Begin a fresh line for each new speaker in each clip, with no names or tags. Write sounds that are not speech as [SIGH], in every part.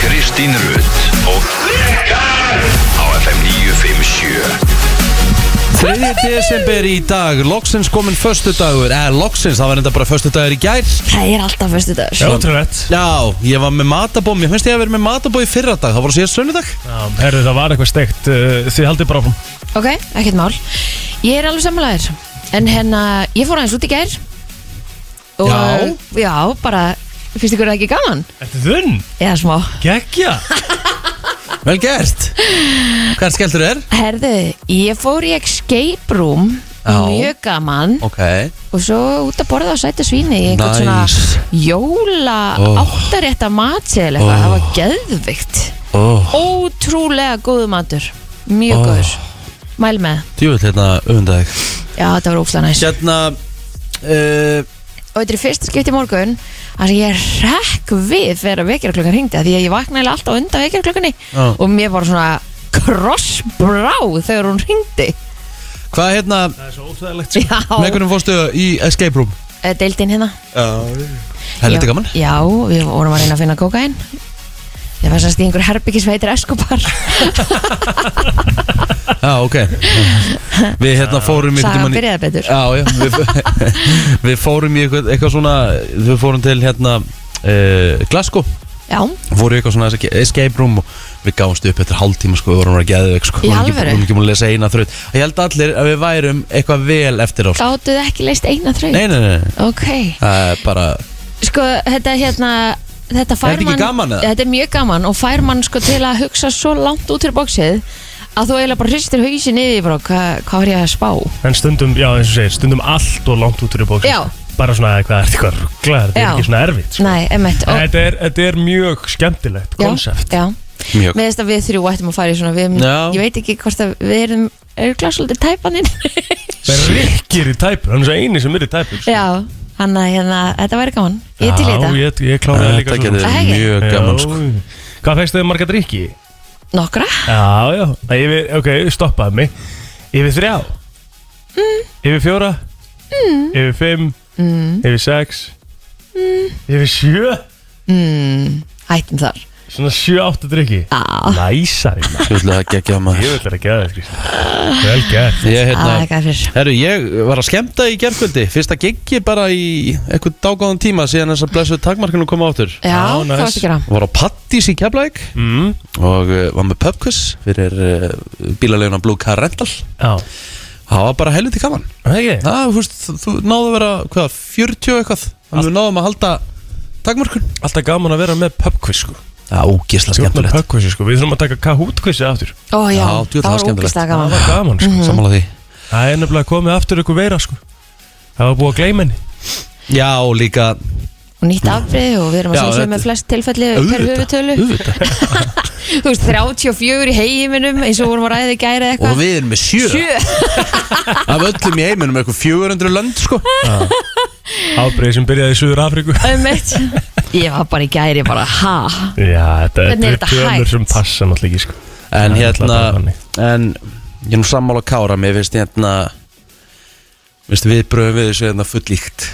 Kristín Rutt og Rikar á FM 957
3. desember í dag, loksins komin förstu dagur, eða loksins, það var enda bara förstu dagur í gær
Það er alltaf fyrstu dagur
Já, ótrúlegt
Já, ég var með matabóm, ég finnst ég að vera með matabó í fyrra dag, það var að síðast sunnudag
Herðu, það var eitthvað steikt uh, Þið haldið bara áfram
Ok, ekkert mál Ég er alveg sammálaður En hérna, ég fór aðeins út í gær og, eh,
Já.
Já, bara, finnst ykkur það ekki gaman?
Ertu þunn?
Já, smá
Gekja
[LAUGHS] Vel gert Hvað er skelltur er?
Herðu, ég fór í escape room
Já.
Mjög gaman
Ok
Og svo út að borða á sæta svíni Í einhvern
Nice.
svona jóla
Oh.
áttarétta matsi eða eitthvað Það var geðvikt
oh,
Ótrúlega góðu matur Mjög
Oh.
góður Mæl með
Djúvill hérna öfundag
Já, þetta var ókslega næs
Hérna uh,
og þetta er fyrsta skipti í morgun að ég hrekk við þegar vekjarklokkan hringdi af því að ég vaknaði eiginlega alltaf undan vekjarklokkunni
Já.
og mér var svona krossbrá þegar hún hringdi
Hvað hérna,
Það er svo óþægilegt sko.
Já,
með hvernig fórstu í escape room?
Eh, deildin hérna
Já Helviti
Já.
gaman
Já, við vorum að reyna að finna kókain Ég var sannst í einhver herbyggi sem heitir Escobar
Já, ok Við hérna fórum einhvern
Sagan
tímann í-
byrjaði betur
Já, já, við,
[LAUGHS]
við fórum í eitthvað, eitthvað svona Við fórum til hérna uh, Glasgow
Já,
Fórum í eitthvað svona escape room og Við gáumst upp eftir hálftíma sko Við vorum að geða sko,
Í
við vorum ekki-
alvöru?
Við vorum ekki múin að lesa eina þraut Ég held allir að við værum eitthvað vel eftir á sko.
gátuð ekki leist eina þraut
Nei, nei, nei, nei
Ok,
Það er bara
sko þetta hérna Þetta
Er
fær
þetta ekki
mann
gaman, eða?
Þetta er mjög gaman og fær mann sko til að hugsa svo langt út fyrir bóksið að þú eiginlega bara hristir hausin niður bara, hva, hvað er ég að spá?
En stundum, já eins og segir, stundum allt og langt út úr í bóksin
Já.
Bara svona eitthvað, er þetta eitthvað rugglaður, þetta
Já.
er ekki svona erfitt sko.
Nei, emmitt
En þetta, er, þetta er mjög skemmtilegt konsept
Já,
mjög
með þess að við þrjú ættum að fara í svona við,
Já.
Ég veit ekki hvort að við erum örgla svolítið tæpaninn
Rikkir í tæpur, hann er svo eini sem er í tæpur sko.
[LAUGHS] Já, hann að hérna, þetta væri gaman Ég til í
Já,
þetta
ég, ég kláraði líka
Þetta getur
svona.
verið
Æ,
mjög gaman sko
Já. Hvað fegstu þið marga drikki?
Nokkra?
Já, já, Nei, yfir, ok, stoppaði mig Yfir þrjá mm. Yfir fjóra mm. Yfir fimm mm. Yfir sex mm. Yfir sjö
Mm, hættum þar
Svona sjö áttu drikki
Á,
Næsari, maður.
Ég vil að gegja
ég
maður
vil þetta geða þetta Vel gert
Ég
Ah, það
hérna
er gæfir
Herru, ég var að skemmta í gerkvöldi Fyrsta giggi bara í eitthvað dágáðan tíma síðan þess að blessuð takmarkinu koma áttur
Já,
Já,
hvað
nice.
varstu að gera?
var á Pattís í Keflæk
mm.
og uh, var með pubquiz fyrir uh, bílaleiguna Blue Car Rental
Já,
það var bara helviti gaman
það ekki
það, þú, veist, þú náðu að vera hvað, 40 og eitthvað þannig við náðum að halda takmörkun
Alltaf gaman að vera með pubquiz sko
það er ógisla
Þú ert með
skemmtilegt
pubquiz sko, við þurfum að taka kahútkvissi aftur
Ó já,
Já, djú,
það
það var
var
skemmtilegt. Mm.
ógislega
Það
gaman Mm.
var gaman sko
sammála því
Það er nefnilega komið aftur ykkur veira sko Það var búið að gleyma henni
já, og líka
Og nýtt afbrið og við erum að
Já,
sjálfsögum
þetta-
með flest tilfelli per höfutölu
auðvitað.
[LAUGHS] Þú veist, 34 í heiminum eins og vorum að ræði gæra
og
eitthvað
við erum með sjö
Sjö,
af öllum í heiminum eitthvað 400 lönd sko.
Afbreið sem byrjaði í Suður Afríku
[LAUGHS] ömmit Ég var bara í gæri, bara ha
Já, þetta
Hvernig er
þetta
þetta
er tölur
hægt?
sem passa náttúrulega ekki sko
en
Það er
hérna
alltaf þannig.
en ég er nú sammála kára mér finnst hérna Veist, við bröðum við þessu hérna fullíkt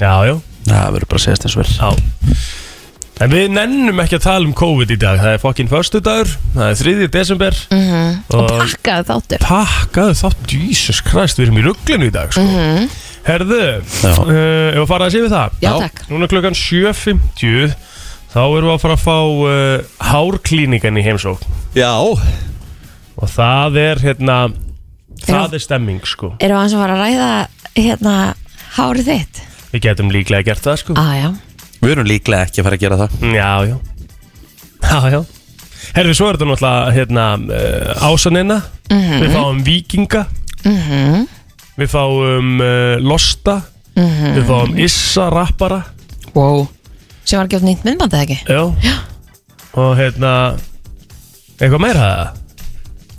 Já, já,
Það verður bara að segja þess vel
já En við nennum ekki að tala um COVID í dag Það er fokkin förstu dagur, það er 3. desember
Mhm. Og
Og
pakkaði þáttur
pakkaðu þátt, Jesus Christ, við erum í rugglinu í dag sko Herðu,
Já.
uh, ef að fara að sé við það
Mhm. Já,
Já.
takk
Núna klukkan 7.50 Þá erum við að fara að fá uh, hárklíningan í heimsókn
Já,
Og það er hérna
Erum-
Það er stemming sko
Erum við aðeins að fara að ræða hérna hárið þitt?
Við getum líklega gert það sko
Á Ah, já,
Við erum líklega ekki að fara að gera það
Já, já Já, já Herfi, svo er þetta náttúrulega hérna, uh, ásanina
Mhm.
Við fáum vikinga Við fáum uh, losta Við fáum issa rappara
Mhm. wow Sem var ekki oft nýtt myndband eða ekki?
Já Og hérna Eitthvað meira það?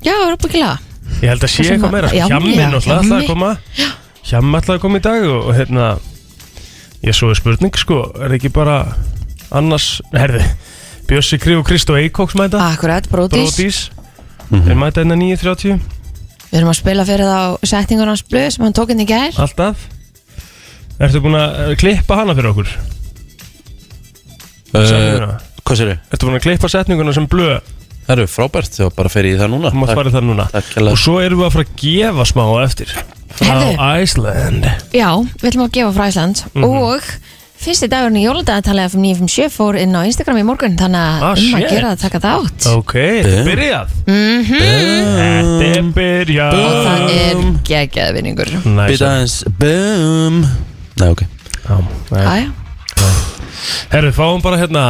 Já, það var uppbyggilega
Ég held að sé
Það sem
eitthvað
að-
meira
já,
Hjammi
já,
náttúrulega
Hjammi.
alltaf að koma Hjammi alltaf að koma í dag og, og hérna Ég svo er spurning sko Er ekki bara annars Herfi, Bjössi Krí og Kristó Eikóks mæta
Akkurat, Brodís
Brodís
Mhm.
Þeir mæta hérna 9.30
Við erum að spila fyrir þá setningur hans blöð sem hann tók inn í gær
Alltaf Ertu búin að eh, klippa hana fyrir okkur?
uh,
Sannina.
Hvað sér þau?
Ertu búin að klippa setninguna sem blöð
Það eru frábært, þá bara fer ég í það núna
Þú mátt
Takk-
farið það núna
takk hérlega.
Og svo erum við að fara að gefa smá á eftir Frá
Herðu.
Iceland
Já, við ætlum að gefa frá Ísland
Mhm.
og fyrsti dagurinn í jóladagatali af 957 fór inn á Instagram í morgun þannig að
Ah,
um að
shit.
gera það taka þátt
Ok, þetta
Eh?
er byrjað Þetta er byrjað
Mhm. og það er geggjað vinningur
Bita aðeins Boom Nei, ok
Næs
Æja,
Herru, fáum bara hérna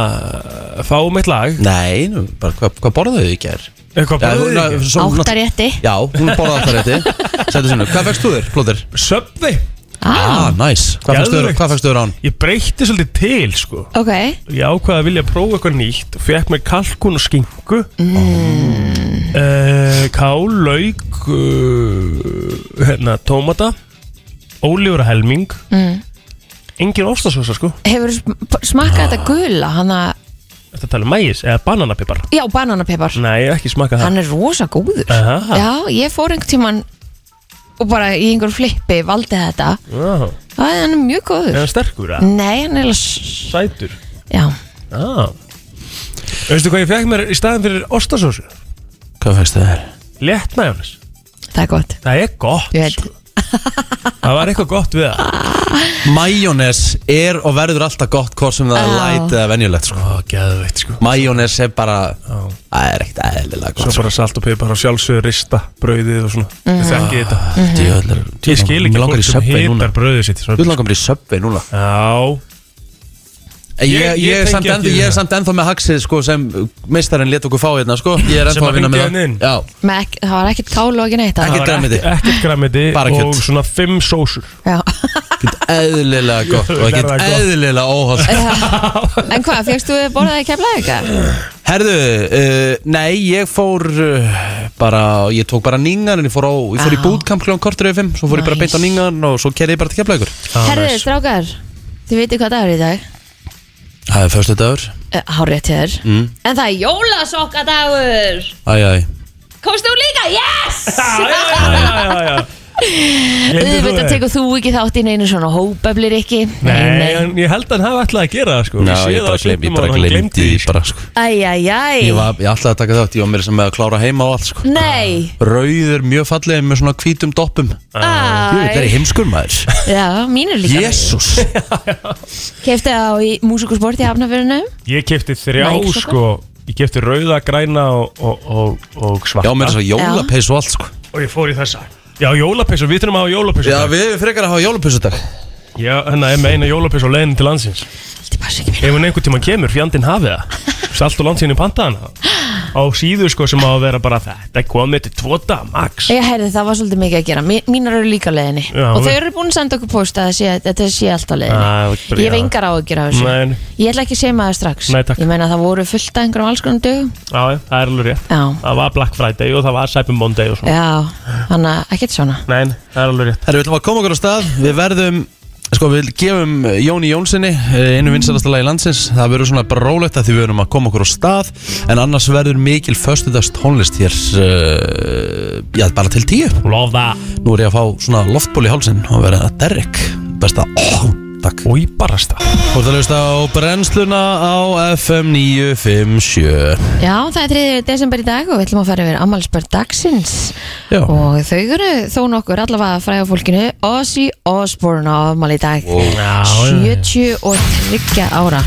Fáum eitt lag
Nei, nú, bara, hvað, hvað borðuðu þið í gær?
Eitthvað
Já, hún-
bæðið ekki
svo- hún-
áttarétti
Já, hún borðaði það rétti Sættu sinni, hvað fegst þú þér, plóðir?
Söpvi
Ah, næs Hvað fegst þú þér-
Geðveikt.
hvað fegst þú þér án?
Ég breytti svolítið til sko
Ok,
Ég ákvaði að vilja prófa eitthvað nýtt og Fekk mér kalkun og skingu mm.
Mm.
Kál, lauk uh, Hérna, tómata Ólífur og helming mm. Engin ostasósa sko
hefur
Ah.
smakkað þetta gula hann að,
Þetta tala um mægis eða bananapipar
já, bananapepar
Nei, ekki smaka það
hann er rosa góður
Aha.
Já, ég fór einhvern tíman og bara í einhver flippi valdi þetta
Já,
Það er hann er mjög góður
Er hann sterkur að?
Nei, hann er alveg-
Sætur
Já,
Já Veistu hvað ég fekk mér í staðin fyrir ostasósu?
Hvað fegst þú þér?
Létt majónis
það er gott
Það er gott
Ég veit.
sko. Það var eitthvað gott við það
Majónes er og verður alltaf gott hvort sem það er
Já.
light eða venjulegt sko.
Ó, geðveitt sko
Majónes er bara Það er ekkert eðlilega gott sko.
Svo bara salt og pipar og sjálfsögur rista Ah, brauðið og svona
Mm.
Ég þekki þetta
Mm-hmm.
Djöðlar
Ég skil ekki
langar
fólk
í
sem
söpvei núna
hitar brauðið sitt
Þú
svona.
langar bara í söpvei núna
Já,
Ég, ég,
Ég- ég
er
tengi
samt
ekki
ennþá,
við
ég er
það.
samt ennþá með haxið sko, sem meistarinn let okkur fá hérna sko. Ég er
Sem
ennþá
að
að vinna með það
hringdi hann inn.
Já,
Með ekki, Það var ekkert kál og ekki neitt
það
Ekkert
var
grænmeti.
ekki- Ekkert græmiti
Bara
og
kjöt.
svona fimm sósur
Já.
ekkert eðlilega gott og
verð
ekkert
það gott.
eðlilega óholt
En hvað, fegstu þið borðaði kemla eitthvað?
Herðu, uh, nei, ég fór uh, bara, ég tók bara ningan en ég fór, á, ég fór í
Já.
bootcamp kljóðan kortur yfir fimm, svo fór ég bara
Nice. Ah,
beint á ningan og svo kerði ég bara til kefla ykkur
Herðu, strákar, þið veitir hvað dagur er í dag
Það er förstu dagur
Eh, Hárrétt hjá þér
Mm.
En það er jólasokkadagur
Æ, æ,
Komst þú líka? Yes! Auðvitað
Þetta
tekur þú ekki þátt í neinu svona hópeflir ekki
Nei, en ég held að hann hafi alltaf að gera það sko
Ná,
sé
ég
það
bara
á
gleymdi, ég
svipnum á
bara
honum, hann gleymdi
gleymdi
því,
því
sko.
bara, sko.
Æjæjæj
Ég var, ég ætlaði að taka þátt, ég var meira sem með að klára heima og allt, sko
Nei
Rauður, mjög fallegið með svona hvítum doppum Jú, þetta er
Ah. Æ,
heimskur maður
já, mínur líka
Jésús
Kefti á í músikusport í Hafnafjörunum
Ég kefti þrjá
Nike-sokka?
sko Ég kefti rauða, græna og, og, og, og
Já,
svarta
mér er svo jólapeys og allt sko
Og ég fór í þessa Já, jólapessu, við þurfum að hafa jólapessu
Já, við hefum frekar að hafa jólapeysu dag
Já, hérna er með eina jólapessu á leiðin til landsins
Þetta passa ekki mér
Ef hún einhvern tíma kemur, fjandinn hafi það Þessi allt og langt síðan í pantaðan Á síðu sko sem á að vera bara þetta komið til tvota, max
Ég heyrði það var svolítið mikið að gera Mí- Mínar eru líka á leiðinni
Já,
Og þau
við-
eru búin að senda okkur post að það sé- þetta sé allt á leiðinni
Ah, það er bara-
Ég hef engar á að gera þessu
Nei.
Ég ætla ekki að segja maður strax
Nei, takk.
Ég meina það voru fullt af einhverjum alls konum dögum
Já, já, það er alveg rétt
Já,
Það var Black Friday og það var Cyber Monday og svona
já, þannig að ekkert svona
Nei, það er alveg rétt
Herru, við ætlum að koma okkur á stað Við verðum, sko, við gefum eh, Jóni Jónssoni eh, einu vinsælasta lagi landsins Það verður svona bara rólegt að því við verðum að koma okkur á stað En annars verður mikil föstudags tónlist hér uh, Já, bara til tíu
Love that
Nú er ég að fá svona loftból í hálsinn og verða Derek Besta, ó, takk
Og í barasta
Þú ert að hlusta á brennsluna á FM 957
Já, það er 3. desember í dag og við ætlum að fara yfir ammálspörð dagsins
Já
Og þau eru þó nokkur allavega fræða fólkinu Ozzy Osbourne á afmæli í dag
Wow.
Já, já.
73 ára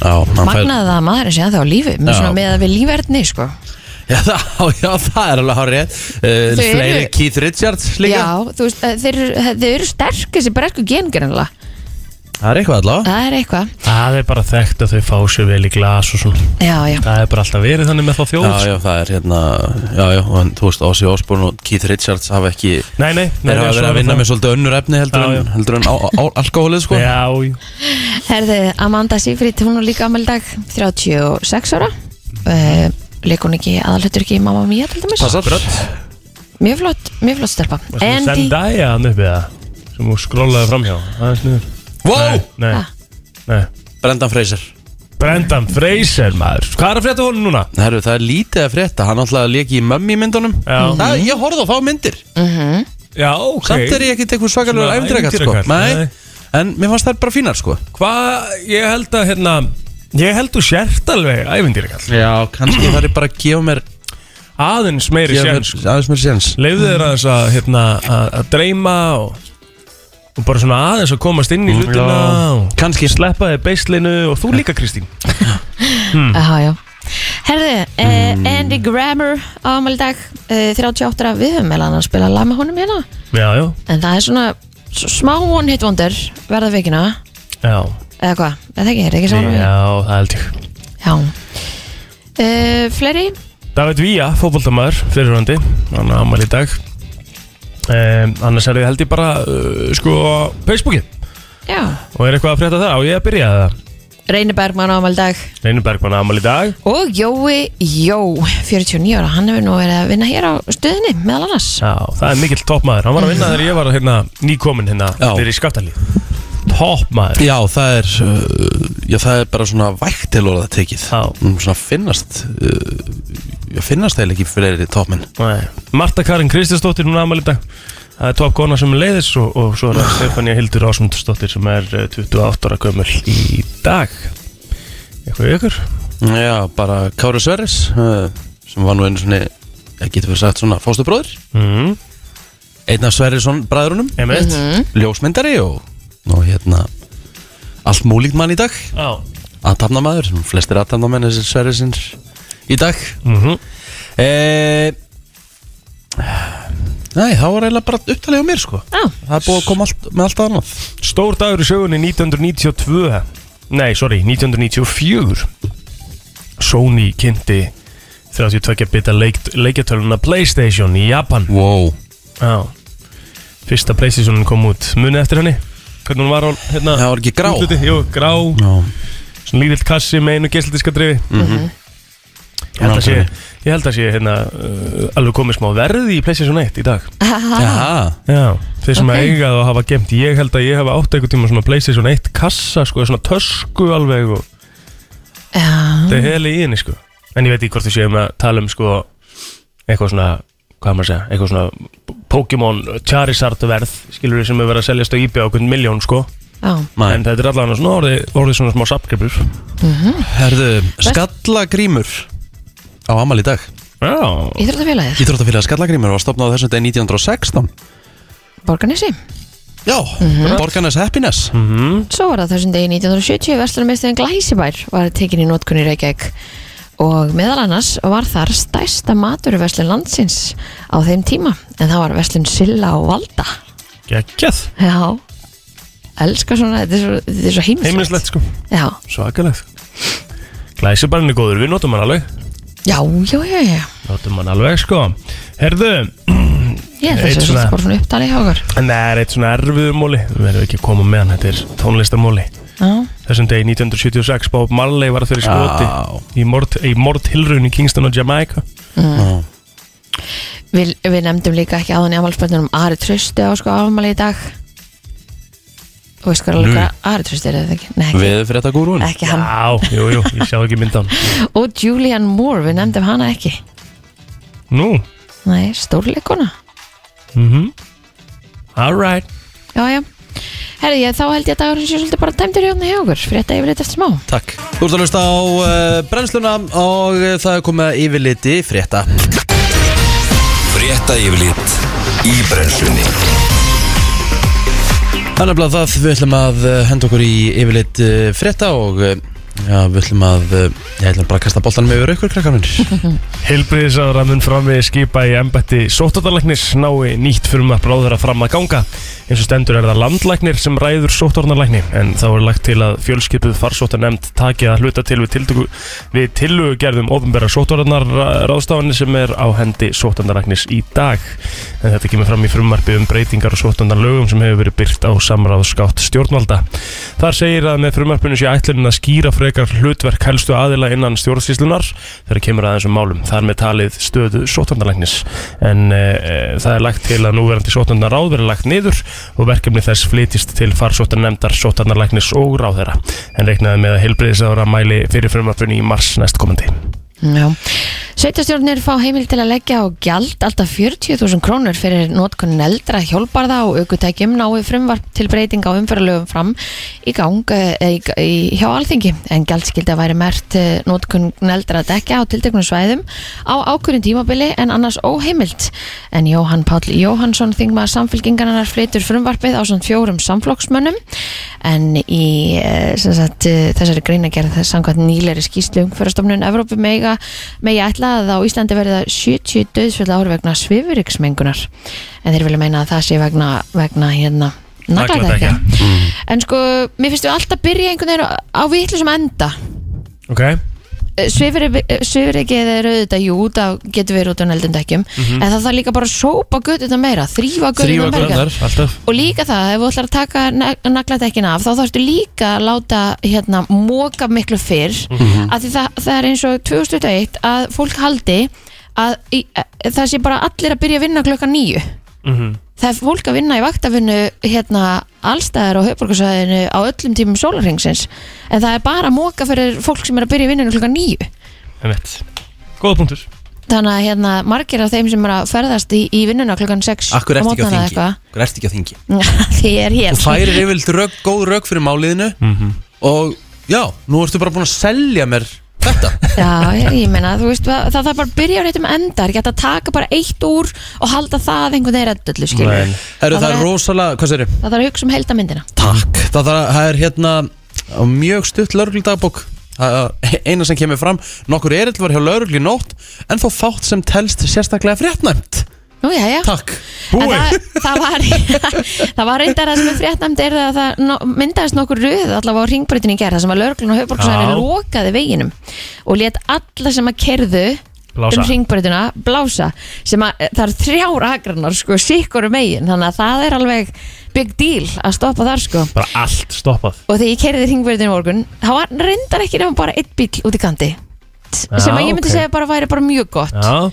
Já, hann fær-
Magnaði að maður er séðan þá lífi
Já.
Með svona með að við lífverðni, sko
[LAUGHS] Já, það, já, það er alveg hárið uh,
Þau eru-
Fleiri Keith Richards líka
Já, þú veist, eh, þeir, eru- þeir eru sterk þessi bresku gengrannlega
Það er eitthvað allavega
Það er eitthvað
Það er bara þekkt að þau fá sér vel í glas og svona
Já, já,
Það er bara alltaf verið þannig með þá þjóð
Já, já, það er hérna Já, já, og hann, þú veist, Ozzy Osbourne og Keith Richards hafa ekki
Nei, nei, nei
Þeir hafa verið að vinna með svolítið önnur efni heldur
Já,
en,
já.
heldur en á, á, alkohólið, sko
Já, já.
herði Amanda Seyfried, hún er líka ameldag 36 ára uh, Leik hún ekki aðalhættur ekki í Mamma Mia til dæmis
Passar
Mjög flott, mjög flott stelpa
Andy
Andy,
Zendaya hann uppi það sem hún skrólaði framhjá aðeins niður
Wow,
Nei,
Ha?
nei
Brendan Fraser
Brendan Fraser maður Hvað er að frétta honum núna?
Herru, það er lítið að frétta Hann alltaf leki í mömmi myndunum
Já.
það, Ég horfði á fá myndir
Já, ok
Samt er ég ekkit eitthvað svakalur
Svona
æfndirakall, sko
ævintýrakall,
Nei
nei.
En mér fannst þær bara fínar, sko
Hvað, ég held að hérna Ég held þú sért alveg ævindýrakall
Já, kannski það er bara að gefa mér
Aðeins meiri
gefa
sér
mér- aðeins mér séns
Leifðu þér aðeins að, hérna, að, að dreyma og, og bara svona aðeins að komast inn í hlutina og
Mm, Kannski
sleppa þér beislinu og þú líka Kristín
Mm.
Já, já Herðu, eh, Andy Grammer á afmæli í dag, eh, 38 við höfum meðan að spila lag með honum hérna
Já, já,
en það er svona s- smá one hit wonder verða vikina
já,
eða hvað, eða ekki, er það ekki svona
já, það held ég
já. Uh, fleiri
David Vía, fótboltamæður, fyrirhandi hann er ammæli í dag um, annars er ég held ég bara uh, sko á Facebookið
já.
og er eitthvað að frétta það og ég að byrja það
Reyni Bergman á afmæli í dag
Reynir Bergman ammæli í dag
og Jói Jó 49 ára, hann hefur nú verið að vinna hér á stöðinni meðal annars
Já, það er mikill toppmaður, hann var að vinna þegar ég var hérna, nýkomin hérna,
Já.
þegar ég skaptalíð toppmaður
Já, það er uh, Já, það er bara svona vægt til orða tekið
Já.
Mm, Svona finnast uh, Já, finnast það ekki fyrir topminn
Nei. Marta Karin Kristinsdóttir, hún ammæli í dag það er toppkona sem er leiðis og, og svo er það Stefania Hildur Ásmundsdóttir sem er eh, 28 ára gömul í dag eitthvað í ykkur
Já, bara Kári Sverris uh, sem var nú einu svona ég getur verið sagt svona fóstubróður
mm.
einn af Sverrisson bræðrunum
Emmett
ljósmyndari og, og hérna allt múlíkt mann í dag
Já
aðtapnamaður, flestir aðtapnamenn þessir Sverrisins í dag
Mhm.
e Nei, það var eiginlega bara upptalið á mér sko
Já,
Það er búið að koma allt, með allt annað
Stór dagur í sögunni 1992 Nei, sorry, 1994 Sony kynnti 32 bita leik, leikjartöluna Playstation í Japan
Wow
Já Fyrsta Playstationin kom út Munið eftir henni Hvernig hún var á hérna
Það var ekki grá
útliti? Jú, grá
Já, Mhm.
Svona lítill kassi með einu geisladiska drifi
Mhm.
Ég held að sé, ég held að sé hérna, uh, alveg komið smá verði í Playstation 1 í dag
Aha.
Já, þeir sem
Ok.
okay. eigað og hafa gemt Ég held að ég hafa átt einhvern tíma svona pleysið svona eitt kassa sko, svona tösku alveg og
Mhm. já
það er heli í henni sko En ég veit ekki hvort þú séum að tala um sko eitthvað svona, hvað á maður að segja eitthvað svona Pokémon Charizard verð, skilur sem er verið að seljast á eBay á okkur miljón sko,
já.
Nei,
en þetta er allavega svona orðið, orðið svona smá sapgripur
Mhm.
herðu, Skallagrímur á Amal í dag
Já,
Íþróttafélagið,
Íþróttafélag Skallagrímur var stopnað á þessum dag 1916
Borgarnesi
Já, Borgarnes Happiness
Svo var það þessum degi 1970 Verslunumistuðin Glæsibær var tekin í notkunni Reykjavík og meðal annars var þar stærsta maturverslun landsins á þeim tíma en það var verslun Silla og Valda
geggjað
Já Elskar svona, þetta er svo, þetta er svo heimilislegt
Heimilislegt sko,
Já,
svakalegt Glæsibarinn er góður, við notum hann alveg
já, já, já, já
Notum hann alveg sko Herðu,
Ég er
Eitt
þessu
svona-
svona bara svona upptalið hjá okkur
En það er eitt svona erfiður móli Við verðum ekki að koma með hann, þetta er tónlistamóli
Já,
Þessum degi 1976 Bob Marley var fyrir skoti
Já.
Í mord, í mord í Kingston og Jamaica
Mm.
Já.
við, við nefndum líka ekki áðan í afmálspöndunum Ari Trösti á sko afmáli í dag Þú veist hvað er alveg hvað Ari Trösti er eða ekki? Nei, ekki,
Við fyrir þetta gúrun
ekki hann
Já, jú, jú, ég sjá ekki myndan
og Julianne Moore, við nefndum hana ekki
Nú,
Nei, stórleikona
mhm Alright
Já, já Herri, ég, þá held ég að dagurinn sé svolítið bara tæmdur hjá hjá okkur Frétta yfirleitt eftir smá
Takk Þú ert að hlusta á uh, brennsluna og uh, það er komið að yfirliti frétta
Frétta yfirlit í brennslunni
Þannig að það við ætlum að uh, henda okkur í yfirlit uh, frétta og uh, já, við ætlum að uh, ég ætlum bara að kasta boltanum yfir ykkur krakkar minnir
Hilbriðisáðra mun framvið skipa í embætti sóttvarnalæknis nái nýtt fyrir að bráðara fram að ganga. Eins og stendur er það landlæknir sem ræður sóttvarnalækni en þá er lagt til að fjölskipuð farsóttanemnd taki að hluta til við, tiltöku, við tillugerðum ofinbæra sóttvarnarráðstafanir sem er á hendi sóttvarnalæknis í dag. En þetta kemur fram í frumvarpi um breytingar og sóttvarnarlögum sem hefur verið byrt á samráðskátt stjórnvalda. Þar segir að með frumvarpinu sé ætlunin að skýra frekar hlutverk helstu aðila innan stjórnsýslunar þegar kemur að þessum málum. Þar með talið stöðu sótvandarlæknis. En e, e, það er lagt til að núverandi sótvandarráð verið lagt niður og verkefni þess flytist til farsóttarnemdar, sótvandarlæknis og ráðherra. En reiknaði með að heilbriðisára mæli fyrir frumvarpinu í mars næstkomandi.
Já. Sveitarstjórnir fá heimil til að leggja á gjald alltaf 40.000 krónur fyrir notkunn eldra hjálparða og aukutækjum nái frumvarp til breyting á umfyralögum fram í gang e, í, í, hjá alþingi en gjaldskilda væri mert notkunn eldra að dekja á tilteknum svæðum á ákvörðin tímabili en annars óheimilt en Jóhann Páll Jóhannsson þingmaður samfélkingarnar flytur frumvarpið á svona fjórum samflokksmönnum en í eh, sem sagt, eh, þessari greinagerð þess samkvæmt nýleri skýslu umhverfastofnun Evrópu mega, megi ætla að á Íslandi verða 70 döðsfjöld ári vegna svifuriksmengunar en þeir vilja meina að það sé vegna, vegna hérna nagladekja
Mm.
en sko, mér finnst við alltaf byrja einhvern veginn á- á vitlusum enda
Ok
svifrikið er auðvitað jú, það getur verið út á neldum dekkjum en það þarf líka bara að sópa göttuna meira þrýfa göttuna
Þrýfa
meira
gröndar, alltaf
og líka það, ef þú ætlar að taka nagladekkin af, þá þarfstu líka að láta hérna, móka miklu fyrr
Mhm.
af því það, það er eins og 2001 að fólk haldi að, í, að það sé bara allir að byrja að vinna klukkan nýju
Mhm.
það er fólk að vinna í vaktavinnu hérna allstæðar og höfborgarsæðinu á öllum tímum sólarhengsins en það er bara að móka fyrir fólk sem er að byrja í vinninu klukkan nýju
Emmett Góða punktur
þannig að hérna, margir af þeim sem er að ferðast í, í vinnuna klukkan 6
[LAUGHS] Akkur
á
ert ekki á
mótnana
þingi
eitthvað [LAUGHS]
Akkur ert ekki á þingi
því ég er hér
Þú færir yfirleitt rök, góð rök fyrir máliðinu Og já, nú ertu bara búin að selja mér þetta
Já, ég, ég meina, þú veist, það, það þarf bara að byrja á réttum enda, er ekki hægt að taka bara eitt úr og halda það einhvern veginn reddullu, skilur
Nei.
við.
Herru,
Það
það er
var-
rosalega, hvað segir
Það þarf að hugsa um heldamyndina.
Takk Það þarf- það er hérna á mjög stutt laurugludagbók Eina sem kemur fram Nokkur erill var hjá lauruglu í nótt En þó fátt sem telst sérstaklega fréttnæmt
Nú, já, já.
Takk
En
Búið
það, það var, [LAUGHS] það var reyndar að sem er fréttnæmt er að það no- myndaðist nokkur röð allavega á ringbreytinu í gerð, þar sem að lörglun og höfborgsæri
Já.
lokaði veginum og let alla sem að kerðu
Blása.
um ringbreytuna blása sem að eh, það eru þrjár agrannar sko, sikkur um megin, þannig að það er alveg big deal að stoppa þar sko.
Bara allt stoppað
og þegar ég kerði hringverðinu morgun þá var reyndar ekki nefnum bara einn bíl út í kanti sem að ég myndi
ok.
segja bara væri bara mjög gott
Já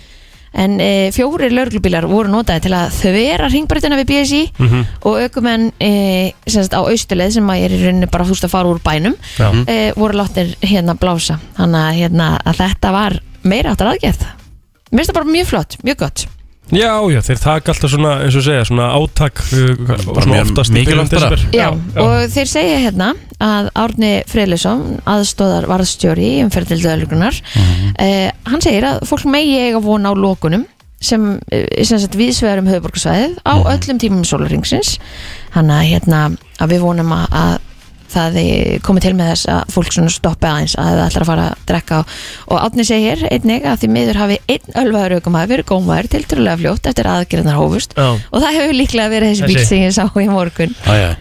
en e, fjórir lörglubílar voru notaði til að þvera hringbreytina við BSI
Mm. Mhm.
og aukumenn e, semst, á austuleið sem að ég er í rauninni bara fúst að fara úr bænum
Já.
e, voru láttir hérna blása þannig að, hérna, að þetta var meira áttar aðgerð mér finnst það bara mjög flott, mjög gott
Já, já, þeir taka alltaf svona, eins og segja, svona átak uh, og svona
mjög
oftast í byrjun
mikilvægt bara.
desember.
Já, og þeir segja hérna að Árni Freylisson, aðstóðar varðstjóri í umferðildu öðlugunar eh, hann segir að fólk megi eiga vona á lokunum sem, eh, sem sagt, viðsvegar um höfuborgarsvæðið á öllum tímum sólaringsins hann að hérna að við vonum að, að það eh, komi til með þess að fólk svona stoppi aðeins að það ætlar að fara að drekka og, og Árni segir einnig að því miður hafi einn ölvaður aukumæður verið gómaður til trúlega fljótt eftir að aðgerðnar hófust
Já.
og það hefur líklega verið þessi bíl
Þessi.
sem ég sá í morgun
Æja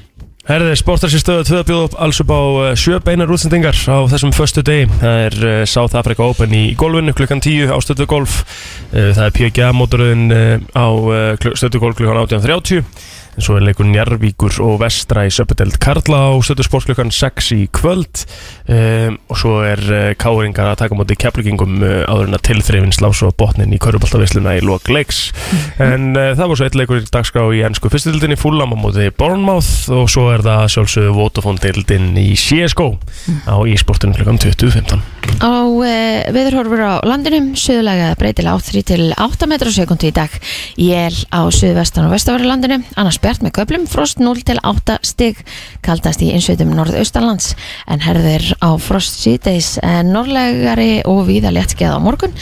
Herði, sportarsi stöðu tvöða bjóð upp alls upp á uh, sjö beinar útsendingar á þessum föstu degi. Það er uh, South Africa Open í golfinu klukkan 10 á stöðu golf. Uh, það er PGA mótoröðin uh, á uh, stöðu golf klukkan 18.30. En svo er leikur Njarvíkur og Vestra í Söpudeld Karla á stöðu sport klukkan 6 í kvöld. Um, og svo er uh, Káringar að taka á móti keflugingum uh, áður en að tilþrifin slá svo botnin í köruboltavisluna í lok leiks en uh, það var svo eitt leikur í dagskrá í ennsku fyrstildinni Fulham á móti Bournemouth og svo er það sjálfsögðu Vodafone-dildin í CSGO á e-sportinu klukkan 20.15
Á uh, viðurhorfur á landinum suðulega breytilega átt 3 til 8 metrar á sekundi í dag. Jél á suðvestan og vestavöru landinu, annars bjart með köplum, frost 0 til 8 stig, kaldast í innsveitum norðaustanlands en herðir á frost síðdeis en norðlegari og víða léttskeið á morgun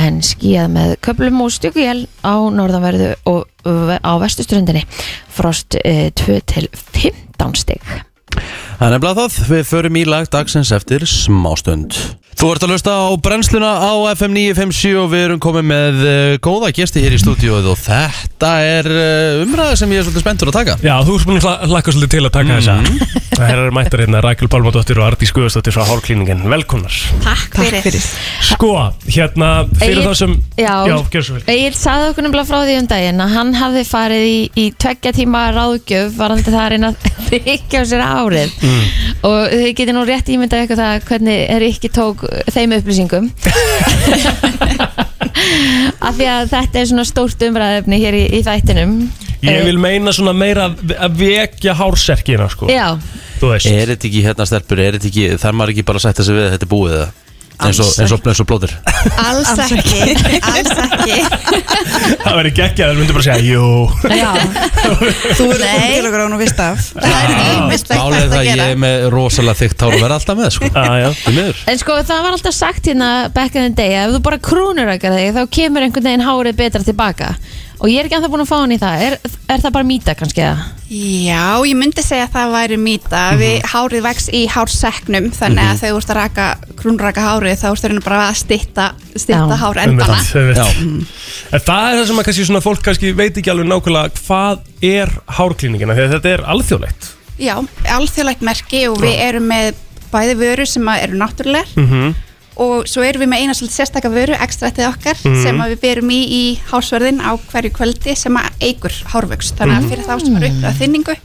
en skíðað með köplum og stugujél á norðanverðu og uh, á vestuströndinni, frost uh, 2 til 15 stig.
Það er nefnilega það, við förum í lag dagsins eftir smástund Þú ert að hlusta á brennsluna á FM 957 og við erum komið með uh, góða gesti hér í stúdíóið og þetta er uh, umræða sem ég er svolítið spenntur að taka
Já, þú erst búin að hlakka svolítið til að taka mm. þessa Það er mættar hérna Rækjul Pálmadóttir og Ardi Skuðastóttir frá Hálklíningin, velkomnar Sko, hérna, fyrir
Egil-
þá sem
Já.
já gjör svo vel
Egil saði okkur nefnilega frá því um daginn að hann hafði farið í, í tveggja tíma ráðgjöf varandi það að reyna að [LAUGHS] þykja á sér árið og þið getið nú rétt ímyndað ykkur það hvernig er ekki tók þeim upplýsingum [LAUGHS] af því að þetta er svona stórt umræðefni hér í, í þættinum Eh.
Ég vil meina svona meira að- að vekja hárserkina, sko
Já,
Þú veist
hérna, Er þetta ekki hérna stelpur, er þetta ekki, þar maður ekki bara að setja sig við að þetta er búið það? eins og, eins og, eins og blóðir
Alls ekki, [LAUGHS] alls ekki
Það verður geggjað, um það myndir bara segja Jú,
Já,
Þú verður
Nei.
komin til okkar án og vist af
það er heimist að
Málið er það að ég er með rosalega þykkt hár og verða alltaf með sko.
já, já
Því miður
En sko það var alltaf sagt hérna back in the day að ef þú bara krúnur ekki þig þá kemur einhvern veginn hárið betra tilbaka og ég er ekki anþá búin að fá hann í það er, er það bara mýta kannski eða?
Já, ég myndi segja að það væri mýta við hárið vex í hárseknum þannig að þegar þú ert að raka, krúnraka hárið þá ertu reyna bara að stitta,
Já.
stitta hár endana
einmitt.
Já.
En það er það sem að kannski svona fólk kannski veit ekki alveg nákvæmlega hvað er hárklíningina því að þetta er alþjóðlegt
Já, alþjóðlegt merki og við erum með bæði vöru sem að eru náttúrulegar
Mhm.
og svo erum við með eina svolítið sérstaka vöru ekstrættið okkar sem að við berum í í hásverðin á hverju kvöldi sem að eigur hárvöxt þannig að fyrir þá sem eru upp að þinningu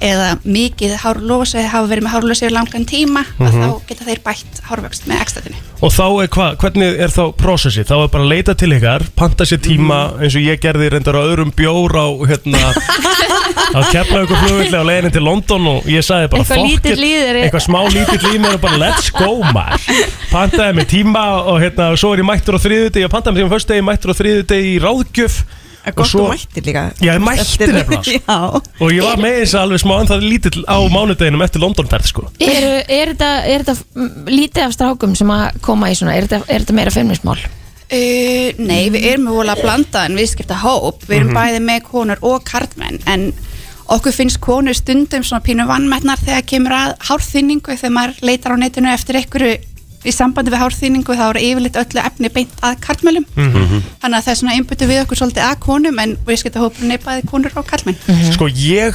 eða mikið hárlós eða hafa verið með hárlós yfir langan tíma að þá geta þeir bætt hárvöxt með ekstrættinu
Og þá er hvað, hvernig er þá prósessið? Þá er bara að leita til ykkar, panta sér tíma eins og ég gerði reyndar á öðrum bjór á hérna á keflaug og flugvillig á leiðinni til London og ég sagði bara
Eitthvað
"Fuck
lítill
it."
í þér er-
eitthvað smá lítill í mér og bara let's go maður pantaði mér tíma og hérna og svo er ég mættur á þriðudegi og pantaði mér tíma fyrst degi mættur á þriðudegi í ráðgjöf
Er Gott
svo-
og mættir líka
Já, ég mætti
Eftir-
nefnilega, sko.
Já,
og ég var með þess að alveg smá en það lítill á mánudeginum eftir Londonferð sko
Eru, er þetta, er þetta mm, lítið af strákum sem að koma í svona, er þetta, er þetta meira feimnismál?
Uh, nei, við erum við vola að blanda en viðskipta hóp, við erum bæði með konur og karlmenn en okkur finnst konur stundum svona pínu vannmætnar þegar kemur að hárþynningu þegar maður leitar á netinu eftir einhverju í sambandi við hárþynningu þá eru yfirleitt öllu efni beint að karlmennum
Mhm.
þannig að það er svona einbyttu við okkur svolítið að konum en viðskipta hópurinn er bæði konur og karlmenn
sko ég,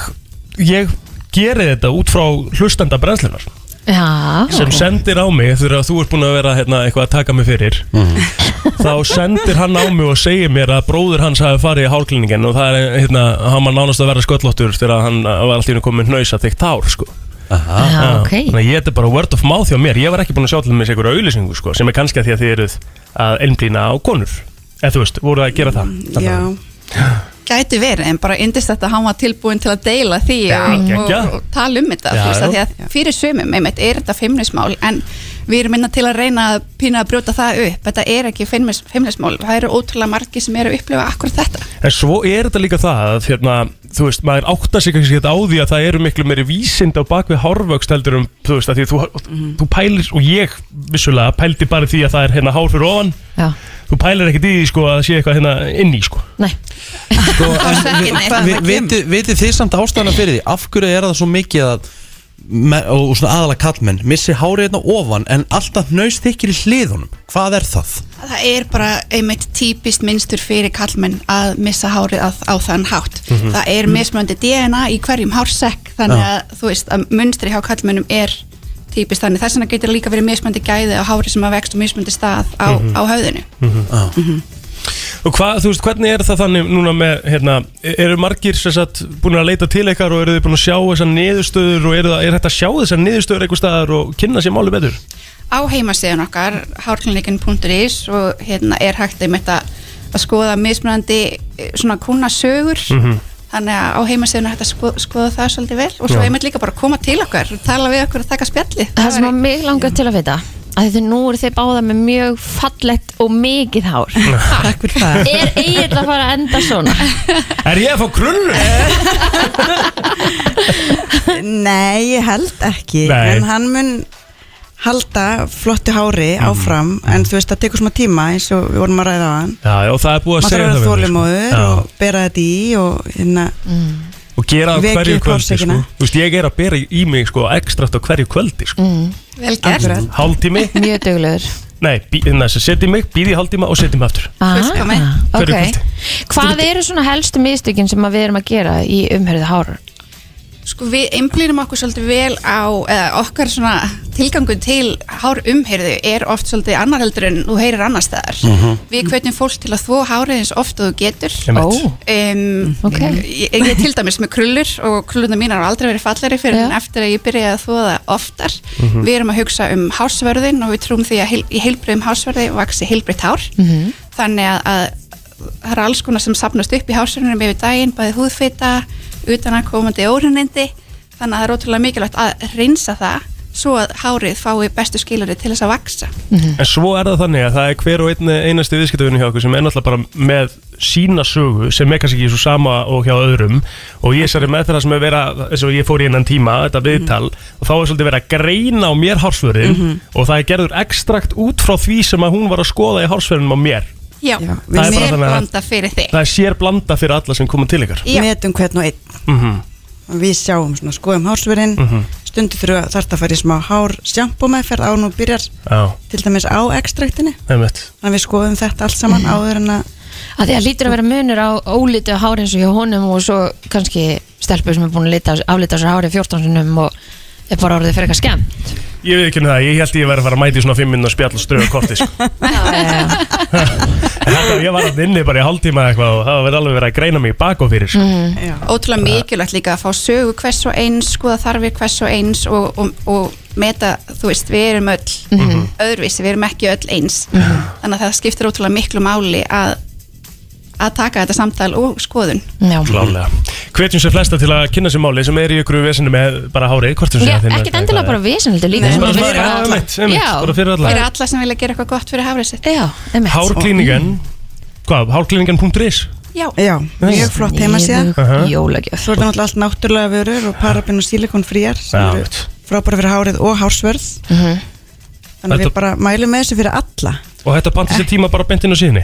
ég geri þetta út frá hlustanda brennslunar
Já,
sem sendir á mig þegar þú ert búin að vera hérna, eitthvað að taka mig fyrir
Mhm.
þá sendir hann á mig og segir mér að bróður hans hafi farið í hálklíningin og það er hérna, hann var nánast að vera sköllóttur þegar hann var alltaf komin hnausa þykkt hár sko.
já,
Já,
ok
þannig að ég þetta er bara word of mouth hjá mér ég var ekki búin að sjá til mér einhverja auðlýsingu sko, sem er kannski að því að þið eruð að elmdýna á konur eða þú veist, voruð að gera það
já
Gæti verið, en bara yndist þetta að hann var tilbúin til að deila því
Já,
og,
geggjað.
og, og tala um þetta
Já,
þú veist,
já.
af því að fyrir sumum, einmitt, er þetta feimnismál en við erum minna til að reyna að pína að brjóta það upp, þetta er ekki feimnis, feimnismál, það eru ótrúlega margi sem eru að upplifa akkur þetta
En svo er þetta líka það að hérna, þú veist, maður áttar sig kannski ekkert á því að það eru miklu meiri vísind á bakvið hárvöxt heldur um, þú veist, að því að þú, þú pælir og ég vissulega pældi bara í því að það er hérna hár fyrir ofan,
Já,
þú pælir ekkert í því sko að það sé eitthvað hérna inn í sko.
nei
sko, en
ekki
vi-
neitt.
vi- vitið- Vitið þið samt ástæðana fyrir því Af hverju er það svo mikið að me, og svona aðalega kallmenn missi hárið hérna ofan en alltaf nöys þykir í hliðunum hvað er það?
Það er bara einmitt típist minnstur fyrir kallmenn að missa hárið á, á þann hátt. Það er mismunandi DNA í hverjum hársekk þannig
Já.
að þú veist að munstri hjá kallmennum er típist þannig. Þess vegna getur líka verið mismunandi gæði á hári sem að vext og mismunandi stað á,
Mhm.
á höfðinu.
Og hvað, þú veist, hvernig er það þannig núna með, hérna, eru margir sem sagt búin að leita til ykkar og eru þið búin að sjá þessar niðurstöður og eru það, er þetta að sjá þessar niðurstöður einhver staðar og kynna sér máli betur?
Á heimasíðan okkar, hárklinikin.is og hérna er hægt einmitt að, að skoða mismunandi eh, svona kúnasögur
Mhm.
Þannig að á heimasíðan er hægt að sko- skoða það svolítið vel og svo einmitt líka bara að koma til okkar, tala við okkur og taka spjalli.
Það sem
væri-
að mig langar til að vita að þið nú eru þið báða með mjög fallegt og mikið hár
Takk fyrir það
Er eiginlega að fara að enda svona?
Er ég að fá krullur?
Nei, ég held ekki
Nei.
En hann mun halda flottu
Mm.
hári áfram En þú veist, það tekur smá tíma eins og við vorum að ræða á hann
Já, já, og það er búið að
Maður þarf
segja
að vera
við mig, sko.
þólumóður
Já.
og bera þetta í og hérna,
Mm.
og gera það
Vekja
hverju
upp
kvöldi sko.
hársekina.
Þú veist, ég er að bera í mig sko, ekstrakt á hverju kvöldi sko.
Vel gert.
Akkurat.
hálftími,
Mjög duglegur
nei, bí- hérna, sem setja í mig býði hálftíma og setja í mig aftur
Fullkomið.
Ah,
Hverju
ok.
kvöldi?
Hvað eru svona helstu mistökin sem að við erum að gera í umhverfið hár?
Sko við einblýnum okkur svolítið vel á eða, okkar svona tilgangu til hár umherðu er oft svolítið annar heldur en þú heyrir annar staðar.
Mhm.
Við hvetjum fólk til að þvó hárið eins oft og þú getur.
Einmitt.
Um,
Mm, Ok.
ég, ég er til dæmis með krullur og krullurna mínar hafa aldrei verið falleri fyrir en
Já.
eftir að ég byrjaði að þvoða oftar við erum að hugsa um hásverðin og við trúum því að heil, í heilbriðum hásverði vaksi heilbriðt hár
Mhm.
þannig að, að það er alls konar sem sapnast upp í hásverðinum yfir daginn, bæði húðfita utan að komandi órunindi þannig að það er ótrúlega mikilvægt að reynsa það svo að hárið fái bestu skilari til þess að vaksa
En svo er það þannig að það er hver og einn eh, einasti viðskiptavinnu hjá okkur sem er náttúrulega bara með sína sögu sem er kannski ekki svo sama og hjá öðrum og ég sari með það sem er vera eins og ég fór í innan tíma, þetta viðtal og þá er svolítið verið að greina á mér hársförin og það er gerður ekstrakt út frá því sem að hún var að skoða í hársförinum á mér
já,
Já,
það
það er bara
er
þannig að-
blanda fyrir þig
Það er sér blanda fyrir alla sem koma til ykkar
Já.
metum hvern og einn
mm
við sjáum svona, skoðum
mhm,
hársverinn mm -hmm. stundu þurfa þarf það að fara í smá hár sjampó meðferð á nú byrjar
Já,
til dæmis á ekstraktinni
einmitt
þannig að við skoðum þetta allt
Mhm.
saman áður en að
að því að lítur að vera munur á ólítu hár eins og hjá honum og svo kannski stelpur sem er búin að lita, aflita á sér hárið 14 sinnum og er bara orðið fyrir eitthvað skemmt
Ég veit ekki um það, ég held ég verið að fara að mæti svona fimm minn og spjall og ströðu
[LAUGHS]
korti sko. En þetta, Ég var að inni bara í hálftíma eitthvað og það var alveg verið að greina mig í bak og fyrir sko.
Mm.
já,
ótrúlega mikilvægt líka að fá sögu hvers og eins, skoða þarfir hvers og eins og, og, og meta, þú veist, við erum öll öðruvísi, við erum ekki öll eins þannig að það skiptir ótrúlega miklu máli að, að taka þetta samtal og skoðun
Já,
Klálega. Hvetjum sem flesta til að kynna sér máli sem er í ykkur vesinu með bara hárið hvort sem
Já,
það þinn-
ekkert endilega bara visinhaldur líka
Nei,
sem
Bara
er
svona,
fyrir
já,
alla.
einmitt, einmitt,
Já,
bara fyrir alla.
fyrir alla sem vilja gera eitthvað gott fyrir hafrið sitt
Já, einmitt Mm.
Hárklíningan Hvað, hárklíningan.is
já,
já, mjög flott heimasíða
Aha.
Sniðug Jólagjöf
svo er það náttúrulega allt náttúrulega vörur og parabin og sílikon fríar sem
Já,
eru
veit.
frábæra fyrir hárið og hársverð
Mhm.
þannig að
Þetta-
við bara mælum með þessu fyrir alla
Og þetta bandi sér tíma bara beint inn á síðinni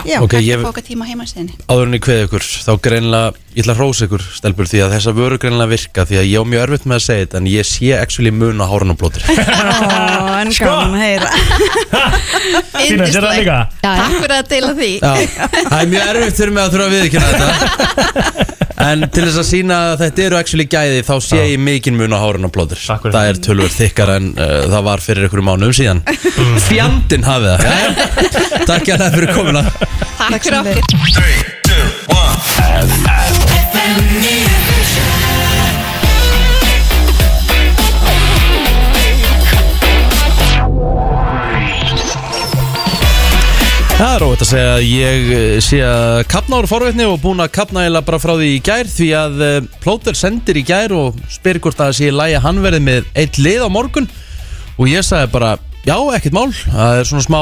Já.
já
Ok,
okay,
ég-
ég... fóka tíma heima sinni
áður en ég kveði ykkur, þá greinlega ég ætla að rósa ykkur, stelpur, því að þessa vöru greinlega virka, því að ég á mjög erfitt með að segja þetta en ég sé actually mun á hárun og blótir
Ó, en gaman að
[LAUGHS]
heyra
Sýna, sér Sko. það líka
Já, já.
takk fyrir að deila því [LAUGHS]
Já, það er mjög erfitt fyrir mig að þurfa að viðkynna þetta En til þess að sína að þetta eru actually gæði þá sé ég mikinn mun á hárun og blótir
Takk fyrir.
Það er tölvöld þykkar en uh, það var fyrir ykkur mánuðum síðan Fjandinn hafi það Jæja. Takk ég að það fyrir komuna
takk fyrir okkur
Það er óvægt að segja að ég eh, sé að kapna úr forveitni og búin að kapna eða bara frá því í gær því að eh, Plóter sendir í gær og spyr hvort að það sé í lagi að hann verði með eitt lið á morgun og ég sagði bara já, ekkert mál, það er svona smá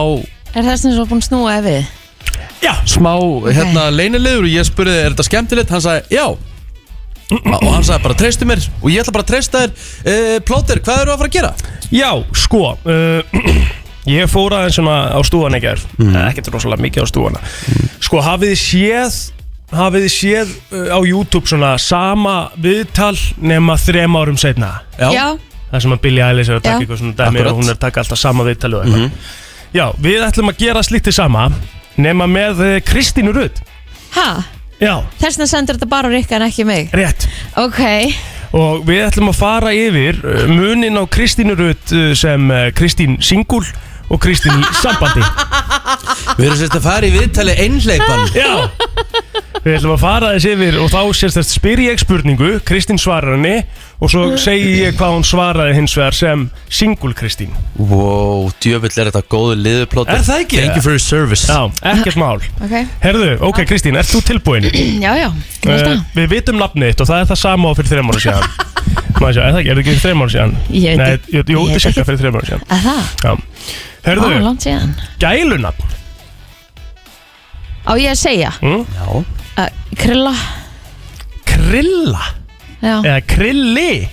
Er það sem svo búin að snúa ef við?
Já,
smá hérna leynilegur og ég spurði er þetta skemmtilegt, hann sagði já og hann sagði bara treystu mér og ég ætla bara að treysta þér uh, Plóter, hvað eru að fara að gera?
já sko uh, [CLEARS THROAT] Ég fór aðeins svona á stúan ekki er
Mhm.
Ekkert rosalega mikið á stúana Sko, hafið þið séð Hafið þið séð uh, á YouTube svona sama viðtal nema þrem árum setna Það sem að Billie Eilish er að taka
Já.
eitthvað svona dæmi
Akkurat. Mhm.
og hún er að taka alltaf sama viðtali og eitthvað Já, við ætlum að gera slíktið sama nema með eh, Kristínu Rudd
Ha?
Já,
Þess vegna sendur þetta bara á Rikka en ekki mig
rétt
Ok,
Og við ætlum að fara yfir eh, munin á Kristínu Rudd eh, sem eh, Kristín Singul og Kristín í sambandi
Við erum sérst að fara í viðtali einhleipan
Já Við ætlum að fara þess yfir og þá sérst þess spyr ég spurningu, Kristín svarar henni og svo segi ég hvað hún svaraði hins vegar sem Singul Kristín
Wow, djöfull er þetta góðu liðu Plóter
Er það ekki?
Thank you for your service
Já, ekkert mál
ok Eh,
Herðu, ok Kristín, ert þú tilbúin?
[CLEARS THROAT] Já, já, ég held
Uh,
að
við vitum nafnið þitt og það er það sama og fyrir þreim ára
[LAUGHS]
síðan Maður sjá, er það ekki, er það ekki fyrir þreim ára síðan?
Ég veit
Nei,
ekki.
jú, jú,
Ég veit
þetta er cirka fyrir þreim ára síðan
Að það,
Já.
á,
Herðu,
langt síðan
gælunafn
Á ég að segja
Já.
að Krilla,
Krilla
já Mhm, Mm.
Eða krilli,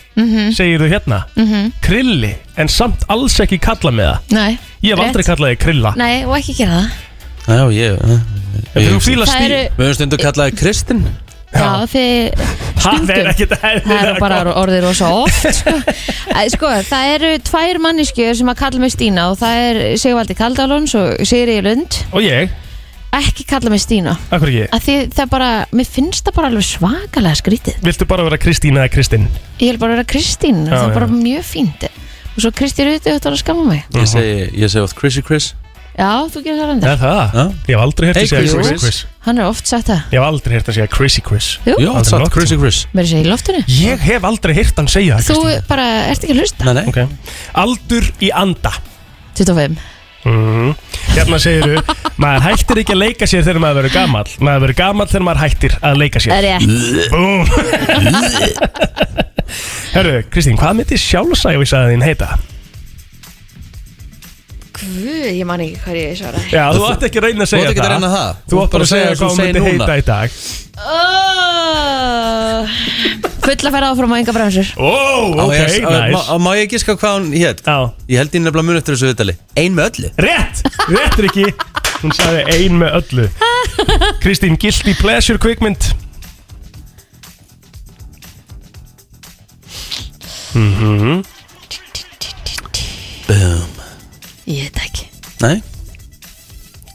segir þú hérna Krilli, en samt alls ekki kalla með það
Nei,
Ég hef aldrei
rétt.
kallað þig krilla
Nei, og ekki gera það
Já, ég,
En
ég
þú fíla
Það
stíl
eru,
Við höfum stundu kallaði Kristinn
já, þið
Það er
stundum
ekki
Það er bara
það
orðið rosa
[LAUGHS]
oft sko. Æ, sko, það eru tvær manneskjur sem að kalla mig Stína og það er Sigvaldi Kaldalons og Sigri Lund
Og ég,
ekki kalla mig Stína
akkur ekki
að því það er bara, mér finnst það bara alveg svakalega skrítið
Viltu bara vera Kristín eða Kristinn?
ég vil bara vera Kristín,
Já,
það
já.
er bara mjög fínt og svo Kristi Ruti þetta var að skamma mig
Ég segi, ég segi oft Chrissy Chris
já, þú gerir það reyndar,
Er það?
Já.
Ég hef aldrei hert
Hey,
að segja
Chris.
Chrissy Chris
hann er oft sagt það
Ég hef aldrei hert að segja Chrissy Chris
jú,
Jú,
aldrei
satt
nokkuð.
Chrissy Chris
mér segja í loftinu
Ég hef aldrei heyrt hann segja það
þú
Kristín.
bara ert ekki að hlusta
Nei, nei
Ok. Aldur í anda
25,
Mhm. Hérna segiru, maður hættir ekki að leika sér þegar maður verður gamall Maður verður gamall þegar maður hættir að leika sér
Rétt.
Búm Mhm. Herru, Kristín, hvað myndi sjálfsæfisaðin þín heita?
Guð, ég man ekki hvað ég svara
Já, þú átt ekki að reyna
Þú
að
átt
segja
ekki að
það
reyna það.
Þú átt bara að segja
það
hvað
sem
hún
þú
myndi
segir núna.
heita í dag
oh, Fulla færa áfram á enga bremsur
Ó, ok,
ég, á-
nice
má, má ég giska hvað hún hétt?
Já,
Ég held ég nefnilega mun eftir þessu viðtali Ein með öllu
rétt, rétt Riki Hún sagði ein með öllu Kristín, Guilty Pleasure kvikmynd
Mhm. Boom
Ég veit ekki
Nei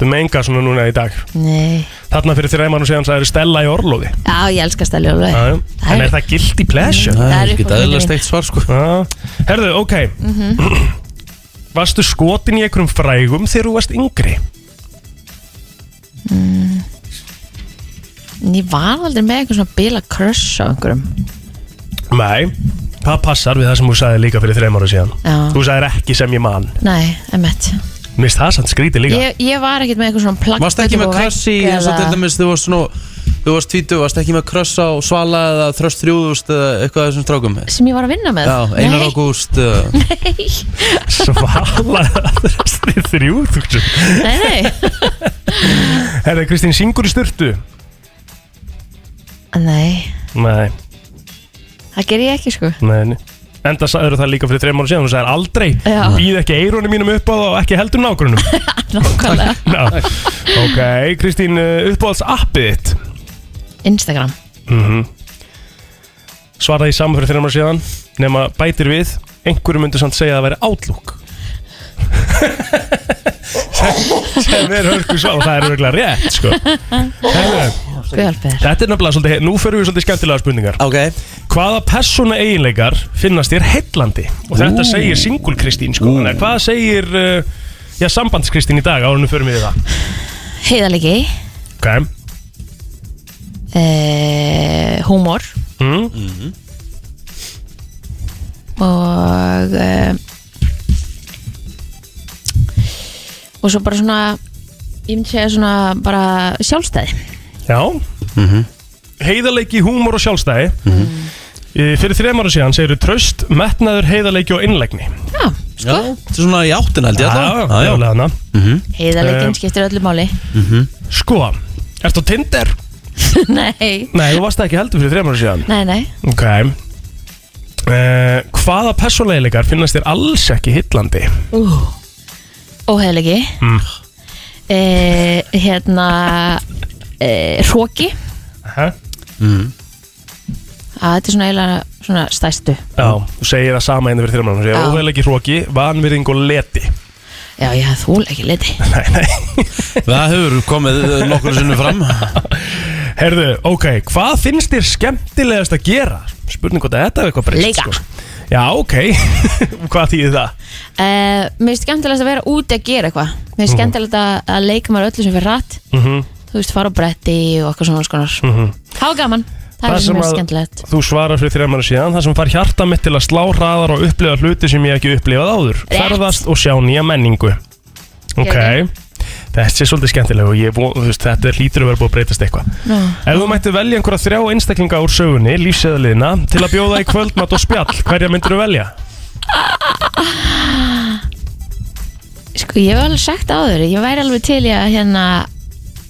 Þú menga svona núna í dag
Nei
Þarna fyrir þér einmann og segja hann sagði Stella í orlofi
Já, ég elska stæli
Já,
alveg
já. En er það guilty pleasure?
Það er
Ég
upp á
get aðeinslega
milli
steikt svar sko
Já. Herðu, ok
Mhm.
Varstu skotin í einhverjum frægum þegar þú varst yngri?
Mm. En Ég var aldrei með einhver svona bila crush á einhverjum
Nei, það passar við það sem þú sagði líka fyrir þreim ára síðan
Já.
Þú sagðir ekki sem ég man
Nei, emmett
Mist það samt skrítið [LAUGHS] líka
ég, ég var ekkert með einhver svona plakk
Varst ekki með crush í eins og til dæmis þú varst svona Þú varst tvítu, varst ekki með crush á Svala eða Þröst 3000 eða eitthvað af þessum strákum Já,
Sem ég var að vinna með
Einar Ágúst uh,
[LAUGHS] Nei,
Svala Þrið þrjú þúsund.
nei, nei
Herðu, Kristín, syngur í styrtu?
Nei,
Nei,
það ger ég ekki sko
nei, nei Enda sagður það líka fyrir þreim ára síðan Þú sagðir aldrei,
Já.
býð ekki eirónum mínum upp á það og ekki heldur nágrunum
[LAUGHS] Nákvæmlega
[LAUGHS] Já. Ok, Kristín, uh, uppáhalds appið þitt Mhm.
Instagram
Svaraði í saman fyrir þeirra maður síðan Nefna bætir við Einhverjum myndi samt segja að það væri Outlook [LAUGHS] sem, sem er hörku svar og það er örgulega rétt
[LAUGHS]
sko. Herðu,
Guðalbeður
Þetta er nefnilega svolítið Nú förum við svolítið í skemmtilega spurningar
Ok
Hvaða persóna eiginleikar finnast þér heillandi? Og þetta segir singul Kristín sko. Þannig að Hvað segir uh, já, sambands Kristín í dag Árunum förum við í það
Heiðalegi
okay.
eh, Húmor
mm.
Mhm.
Og eh, Og svo bara svona Ég myndi segja svona bara sjálfstæði
Já
Mhm.
Heiðarleiki, húmor og sjálfstæði e, Fyrir þrejum ára síðan segir tröst, metnaður, heiðarleiki og innlegni
Já,
Já,
sko
þetta er svona í áttin held ég
Já,
alltaf
já, já
Mhm.
Heiðaleginn
Eh.
skiptir öllu máli [LAUGHS]
Sko, ertu á Tinder?
Nei,
Nei, þú varst það ekki heldur fyrir þrejum ára síðan
nei, nei
Ok e, Hvaða persónleikar finnast þér alls ekki hillandi?
Óheðalegi
Mm.
eh, Hérna eh, Hróki
Hæ?
Hmm.
Að þetta er svona eiginlega svona stæstu
Já, þú segir það sama einu fyrir þrejum ára
Já.
síðan Óveðleiki hróki, vanvirðing og leti [LAUGHS]
Já, ég hafði þúl ekki liti
Nei, nei
Það hefur komið uh, nokkru sinnum
[LAUGHS]
fram
Herðu, ok, hvað finnst þér skemmtilegast að gera? Spurning hvort að þetta er eitthvað breyst
Leika.
sko. Já, ok, [LAUGHS] hvað þýðir það?
eh, Mér finnst skemmtilegast að vera úti að gera eitthvað Mér
Mhm.
finnst skemmtilegt að, að leika maður öllu sem fyrir rætt
Mm
Þú veist, fara á bretti og eitthvað svona skonar mm
mhm.
-hmm. Há gaman, það,
Það
er sem mér
sem að-
finnst skemmtilegt
Þú svarar fyrir þrejum ára síðan Það sem far hjarta mitt til að slá hraðar og upplifa hluti sem ég hef ekki upplifað áður
Rétt.
Ferðast og sjá nýja menningu Ok,
Gerðu.
þessi er svolítið skemmtileg og ég, von- þú veist, þetta hlýtur að vera búið að breytast eitthvað
Nú,
Ef þú mætti velja einhverja þrjá einstaklinga úr sögunni, lífsæðaliðina, til að bjóða í kvöldmatt og spjall, hverja myndir velja?
Sko, ég hef alveg sagt áður Ég væri alveg til ég að hérna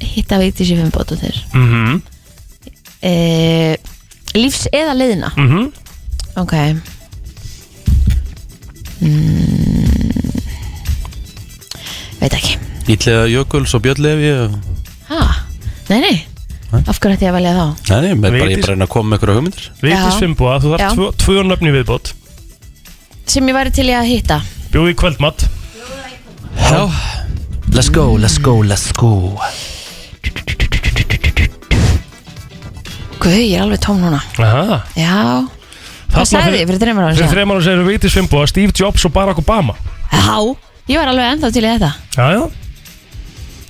hitta veitis í fimm bótu þér
Mm
eh, Lífs eða liðina Ok mm.
Mm.
Veit ekki
Ítlega Jökuls og Björn Lefi og...
ha, Nei, nei, af hverju ætti ég að velja þá?
Nei, nei, bara, ég
Vigdís-
er bara að reyna að koma með einhverja hugmyndir
Vigdís
Já.
Fimboa, þú
Já.
þarf tvö, tvö nöfni viðbót
Sem ég væri til ég að hitta
Bjóði í kvöldmatt
Já Let's go, let's go, let's go
Guð, ég er alveg tóm núna
Aha,
Já,
Þarna
hvað sagði ég fyrir þreymur ára
Fyrir
síðan?
þreim ára segir Vigdís Fimboa, Steve Jobs og Barack Obama
Já, ég var alveg ennþá til í þetta
Já, já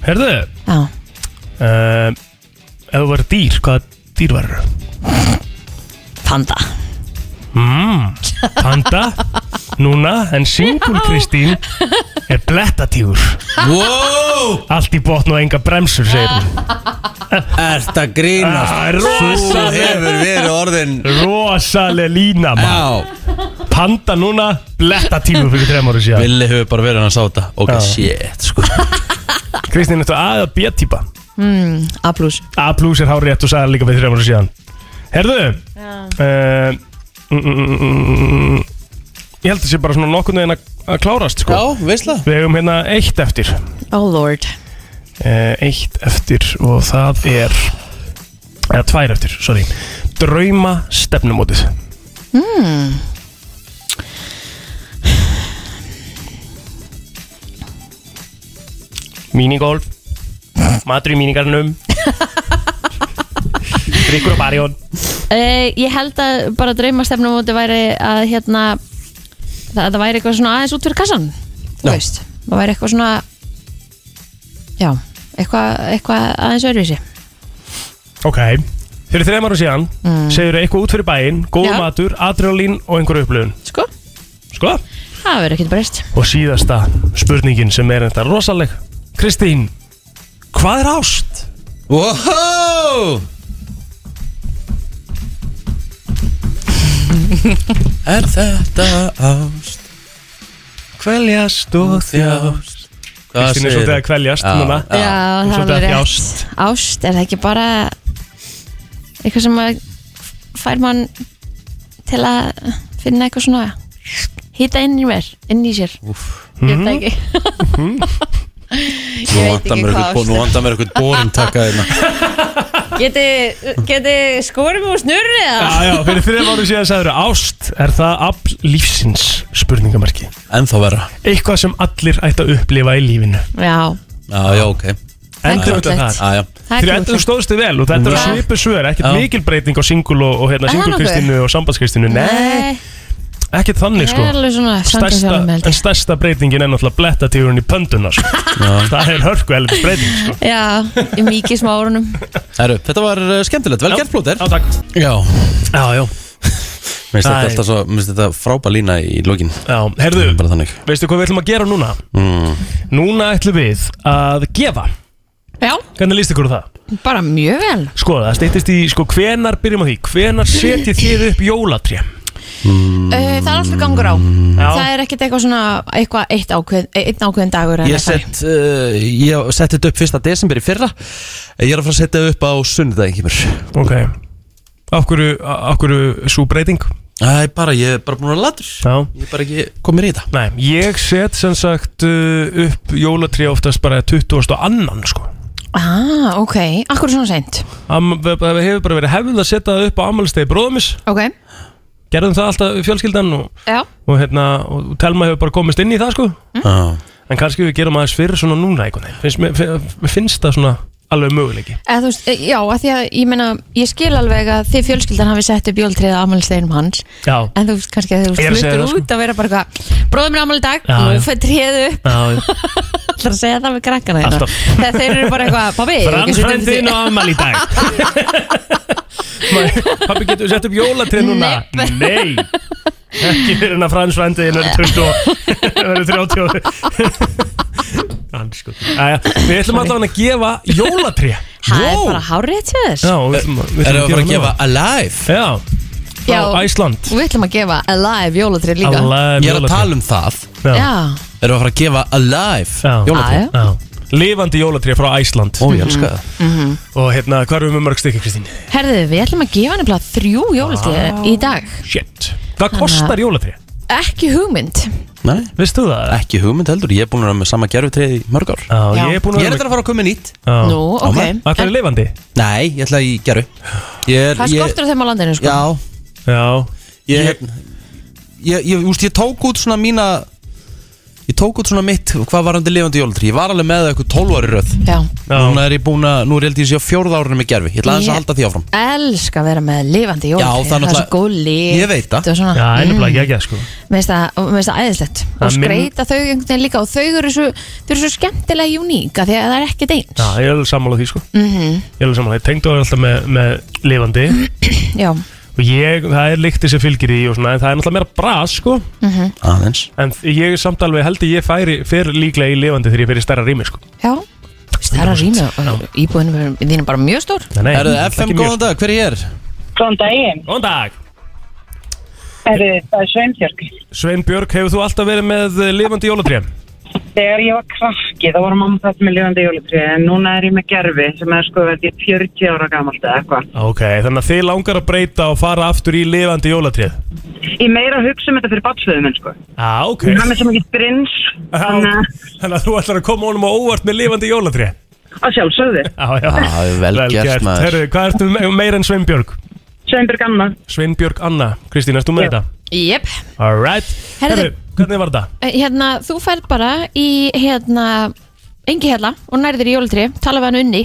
Herðu
Já,
uh, Ef þú verður dýr, hvaða dýr verður?
panda
Mm, panda Núna, en singul Kristín er blettatígur
Wow,
Allt í botn og enga bremsur, segir hún
ert að grínast
Ah,
Þú
Rosaleg,
hefur verið orðin
rosaleg lína maður.
Já,
Panda núna, blettatígur fyrir þrem ára síðan
Billy hefur bara verið hann að sá þetta Ok,
Já.
shit, sko
[LAUGHS] Kristín, þetta A eða B-típa
Mm, [LAUGHS] A plus
A plus er hár rétt og sagði það líka fyrir þrem ára síðan Herðu uh, mm, mm, mm, mm, mm. Ég held að það sé bara svona nokkurnu en að að klárast sko.
Já, veistla
Við hefum hérna eitt eftir
Oh lord
uh, Eitt eftir og það er eða tvær eftir, sorry Drauma stefnumótið Hmm. Minigolf Matur í
[LAUGHS]
mínigarnum Rikkur og barjón
uh, Ég held að bara draumastefnum móti væri að hérna það, það væri eitthvað svona aðeins út fyrir kassan Þú
Já.
veist, það væri eitthvað svona Já, eitthvað, eitthvað aðeins öðruvísi
Ok Fyrir þreim ára síðan mm. segir eitthvað út fyrir bæinn Góð
Já.
matur, adrenalín og einhverju upplöfun
Sko,
Sko?
það verður ekkert breyst
Og síðasta spurningin sem er þetta rosaleg Kristín, hvað er ást?
Wow [LAUGHS] Er þetta ást
Kveljast og
þjást Hvað
Kristín er svolítið að
segir
kveljast
Já,
núna
Já, það
Hún svolítið
er
að
alveg
þjást.
rétt Ást, er það ekki bara eitthvað sem að fær mann til að finna eitthvað svona hýta inn í mér, inn í sér Ég veit það ekki Mhm. [LAUGHS]
Nú vantar mér
hvað
eitthvað Nú vantar mér eitthvað borin taka hérna.
[LAUGHS]
þeirna
Geti, geti skorum úr snurri eða?
Já, já, fyrir þreim ára síðan sagður Ást, er það afl lífsins spurningamarki
Ennþá vera
Eitthvað sem allir ætti að upplifa í lífinu
Já,
Já, já, ok
er
Endur
krútlegt.
þetta þar
Já, já
það
Þegar
er
endur
klúklega
stóðstu vel og þetta er
Já.
svipu svör Ekkert
Já.
mikil breyting á singul og, og
Er
hérna
það
singul
nokkuð?
Kristínu og sambandskristinu Nei,
Nei,
ekkert þannig
ég
sko
er alveg svona sangja
stærsta,
sjálfum held
en
ég
stærsta breytingin er náttúrulega blettatífurinn í pönduna
[LAUGHS]
sko. það er hörku helvits breyting sko.
Já, ég mikið smá árunum
Herru, þetta var uh, skemmtilegt, vel
Já.
gert plóter
Já, takk
Já,
Já, já,
minnst þetta
Æ.
alltaf svo, minnst þetta frábæ lína í lokin
já, herðu,
Bara þannig
veistu hvað við ætlum að gera núna?
mm.
Núna ætlum við að gefa
Já,
Hvernig líst ykkur á það?
bara mjög vel
Sko, það stýttist í, sko, hvenar byrjum á því? Hvenar setjið þið upp jólatré?
Uh, Það er alltaf gangur á Það
Já,
er ekkert eitthvað svona eitthvað eitt ákveð, einn ákveðin dagur eða
Ég
eitthvað.
sett, uh, ég sett þetta upp fyrsta desember í fyrra Ég er að fara að setja upp á sunnudaginn kemur
ok Af hverju, af hverju svo breyting?
Æ, bara, ég er bara búin að latur
Já
Ég er bara ekki komin í þetta
Nei, ég set sem sagt uh, upp jólatré oftast bara 20. annan, sko
Ah, ok, akkur svona seint
Am- Það hefur bara verið hefðið að setja það upp á ammælstegi bróðumis
Ok,
Gerðum það alltaf við fjölskyldan og,
já,
og, hérna, og Telma hefur bara komist inn í það sko
Ah.
mm.
En kannski við gerum aðeins fyrir svona núna einhvern veginn Finnst, mér- fi- mér finnst það svona alveg möguleiki
eða þú veist, eh, já, að því að ég meina ég skil alveg að þið fjölskyldan hafi sett upp jóltriðið á afmælisteginum hans
Já,
en þú veist kannski að þú
Ég er að segja
fluttir
það, sko.
út að vera bara eitthvað bróðum minn afmæli í dag,
Já, já.
nú fyrir tríðu upp
já
Það er að segja það með krakkana þeirna
Alltaf.
Þegar þeir eru bara eitthvað, pabbi ég er ekki svolítið um
Brannfrændin
því."
og ammal í dag Mæ- [LAUGHS] Pabbi getur sett upp jólatrið núna Nei Ekki fyrir en að fransfrændin verður 20 og- [LAUGHS] verður 30 Ansku Æja, við ætlum alltaf að gefa jólatrið
Það er bara hárið til þess
Já, við ætlum við ætlum
Erum við að fara að
núna.
gefa Alive?
Já,
Já.
frá Æsland
Og við ætlum að gefa Alive jólatrið líka
Alive
Ég er að tala um það
Já,
Já,
Erum við að fara að gefa Alive?
Já.
Jólatré?
Já,
já. Lifandi jólatré frá Æsland
Ó, ég elska það
Og hérna, hvað erum við með mörg stykki, Kristín?
Mhm. herðu, við ætlum að gefa nefnilega þrjú jólatrið í dag
Ah. Shit
Hérna-
Hvað kostar jólatré?
Ekki hugmynd
Nei,
Veistu það?
ekki hugmynd heldur, ég er búin að vera með sama gerfutrið í mörg ár
Já,
Já.
ég er búin
Ég
að
er þetta að fara að koma með nýtt
Já,
Nú, ok
maður.
Það er
En
lifandi?
Nei, ég ætla í gerfu Ég er,
Það
ég,
skortur þeim á landinu sko
já,
Já
ég, ég, ég, ég, úst, ég tók út svona mína ég tók út svona mitt hvað var hann til lifandi jólatri ég var alveg með það eitthvað 12 ári röð
Já.
núna er ég búin að, nú er ég held ég sé á fjórða árinu með gerfi ég ætla aðeins
Ég-
að halda því áfram
Elska að vera með lifandi
Já, það er
jólatrið Það er svo
náttúrulega-
góð líf
Ég veit það.
Já, ennumlega
Mm.
ekki ekki, sko
Mér finnst það- og mér finnst það æðislegt
Það
og
minn-
skreita þau einhvern veginn líka og þau eru svo, þau eru svo skemmtilega uníka því að það er ekkert eins
Já, ég er alveg sammála því, sko Ég er alveg sammála því Tengdu er alltaf með, með lifandi
Já.
og ég, það er lykti sem fylgir því og svona, en það er náttúrulega meira bras sko
aðeins
en ég er samt alveg held að ég færi fyrir líklega í lifandi þegar ég fyrir stærra rými sko
Já, stærra rými og íbúðinu þín er bara mjög stór
Nei, nei,
Er það
ekki
FM
mjög.
góðan dag, hver er ég er?
Góðan daginn,
Góðan dag
er, það er Sveinbjörg.
Svein Björk, hefur þú alltaf verið með eh, lifandi jólatrém?
Þegar ég var krakki þá var mamma þetta með lifandi jólutrið en núna er ég með gerfi sem er sko held ég 40 ára gamalt eða eitthvað.
Ok, þannig að þið langar að breyta og fara aftur í lifandi jólatrém
Ég er meira að hugsa um þetta fyrir batsveðu minn sko.
ah, ok
Hann er sem ekki prins þannig að-
Þannig að þú ætlar að koma honum á óvart með lifandi jólatrém
að sjálfsögðu.
Já, já,
Já, vel gert, maður.
Herru, hvað ertu me- meira en Sveinbjörg?
Sveinbjörg Anna,
Sveinbjörg Anna, Kristín, erstu með
Já.
þetta?
Jep,
Alright
Herðu.
Herru, hvernig var þetta?
hérna, þú færð bara í hérna, engi hella og nærðir í jólatri, tala við hann unni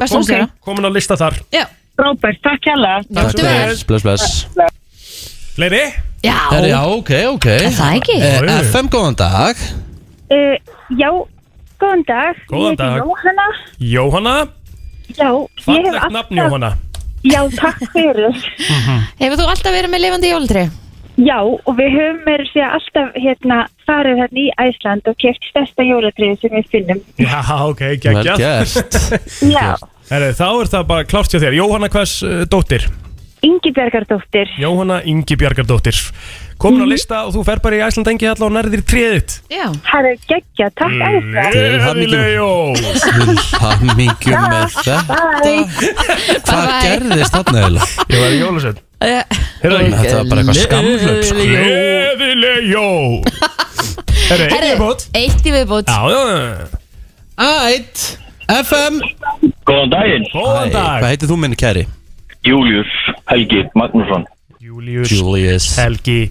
Vestlumstjóra
komin að lista þar
Já,
frábært, takk hella.
Takk
fyrir.
Bless, bless, bless
Fleiri?
já,
Herri, já, ok, ok
Er það ekki?
Eh,
Jú, jú.
FM, góðan dag
Uh, já, góðan dag. ég
Góðan
heiti
dag.
Jóhanna.
Jóhanna,
Já, ég hef
fallegt
alltaf...
nafn Jóhanna
Já, takk fyrir.
Mhm.
Hefur þú alltaf verið með lifandi jólatri?
já, og við höfum meira að segja alltaf hérna, farið hérna í Æsland og keft stærsta jólatriði sem við finnum.
Já, ok,
Vel
geggjað
gert
Já,
Herru, þá er það bara klárt hjá þér Jóhanna hvers uh, dóttir?
Ingi Bergardóttir.
Jóhanna Ingi Bjargardóttir Komin að lista og þú fer bara í Æsland engi allar og nærðir tréðitt
Já,
Það er geggja, takk mm. æsla.
Til hamingju.
Jó
Til hamingju með þetta Hvað
Bye-bye.
gerðist þarna eiginlega?
Ég var í jólusett Herru,
Þetta var bara eitthvað skamhlaup, sko.
Gleðileg jól Herru, einu
Herri,
viðbót
eitt í viðbót
Já, já, já.
Ætt, FM
Góðan daginn,
Hvað
góðan dag
heitir þú minni kæri?
Július Helgi Magnússon.
Július
Julius
Helgi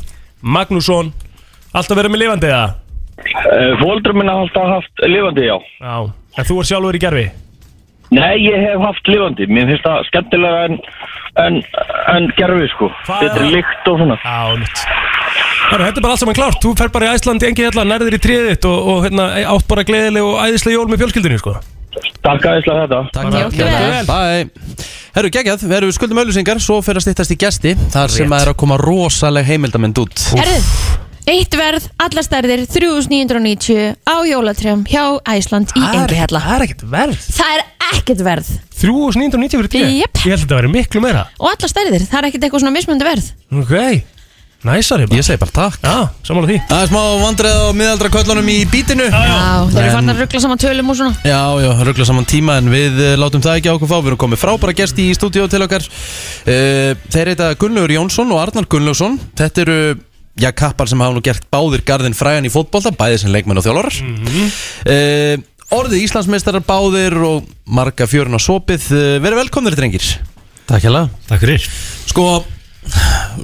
Magnússon Alltaf verið með lifandi eða?
Uh, Fóldra minna hafa alltaf haft lifandi, já.
Já En þú er sjálfur í gerfi?
Nei, ég hef haft lifandi. Mér finnst það skemmtilega en, en, en gerfi, sko.
Hvað er
Þetta
það?
er lykt og svona.
Já, mitt Herru, þetta er bara allt saman klárt Þú fer bara í Æsland engi allar nærðir í tréðitt og, og hérna, átt bara gleðileg og æðisleg jól með fjölskyldinu sko.
Takk aðeinslega þetta.
Takk
Bara- hérna.
fyrir
Gjörðu
þetta.
vel.
Bæ Herru, geggjað, við erum skuldum auðlýsingar Svo fyrir að styttast í gesti Þar sem
Rétt.
að er að koma rosaleg heimildamind út
Herri, eitt verð, allar stærðir 3990 á jólatrjum hjá Æsland í engi hella
Það er ekkert verð
Það er ekkert verð
3990 fyrir tíu
Jep.
Ég held að þetta væri miklu meira
og allar stærðir, það er ekkert eitthvað svona mismöndi verð
Ok Næsari bara
Ég segi bara takk
Já, samanlega því
Það er smá vandrið á miðaldra köllunum í bítinu
Já, þeir eru
En-
fann að ruggla saman tölum og svona
Já, já, ruggla saman tíma en við eh, látum það ekki á okkur fá Við erum komið frábæra gesti í stúdíó til okkar Eh, Þeir heita Gunnlaugur Jónsson og Arnar Gunnlaugsson Þetta eru, já, kappar sem hafa nú gert báðir garðin fræjan í fótbolta Bæði sem leikmenn og þjólórar mm Orðið Íslandsmeistarar báðir og marga fjörun á sopið Eh, Verið velkomnir, drengir Takk hérlega
Takk fyrir
Sko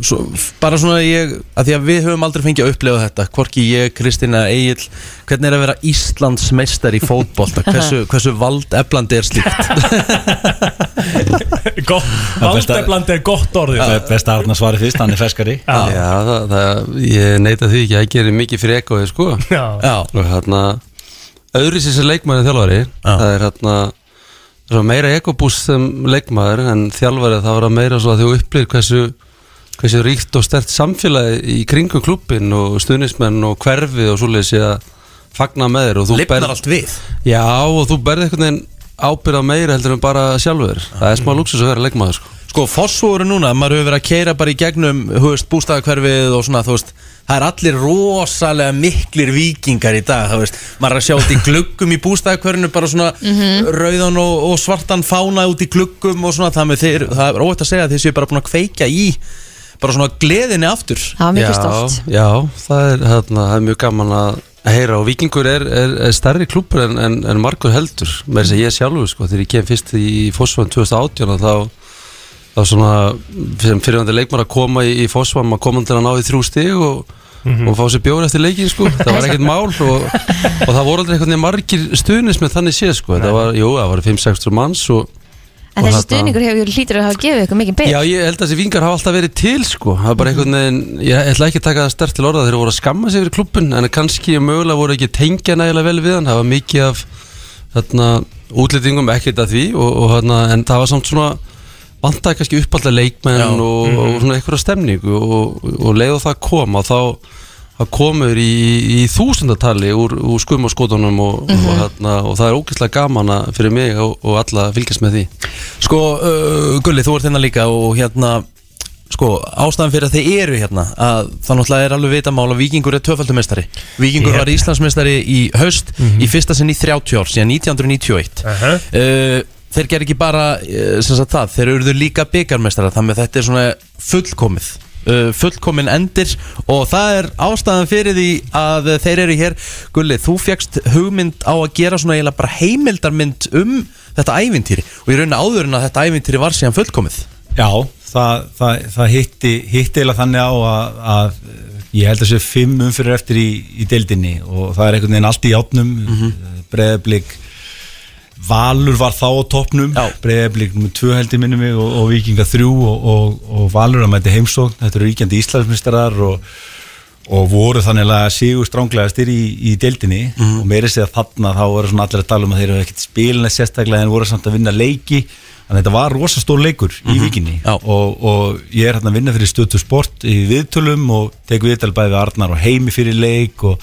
svo, bara svona ég að því að við höfum aldrei fengið að upplefa þetta hvorki ég, Kristina, Egil hvernig er að vera Íslands meistar í
[LAUGHS]
fótbolta hversu, hversu valdeflandi er slíkt
Valdefland er gott orðið
Það er best að Arna svari fyrst, hann er ferskari
Já.
Já, það, það, ég neita því ekki, ég gerir mikið fyrir ekoði sko
Já
Já,
og hérna, öðru sér sem leikmaður en þjálfari, það er hérna svo meira ekobús sem leikmaður en þjálfari það var að meira svo að þú upplýr hversu, hversu ríkt og stert samfélagi í kringum klubbin og stuðnismenn og hverfi og svoleiðis ég að fagna með þér og þú
lifnar allt við
Já, og þú berði einhvern veginn ábyrða meira heldur en bara sjálfur það er smá luxus að vera leikmaður sko
Sko, fossúru núna, maður hefur verið að keira bara í gegnum þú veist, bústæðakverfið og svona, þú veist það er allir rosalega miklir vikingar í dag, þú veist maður er að sjá út í gluggum í bústæðakverfinu bara svona
Mhm.
rauðan og, og svartan fána út í gluggum og svona, það, með þeir, það er óvægt að segja að þeir séu bara búin að kveikja í bara svona gleðinni aftur
Það var mikið
já,
stolt
Já, það er, hérna, það er mjög gaman að heyra og Víkingur er, er, er stærri klúpur en, en, en margur heldur með þess að ég sjálfur sko, þegar ég kem fyrst í Fossvann 2018 að þá, þá svona sem fyrirvændi leikmar að koma í, í Fossvann maður komum til að ná í þrjú stig og, og fá sér bjóri eftir leikin sko það var ekkert mál og, og það voru aldrei einhvern veginn margir stuðnis með þannig séð sko það var, jú, það var 5-6 manns og
En
Og
þessi
þarna-
stuðningur hefur hlýtur að hafa gefið ykkur mikið byr
Já, ég held að þessi vingar hafa alltaf verið til sko Það er bara einhvern veginn, ég ætla ekki að taka það stert til orða Þeir voru að skamma sig fyrir klubbun En kannski mögulega voru ekki tengja nægilega vel við hann Það var mikið af þarna, útlýtingum ekkert að því og, og, þarna, En það var samt svona vantaði kannski uppallta leikmenn og, og svona einhverja stemningu og, og leiðu það koma þá það komur í, í þúsundatali úr, úr skum og skotunum og, og, hérna, og það er ógeðslega gaman að- fyrir mig og, og alla að fylgjast með því
Sko, uh, Gulli, þú ert hérna líka og hérna Sko, ástæðan fyrir að þið eru hérna að það náttúrulega er alveg vita mál að Víkingur er tvöfaldumestari Víkingur
Yep.
var Íslandsmestari í haust í fyrsta sinn í 30 ár, síðan 1991 uh, Þeir ger ekki bara uh, sem sagt það, þeir eruðu líka byggarmestara þannig að þetta er svona fullkomið uh, fullkomin endir og það er ástæðan fyrir því að þeir eru hér Gulli, þú fegst hugmynd á að gera svona eiginlega bara heimildarmynd um þetta ævintýri og ég raun áður en að þetta ævintýri var síðan fullkomið
Já, það, það, það hitti, hitti eiginlega þannig á að, að ég held að séu fimm umfyrir eftir í, í deildinni og það er einhvern veginn allt í átnum mm -hmm. Valur var þá á toppnum Breiðablík nummer 2 heldur minnum mig og, og Víkinga 3 og, og, og Valur að mæti heimsókn, þetta eru ríkjandi Íslandsmyndstarar og, og voru þannig að sigur stránglegastir í, í deildinni og meiri segja þarna þá voru svona allir að tala um að þeir eru ekkert spilina sérstaklega en voru samt að vinna leiki þannig að þetta var rosa stór leikur í vikinni og, og ég er hérna að vinna fyrir stötu sport í viðtölum og tek viðtal bæði við Arnar og heimi fyrir leik og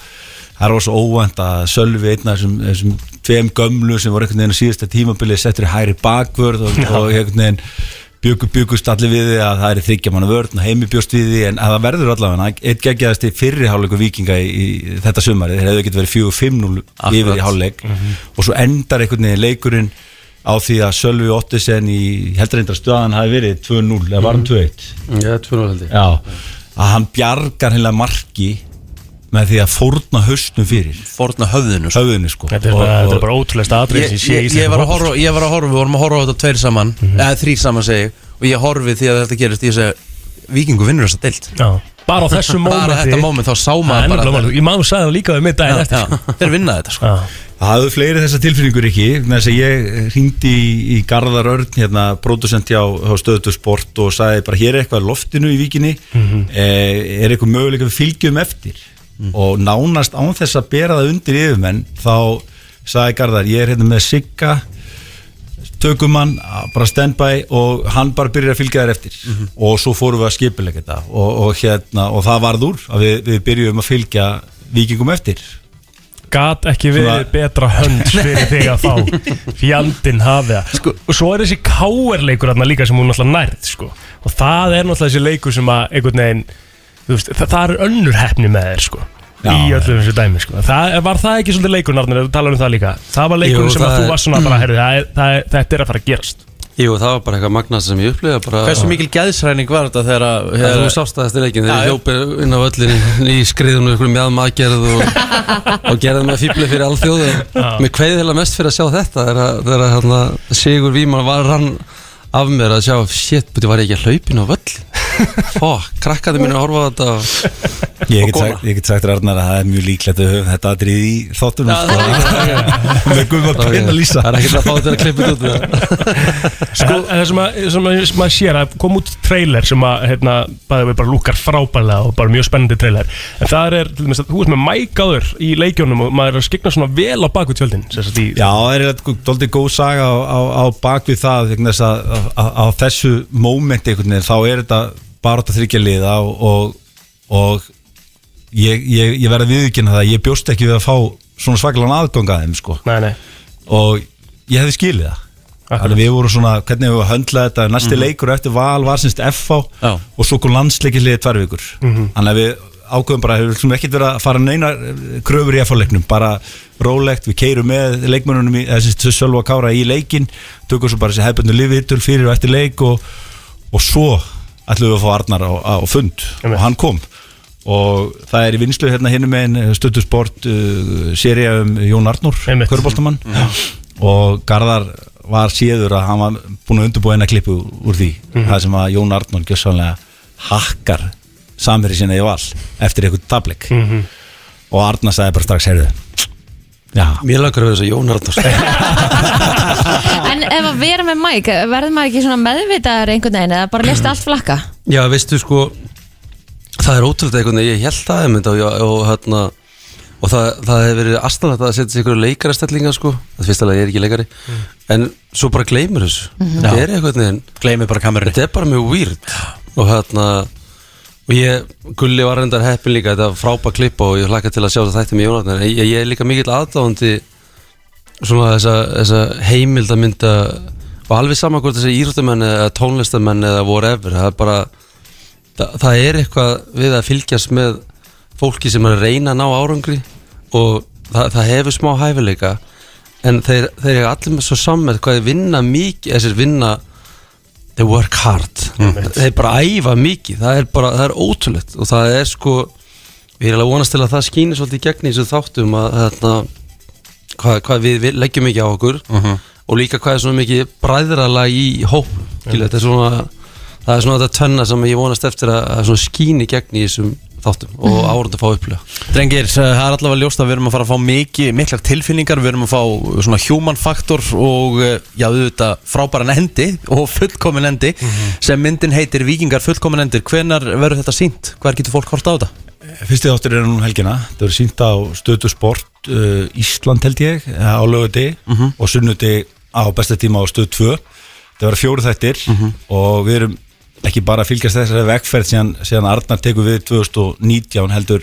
það er rosa óvænt að Sölvi einn af þessum, þessum tveim gömlu sem voru einhvern veginn á síðasta tímabilið settur í hæri bakvörð og,
Já.
og einhvern veginn byggu, byggust allir við því að það er þryggja manna vörn og heimi bjóst við því en að það verður allavega eitt geggjæðasti fyrriháleiku vikinga í, í þetta sumari, þeir hefðu ekki verið 4-5-0 yfir
Akkurat.
í háleik
Mhm.
og svo endar einhvern veginn leikurinn á því að Sölvi Ottisen í ég held heldur að stöðan hafi verið 2-0 eða var hann 2-1?
Mhm. Já, 2-0 held ég
Já, að hann bjargar heila marki með því að fórna höstnum fyrir
Fórna höfðinu
sko, höfðinu, sko.
Þetta er
Og-
bara- þetta er
og-
bara ótrúlegasta atriði sem ég sé í sko.
ég, ég,
íslenskum
var að
fótbolta.
horfa, ég var að horfa, við vorum að horfa á þetta tveir saman
Mhm.
eða þrýr saman segi ég, og ég horfi því að þetta gerist ég segi, vikingu vinnur þessa deilt
Já, bara á þessu mómenti
bara þetta moment, þá sá maður bara
bara Ég maður sagði það líka við mig daginn eftir sko.
þeir vinna þetta
sko.
Það hafðu fleiri þessar tilfinningur ekki með þess að ég hringdi í, í Garðar Örn hérna, pródusent hjá, hjá Stöðutu Sport og sagði bara hér er eitthvað í loftinu í vikinni
Mhm.
eh, er eitthvað möguleika við fylgjum eftir og nánast án þess að bera það undir yfirmenn þá sagði Garðar ég er hérna með Sigga tökum hann, bara standby og hann bara byrjar að fylgja þær eftir og svo fórum við að skipilega þetta og, og, hérna, og það varð úr að við, við byrjum að fylgja vikingum eftir
Gat ekki verið
Svona-
betra hönd fyrir þig að fá Fjandinn hafi það sko. Og svo er þessi káerleikur þarna líka sem hún náttúrulega nærð sko. Og það er náttúrulega þessi leikur sem að einhvern veginn þú veist, það, það er önnur hefni með þér sko.
Já,
Í öllum þessu dæmi sko. það, Var það ekki svolítið leikur Arnir, ef þú talar um það líka Það var leikur
Jú,
sem að
það
þú
er-
varst svona bara herri, það, er- það, er- Þetta er að fara að gerast
Jú, það var bara eitthvað magnast sem ég upplifa bara,
hversu mikil geðsræning var þetta þegar að
Það þú sást það eftir leikin
Já,
þegar
já.
ég hljópið inn á öllin í skriðunum ykkur með maðgerð og, og gerði með fýbli fyrir alþjóð
Já.
Mér kveið heila mest fyrir að sjá þetta þegar að- þegar að hérna, Sigur Víman var rann af mér að sjá shit, búti var ég ekki að hlaupin á völl Fokk, krakkaði mínu að horfa á þetta og,
Ég
og
get, sagt, ég get sagt Arnar að það er mjög líklegt að við höfum þetta aðrið í þáttunum
Já,
sko. [LAUGHS] Með guðum að penna lýsa
Það er ekkert að fá þetta að klippa þetta út með það.
sko, en, það sem, að, sem, að, sem að sér að kom út trailer sem að hérna, bæði við bara lukkar frábærlega og bara mjög spennandi trailer en það er, til dæmis að þú veist með mækáður í leikjónum og maður er að skikna svona vel á baku tjöldin sem sagt í
Já, það er doldið góð saga á, á, á bakvið það vegna þess að á- á- á þessu mómenti einhvern veginn þá er þetta bara þetta þryggja liða og, og, og ég, ég, ég verði viðkynna það ég bjóst ekki við að fá svona svaklan aðganga þeim sko
Nei, nei.
og ég hefði skilið það Þannig við vorum svona, hvernig við höndlaði þetta næsti
Mhm.
leikur eftir val var semst FH
Já.
og svo kom landsleikilið tvær vikur
[LAUGHS] Mhm.
þannig að við ákveðum bara við viljum ekkert vera að fara neina kröfur í FH-leiknum, bara rólegt við keirum með leikmönunum í þessi Sölva og Kára í leikin, tökum svo bara þessi hefbundu lifiðitul fyrir og eftir leik og, og svo ætlum við að fá Arnar á, á fund og hann kom og það er í vinslu hérna hinnum megin stöttusport uh, seria um Jón Arnór Körbóltamann og Garðar var síður að hann var búin að undurbúa eina klippu úr því
Mhm.
það sem að Jón Arnór gjössanlega hakkar samverið sinna í val eftir eitthvað tablik
Mhm.
og Arnar sagði bara strax heyrðu Já.
Mér langar að vera þess að Jón Arnars
[LAUGHS]
En ef að vera með Mike, verður maður ekki svona meðvitaður einhvern veginn eða bara lest allt flakka?
Já, veistu sko Það er ótrúlega einhvern veginn, ég held aðeins og, og hérna og það, það hefur verið astanlegt að setja sig ykkur leikarastellinga sko, það fyrst alveg ég er ekki leikari en svo bara gleymur þessu
Mhm.
þetta
Já.
er eitthvað neginn
gleymur bara kamerunni
þetta er bara mjög weird og hérna og ég, Gulli var reyndar heppin líka þetta var frábæ klipp og ég hlakka til að sjá þetta þætti með Jónatnar ég, ég er líka mikill aðdáðandi svona þessa, þessa heimild að mynda og alveg saman hvort þessi íþróttamenn eða tónlistamenn eða whatever það er bara það, það er eitthvað við að fylgjast með fólki sem er að reyna að ná árangri og það, það hefur smá hæfileika en þeir, þeir eru allir með svo sammet hvað þeir vinna mikið þessir vinna they work hard þeir bara æfa mikið það er bara, það er ótrúlegt og það er sko ég er alveg að vonast til að það skýnir svolítið í gegn í þessu þáttum að þarna hvað, hvað við, við leggjum mikið á okkur og líka hvað er svona mikið bræðralag í hóp Skilu, þetta er svona það er svona þetta tönna sem ég vonast eftir að, að svona skýni gegn í þessum þáttum og mm að
Mhm.
fá upplega
Drengir, eh, það er allavega ljóst að við erum að fara að fá mikið, miklar tilfinningar, við erum að fá svona human factor og eh, já, auðvitað frábæran endi og fullkomin endi
Mhm.
sem myndin heitir Víkingar fullkomin endir. Hvenar verður þetta sínt? Hver getur fólk hort á þetta?
Fyrsti þáttur er núna um helgina Það verður sínt á stötu sport uh, Ísland held ég, eh, á löguti
Mhm.
og sunnuti á besta tíma á stöð 2 Það verður fjóru þættir
Mhm.
og við erum ekki bara að fylgjast þessari vegferð síðan, síðan Arnar tekur við 2019 heldur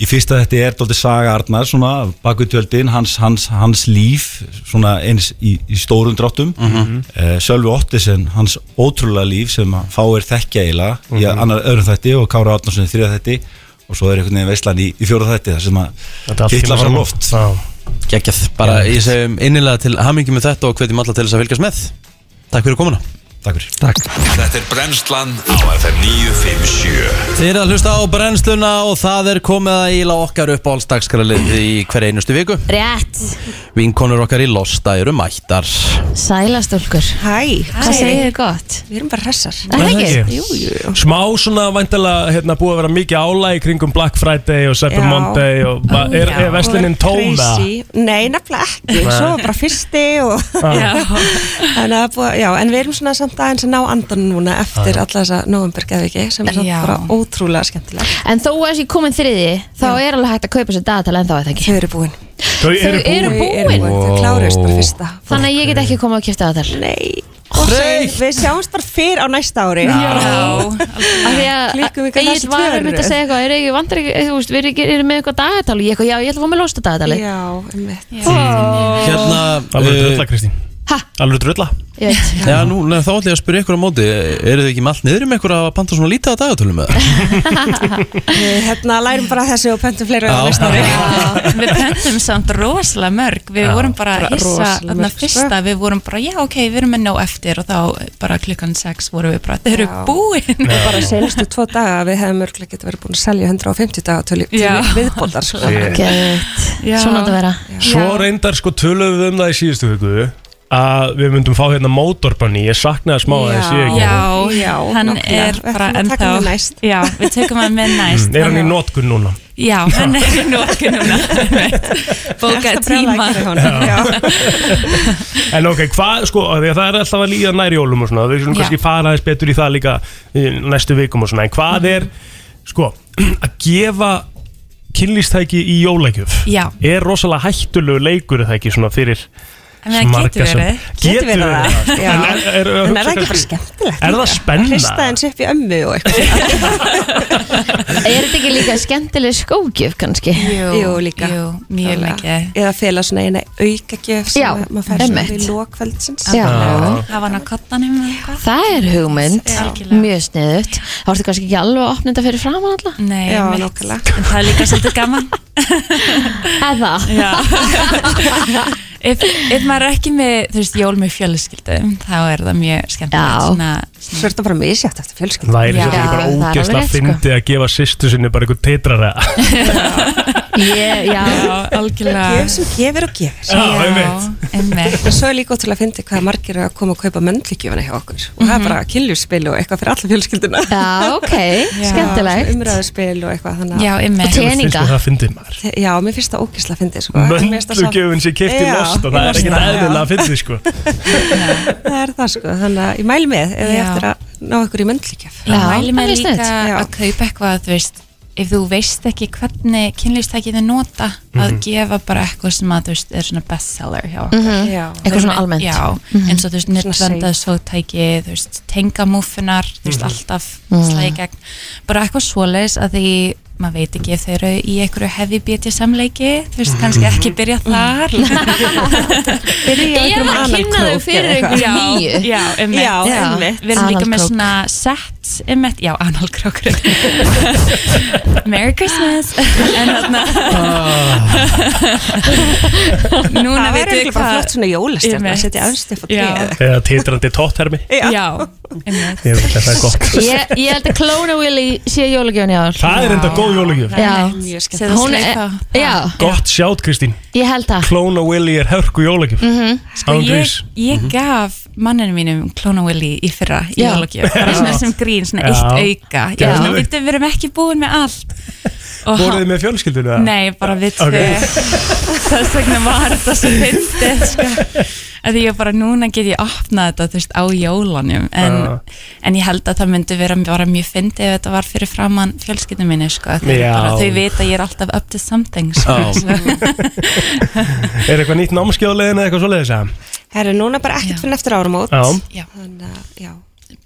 í fyrsta þetta er dálítið saga Arnar svona bakutjöldin, hans, hans, hans líf svona eins í, í stórum dráttum
Mhm.
Eh, Sölvi Ottisen, hans ótrúlega líf sem að fáir þekkja eiginlega í
Mhm.
annar öðrum þætti og Kára Átnarsson í þriða þætti og svo er einhvern veginn veislan í, í fjóra þætti þar sem
Þetta
að
allt
kitla
kemur
fara
saman.
loft
Gekkjað, bara ég segjum innilega til hamingi með þetta og hvetjum alla til þess að fylgjast með. Takk fyrir komuna.
Takk fyrir.
Takk.
Þetta er brennslan á FM 957
Þið eru að hlusta á brennsluna og það er komið að íla okkar upp á allstagskralið í hver einustu viku.
Rétt
Vinkonur okkar í Losta eru mættar.
Sælastúlkur
Hæ,
Hvað segir þið gott?
Við erum bara hressar
Það er ekki? Jú, jú
Smá svona væntalega hérna, búið að vera mikið álæg kringum Black Friday og Cyber
Já.
Monday og ba- er, er veslininn tóm
Crazy.
það?
Nei, nefnilega ekki,
Nei.
svo var bara fyrsti og [LAUGHS]
[LAUGHS] Já.
en, að, búa- já, en við erum svona samt aðeins að ná andan núna eftir
Já.
alla þessa november geðviki sem er samt
Já.
bara ótrúlega skemmtilega
En þó að þessi komin þriði, þá er alveg hægt að kaupa sér dagatal en þá er það ekki.
Þau eru búin.
Þau
eru búin.
Þau kláruðust bara fyrsta
Þannig að ég get ekki komið að kjöfta dagatal.
Nei. Og svo við sjáumst bara fyrr á næsta ári
Af því að
Klikkum ykkur
Egil
næstu
var
tvö
að mynda að
eru.
segja eitthvað, eru ekki vantar ekki, þú veist, við erum- erum með eitthvað dagatal og ég eitthvað, já, ég ætla að fá mig losta dagatali.
Já, einmitt.
Hérna,
Alveg
eh,
drölla Kristín Alveg drölla
Ég veit.
Já, nú, nei, þá ætla ég að spyrja ykkur á móti Eru þið ekki með allt niður um ykkur að panta svona lítið á dagatölum með
[LAUGHS]
það?
Við hérna lærum bara þessu og pöntum fleira á
Já.
næsta ári
Við pöntum samt rosalega mörg Við
Já.
vorum bara
Bara
hissa
rosalega
þarna
mörg, sko.
fyrsta Við vorum bara, já ok, við erum með nóg eftir Og þá bara klukkan 6 vorum við bara Þeir eru
Já.
búin
og bara senastu tvo daga við hefum örglega getið verið búin að selja 150 daga til
Já.
viðbótar sko.
Shit.
Já.
Svona átt að vera.
Svo reyndar sko töluðum við um það í síðustu viku að við myndum fá hérna mótorbanni Ég saknaði smá að það sé ekki
Já,
Já,
hann
nákvæmlega.
er
Við ætlum
bara
að taka
ennþá
hann með næst.
Já, við tökum hann með næst
Mm. Er hann í nótgun núna?
Já, hann er í nótkunum Bóka
Alltaf brjálæði
tíma
fyrir honum. Já.
En ok, hvað, sko, af því að það er alltaf að líða nær jólum og svona, við svona
Já.
kannski fara aðeins betur í það líka í næstu vikum og svona, en hvað er, sko, að gefa kynlýstæki í jólagjöf?
Já.
Er rosalega hættulegu leikur er það ekki svona fyrir
En það getur verið.
Getur verið það, sko.
Já.
En er, er,
En er það ekki bara
skemmtilegt? Er það
hrista
spenna?
eins upp í ömmu og eitthvað
Er þetta ekki líka skemmtileg skógjöf kannski?
Jú, líka
Jú, mjög
Klálega.
mikið.
eða fela svona eina aukagjöf sem
Já,
að maður fær svona
einmitt.
í lokvöldsins
Já. Já.
Hafa hann á kottanum eða eitthvað?
Það er hugmynd,
Algjörlega.
mjög sniðut. Þá ertu kannski ekki alveg að opna þetta fyrir fram alltaf.
Nei,
Já,
einmitt.
nákvæmlega.
En það er líka svolítið [LAUGHS] gaman
Eða?
Já [LAUGHS] ef, ef maður er ekki með, þú veist, jól með fjölskyldu þá er það mjög skemmtilegt svona,
Svo er þetta bara misjátt eftir fjölskyld
Væri
Já,
þetta ekki bara
það er alveg
ógeðslega
rétt, sko.
fyndið að gefa sýstu sinni bara einhver teitraræða?
Ég, já.
Já, algjörlega
Gjöf sem gefur og gefur
Já, einmitt.
einmitt
En svo er líka ótrúlega að fyndi hvað margir eru að koma að kaupa möndlíkjöfuna hjá okkur og það er bara kynljúspil og eitthvað fyrir alla fjölskylduna
Já,
[LAUGHS]
ok, skemmtilegt.
umræðuspil og eitthvað þannig að-
Já,
[LAUGHS]
einmitt.
Og teninga.
Finnst þér það fyndið maður?
Já, mér finnst það ógislega fyndið sko. En mér finnst það samt-
Möndlugjöfun sem kipti
Já,
lost og
í
það er
Losta,
ekkert
já.
eðlilega fyndið sko
[LAUGHS] Það er það sko, þannig að ég mæli með eða ég
Já.
eftir að ná ykkur í möndlíkjöf
Ég
það
mæli mig
er
líka
sniðugt.
að kaupa eitthvað, þú veist ef þú veist ekki hvernig kynlýfstækið þið nota að
Mhm.
gefa bara eitthvað sem að þú veist er svona bestseller hjá okkur
Mhm. Já. Eitthvað svona almennt.
já,
Mhm.
eins og þú veist
Svona
nettvendað sótæki, þú veist tengamúfunar, þú veist
Mhm.
alltaf
Mhm.
slagi gegn, bara eitthvað svoleiðis að því maður veit ekki ef þau eru í einhverju heavy beauty samleiki þú veist kannski ekki byrja
[LAUGHS]
þar
Byrja
Ég
á Mhm. einhverjum
var að kynna
analkrók
þau fyrir
eða eitthvað.
einhverju nýju
Já,
einmitt.
já, einmitt.
Við erum líka með
Analkrók.
svona sett einmitt, Já,
[LAUGHS]
analkrókur Merry Christmas En þarna [LAUGHS] Núna
Það væri örugglega
veitum við
bara
hvað-
flott svona jólastjarna,
Einmitt.
setja efst upp á
Já.
tréð.
Eða titrandi tótthermi
Já, einmitt.
Ég veit að það er gott
Ég, ég held að Klóna Willy sé jólagjöfn í ár
Það er enda góð jólugjöf
Já,
skemmtilegt.
Hún er-
Sleika.
Já,
Gott sjátt Kristín
ég held það
Klóna Willy er hörku jólugjöf
Mhm. Sko,
Án
ég,
Mhm. grís.
ég gaf manninu mínum Klóna Willy í fyrra í
Já.
jólagjöf, bara
Já.
svona sem grín, svona
Já.
eitt auka ég var
Já.
svona, "Bíddu, við erum ekki búin með allt Og
Voruð
hann-
þið með fjölskyldinu? eða?
Nei, bara við
Ok.
tvö [LAUGHS] Þess vegna var þetta svo fyndið sko. að því ég bara núna get ég opnað þetta þú veist á jólunum en,
Já.
en ég held að það myndi vera, vera mjög fyndið ef þetta var fyrir framann fjölskyldum minni sko. þau,
Já.
bara, þau veit að ég er alltaf up to something sko.
Já. Er eitthvað nýtt námskjálegin eða eitthvað svoleiðis að?
Það er núna bara ekkert fyrir eftir áramót
Já.
Já.
Þannig að, já,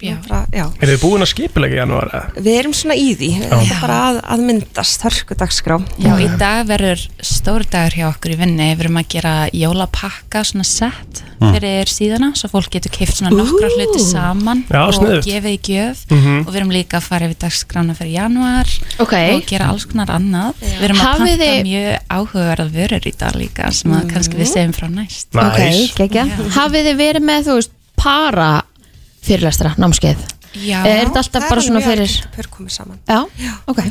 Já.
Bara, já.
Er þið búin að skipulega í janúar? eða?
Við erum svona í því, þetta er bara að, að myndast hörku dagskrá
Já, í dag verður stór dagur hjá okkur í vinnu, við erum að gera jólapakka svona sett
Mm.
fyrir síðana svo fólk getur keift svona nokkra hluti saman
Já,
og
sniðugt.
gefið í gjöf
Mhm.
og við erum líka að fara yfir dagskrána fyrir januar
Ok.
og gera alls konar annað við erum að
Hafið
panta
þið- Mm.
mjög áhugaverða vörur í dag líka sem að kannski við segjum frá næst
Ok, geggja Hafið þið verið með, þú veist, para fyrirlestra, námskeið
Já,
Er þetta alltaf bara svona fyrir
Pör komið saman
Já, ok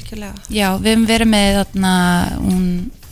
Já, við hefum verið með þarna, hún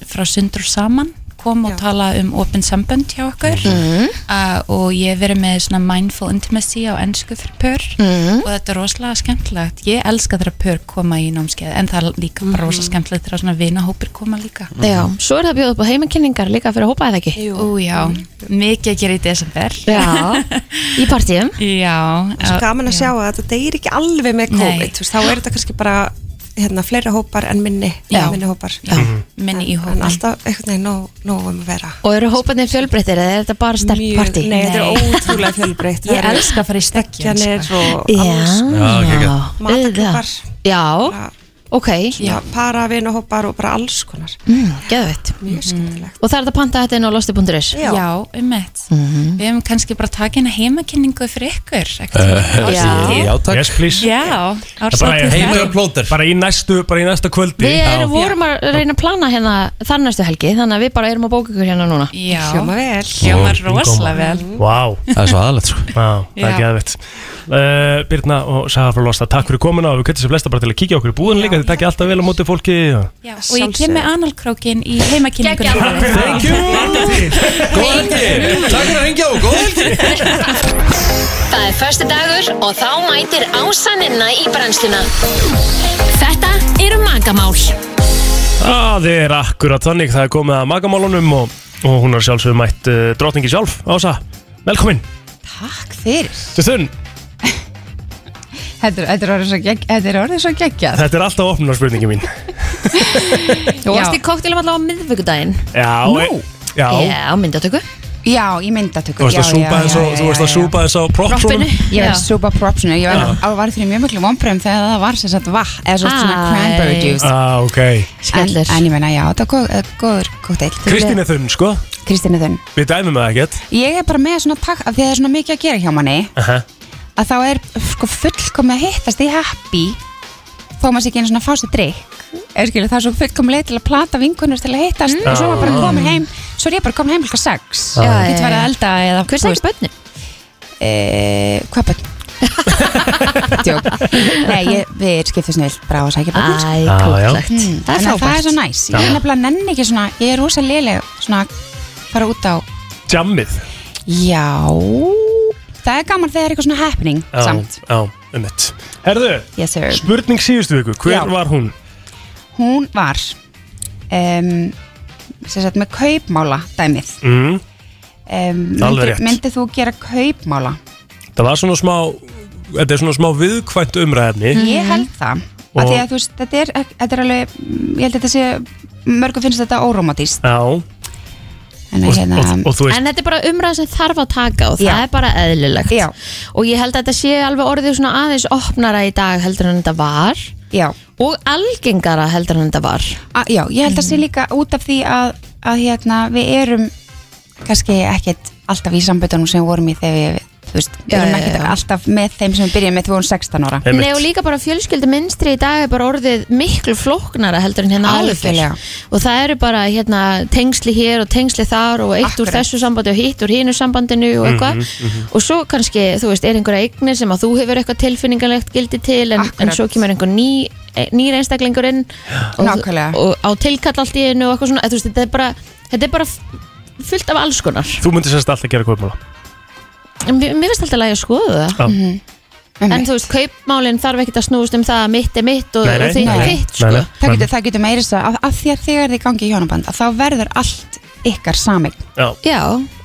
frá Sundur Saman kom og tala um opin sambönd hjá okkur
Mhm.
uh, og ég hef verið með svona mindful intimacy á ennsku fyrir pör
Mhm.
og þetta er rosalega skemmtilegt ég elska þegar pör koma í námskeið en það er líka bara
Mhm.
rosalega skemmtilegt þegar svona vinahópir koma líka
Já, svo er það bjóð upp á heimakenningar líka fyrir að hópa eða ekki
Ú, já, mikið að gera í desember
Já,
[LAUGHS]
í partíum
Já,
Það er svo gaman að sjá að þetta deyir ekki alveg með
Nei.
COVID þú veist, Þá er þetta kannski bara hérna, fleiri hópar en minni,
Já.
minni hópar
Já. Mhm. Minni í
hópar En alltaf einhvern veginn nóg, nóg um að vera
Og eru hóparnir fjölbreyttir eða er þetta bara sterk partí?
Nei, þetta er ótrúlega fjölbreytt
Ég elska að fara í stekkjun,
Stekkjanir
sko.
og
Já,
alls
já,
Mataklippar
Já, ok
Já, para, vinahópar og bara alls konar
mm, Geðveitt
Mjög skemmtilegt
Og það er þetta að panta þetta inn á losti.is
Já, um mitt Við hefum kannski bara takið hérna heimakenningu fyrir ykkur
Eh,
Árshátíð.
já, takk. Yes, please.
Já,
Bara
árshátíð
í-
þar.
plóter Bara í næstu, bara í næsta kvöldi
Við erum, vorum að reyna að plana hérna þar næstu helgi Þannig að við bara erum að bóka ykkur hérna núna
Já.
Hljóma vel.
Hljóma rosalega vel
Vá
Mhm. Það er svo aðalegt sko
Vá, það er
Já.
geðvett uh, Birna og Saga frá Losta, takk fyrir komuna og við kvittum sem flesta bara til að kíkja á okkur í búðin líka þið takkja alltaf vel á móti fólki og-
Já, og ég kem með analkrókin í heimakynningunni
Thank
Takk fyrir að hengja og góð helgi
Það er förstu dagur og þá mætir ásaninna í brennsluna. Þetta eru magamál.
Það er akkurat þannig, það er komið að magamálunum og, og hún er sjálfsögum mætt uh, drotningi sjálf, Ása, velkomin
Takk fyrir.
Þun,
Þetta er- þetta er orðið svo gegg- þetta er orðið svo geggjað.
þetta er alltaf opnunarspurningi mín
Já.
Þú varst í koktelum allavega á miðvikudaginn
Já,
Nú?
e- já.
Já, myndatöku
Já, í myndatöku.
Þú varst að
Já,
súpa
já,
eins og-
já,
þú varst að
já,
súpa eins á propsunum
Ég var
Já.
að súpa propsinu, ég var,
Já.
á, var því mjög miklu vonbröðum þegar það var sem sagt vatn, eða svo svona
Æ.
cranberry juice.
Ah, ok
En, en ég menna, já, þetta er góð- eh, góður kóttel.
Kristín er þunn, sko
Kristín er þunn
Við dæmum það ekkert
Ég er bara með svona takk, af því að það er svona mikið að gera hjá manni,
Aha.
að þá er sko fullkomið að hittast í happy, þó maður sé ekki einu svona fási drikk. Eða skilur, það er svo fullkomið leið til að plata vinkunur til að hittast og svo er maður bara
Já.
komin heim, svo er ég bara komin heim líka sex.
Já,
Ég
já,
get verið að
já.
elda eða...
Hver sækir bönni?
Eh, hvað bönn? Djók. Nei, ég, við skiptum snill bara á að sækja börnum sko.
Æ, kóklegt.
Mm,
Það er
þannig að Það
frábært.
er svo næs, ég
Já.
er nefnilega nenni ekki svona Ég er rosa liðleg svona að fara út á
Jammið
Já Það er gaman þegar er eitthvað svona happening samt.
Já, um mitt Herðu,
yes, sir.
spurning síðustu viku, hver
Já.
var hún?
Hún var um, sem sagt með kaupmála dæmið
Mm.
um,
Alveg rétt.
Myndið þú gera kaupmála?
Það var svona smá Þetta er svona smá viðkvæmt umræðni
Ég held það
Mhm.
Af því að þú veist, þetta er, þetta er alveg, mm, ég held að þetta sé mörgum finnst þetta órómatíst
Já
En, hérna,
en þetta er bara umræð sem þarf að taka og það
Já.
er bara eðlilegt Já. og ég held að þetta sé alveg orðið svona aðeins opnara í dag heldur en þetta var
Já.
og algengara heldur en þetta var
A, já, ég held að
Mhm.
sé líka út af því að, að hérna, við erum kannski ekkit alltaf í sambötunum sem við vorum í þegar við, þú veist, við
Já,
erum
já,
ekkit
já.
alltaf með þeim sem við byrjum með þegar við vorum 16 ára
Nei og líka bara fjölskyldu í dag er bara orðið miklu flóknara heldur en hérna áður fyrr.
Algjörlega.
og það eru bara hérna tengsli hér og tengsli þar og eitt úr þessu sambandi og hitt úr hínu sambandinu og eitthvað
Mhm, mhm.
og svo kannski þú veist er einhverja eignir sem að þú hefur eitthvað tilfinningalegt gildi til en, en svo kemur einhver ný e- nýr einstaklingur inn og, og á tilkall allt í einu og eitthvað svona eða, þú veist, þetta er bara, þetta er bara f- fullt af alls konar
Þú myndir semst alltaf gera kaupmála
En mér mér finnst alltaf að ég skoðu það
Já.
Mhm.
En þú veist, kaupmálinn þarf ekkert að snúast um það að mitt er mitt og,
Nei, nei,
og þitt er
nei,
þitt
nei,
sko.
nei.
það getur, það getur meira þess að, að því að þegar þið gangi í hjónaband að þá verður allt ykkar sameign
Já.
Já,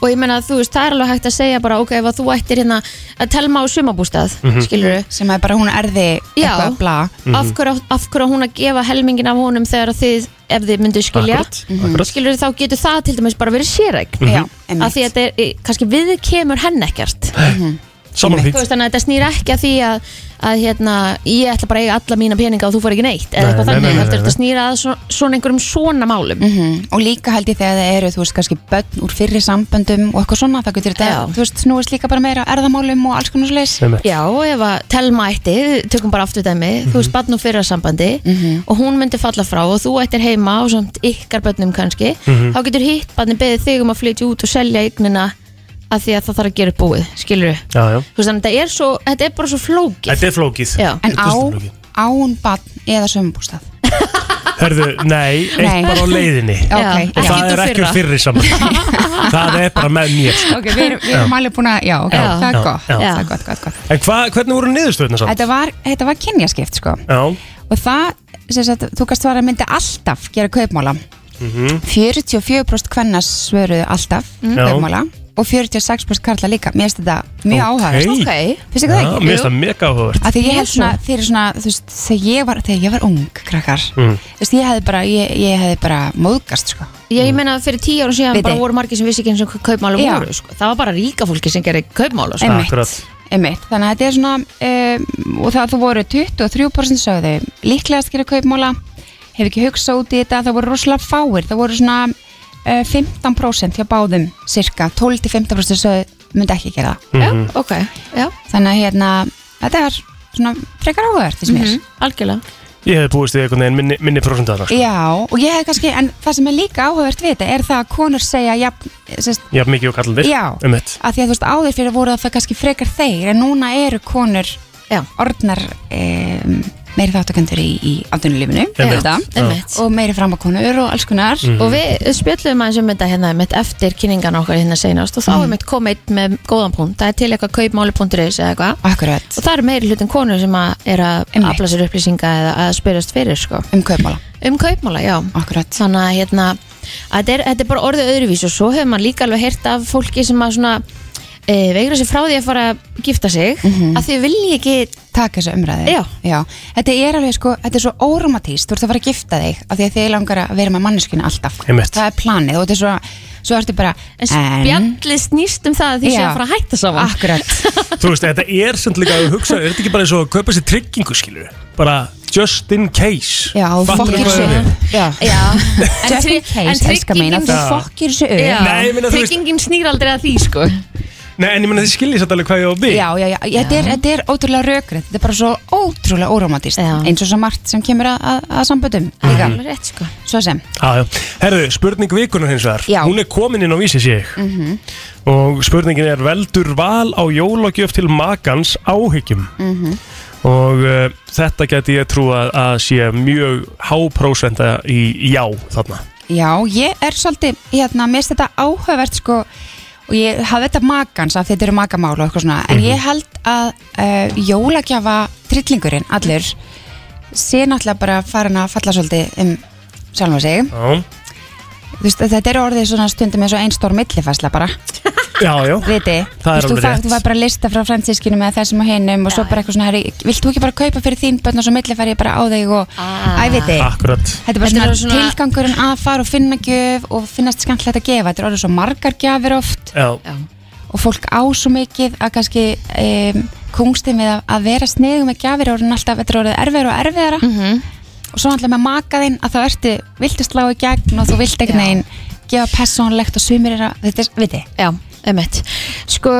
og ég meina þú veist, það er alveg hægt að segja bara ok, ef að þú ættir hérna að telma á sumabústað, mm
Mhm.
skilur
sem að bara hún erði
Já,
eitthvað bla
Mhm. af hverju á- af hverju á hún að gefa helmingin af honum þegar að þið, ef þið myndu skilja
Akkúrat, akkúrat.
skilur þá getur það til dæmis bara verið séregn
Mhm. Já,
að því að þetta er, eh, kannski við kemur henn ekkert
Saman
Þú veist, þannig að þetta snýr ekki að því að, að hérna, ég ætla bara að eiga alla mína peninga og þú fær ekki neitt eða
Nei,
eitthvað
nei, nei,
þannig,
nei,
heldur
nei.
þetta snýr að svo- svona einhverjum svona málum
Mhm. og líka held ég þegar það eru, þú veist, kannski börn úr fyrri samböndum og eitthvað svona það getur þetta, þú veist, snúist líka bara meira á erðamálum og alls konar svoleiðis
Einmitt.
Já, og ef að telma ætti, tökum bara aftur dæmi þú veist, barn og fyrra sambandi
Mhm.
og hún myndi falla frá og þú ættir heima og samt ykkar börnum kannski
Mhm.
þá getur hitt barni beðið þig um að flytja út og selja eignina að því að það þarf að gera upp búið, skilur
Já, já
þú veist, þannig að þetta er, svo, þetta er bara svo flókið
Þetta er flókið
Já.
En
Þetta
á,
er stundum flókið.
án barn eða sömbústað
Herðu, nei,
[LAUGHS] Nei.
eitt bara á leiðinni
Ok,
Og
ekki
það
úr
er ekki úr
fyrra.
fyrri
[LAUGHS]
saman Það er bara með mér sko.
Ok, við erum, við erum alveg búin að, já, ok,
Já.
það er
Já.
gott,
Já.
það er gott, gott, gott.
En hva, hvernig voru niðurstöðna saman?
Þetta var, þetta var kynjaskipt, sko.
Já
Og það, sem sagt, þú kannst svara að myndi alltaf gera kaupmála.
Mhm.
44% kvenna svöruðu alltaf
Mm. Já.
kaupmála og 46% karla líka. Mér finnst þetta mjög
Ok.
áhugavert. Finnst þið það
Já,
ekki?
Mér finnst það mega áhugavert
Af því ég held svona, þegar svona, þú veist, þegar ég var, þegar ég var ung, krakkar,
Mm.
þú veist, ég hefði bara, ég, ég hefði bara móðgast, sko.
Ég, ég meina að fyrir tíu árum síðan
Veit
bara
ég.
voru margir sem vissi ekki eins og hvað kaupmála
Já.
voru sko. Það var bara ríka fólki sem gerir kaupmála sko.
Einmitt. Akkurat. Einmitt, þannig að þetta er svona um, og það, það voru 23% sögðu líklegast gera kaupmála hef ekki hugsað út í þetta, það voru rosalega fáir það voru svona uh, 15% hjá báðum, cirka 12-15% sögðu myndi ekki gera
mhm.
það
Já, ok, já
þannig að hérna, þetta er svona frekar áhugavert því sem er
Mhm, Algjörlega
Ég hefði búist við einhvern veginn minni, minni prósundar sko.
Já, og ég hef kannski, en það sem er líka áhugavert við þetta er það að konur segja jafn, sérst,
Já, mikið og kallandir
Já.
um mitt
að því að þú veist áður fyrir voru það kannski frekar þeir en núna eru konur
Já.
orðnar um, meiri þáttakendur í, í atvinnulífinu
Einmitt.
auðvitað,
Já. Einmitt.
og meiri framakonur og alls konar
Og við spjöllum aðeins um þetta hérna mitt eftir kynningan okkar hérna seinast og þá
Mhm.
er mitt komið einn með góðan punkt það er til eitthvað kaupmáli.is eða eitthvað
Akkurat.
og það er meiri hlutin konur sem að er að afla sér upplýsinga eða að spyrjast fyrir sko.
um kaupmála
um kaupmála, já
Akkurat.
þannig að, hérna, að þetta, er, þetta er bara orðið öðruvís og svo hefur maður líka alveg heyrt af fólki sem að svona e, veigra sér frá því að fara að gifta sig
Mhm.
að þau vilji ekki
taka þessu umræði
Já.
þetta er alveg sko, þetta er svo óromatíst þú ert að fara að gifta þig af því að þið langar að vera með manneskinu alltaf
Einmitt.
það er planið og þetta er svo, svo ertu bara
En spjallið snýst um það að þið séu að fara að hætta saman
Akkurat
Þú veist, þetta er sem líka að hugsa Er þetta ekki bara eins og að kaupa sér tryggingu, skilur Bara just in case
Já, þú
Fattar
fokkir
hvað
þessu
ég við?
upp Já,
[LAUGHS]
já.
En Just in case, elskar mín, að þú
Já.
fokkir þessu upp
Já. Nei, ég meina, þú veist-
Tryggingin snýr aldrei að því sko
Nei, en ég meina þið skiljið satt alveg hvað ég á við
Já, já, já, Þetta, er, þetta er ótrúlega rökrið Þetta er bara svo ótrúlega óromatist eins og svo margt sem kemur að, að, að samböndum líka,
Mhm.
rétt sko
svo sem
Ah, Já, já. Herðu, spurning vikunar hins vegar
Já.
Hún er komin inn á vísi sé ég
mm
Mhm.
-hmm.
Og spurningin er veldur val á jólagjöf til makans áhyggjum Og uh, þetta geti ég trú að, að sé mjög háprósenda í já þarna
Já, ég er svolítið, hérna, mér finnst þetta áhugavert sko og ég hafði þetta makans af því þetta eru makamál og eitthvað svona en
Mhm.
ég held að uh, jólagjafa trillingurinn allur sé náttúrulega bara farin að falla svolítið um sjálfum sig
Já
Þú veist, þetta er orðið svona stundum eins og einn stór millifæsla bara
Já, já
viti
Það er
Þú
alveg
veist,
rétt
Þú var bara að lista frá fransískinum eða þessum og hinum og svo bara eitthvað svona herri, vilt þú ekki bara kaupa fyrir þín bönn og svo milli fær ég bara á þig og æ,
Ah.
viti
Akkurat
Þetta er bara
Þetta
svona,
er svona-
tilgangurinn að fara og finna gjöf og finnast skemmtilegt að gefa Þetta er orðið svo margar gjafir oft
Já.
og fólk á svo mikið að kannski um, kungstin við að, að vera sniðum með gjafir er orðin alltaf, þetta er orðið erfiðar og erfiðara
Mhm.
og svo alltaf með makaðinn að þá ertu, viltu slá í gegn og þú vilt ekkert neginn gefa persónlegt og sumir er að, þetta er, viti
Já, emmett Sko,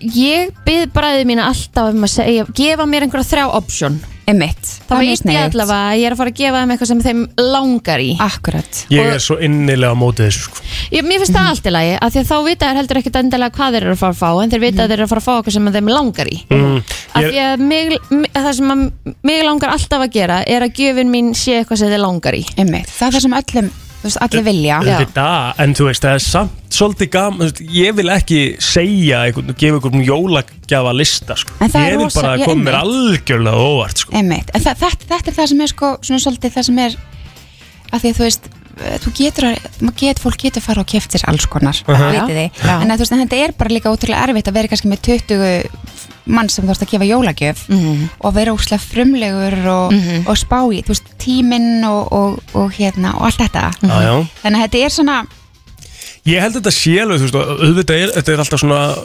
ég byrð bræðið mína alltaf um að segja, gefa mér einhverja þrjá option
Emmett
Þá veit ég allavega að ég er að fara að gefa þeim eitthvað sem þeim langar í
Akkurat
Ég er svo innilega á móti þessu sko
ég, Mér finnst það allt í lagi að því að þá vita þeir heldur ekkit endilega hvað þeir eru að fara að fá en þeir
Mhm.
vita að þeir eru að fara að fá eitthvað sem þeim langar í
mm.
Af
ég,
því að mig, mig- það sem að mig langar alltaf að gera er að gjöfin mín sé eitthvað sem þeir langar í
Einmitt, það er það sem öllum, þú veist, allir vilja
Þetta, en þú veist, það er samt svolítið gaman, þú veist, ég vil ekki segja, einhvern, gefa einhvern jólagjafa lista, sko.
En það er
Ég vil
rosa-
bara að
ég-
koma mér
einmitt.
algjörlega á óvart, sko.
Einmitt, en það, þetta, þetta er það sem er sko, svona svolítið það sem er að því að þú veist eh, þú getur, að- maður get, fólk getur fara og keft sér alls konar, uh
Mhm.
vitið þið
Já.
en, að, þú veist, en þetta er bara líka ótrúlega erfitt að vera kannski með 20 mann sem þú ert að gefa jólagjöf og vera úslega frumlegur og, og spá í, þú veist, tíminn og, og, og hérna, og allt þetta
Já, já.
þannig að þetta er svona
Ég held þetta sé alveg, þú veist, og auðvitað er, þetta er alltaf svona,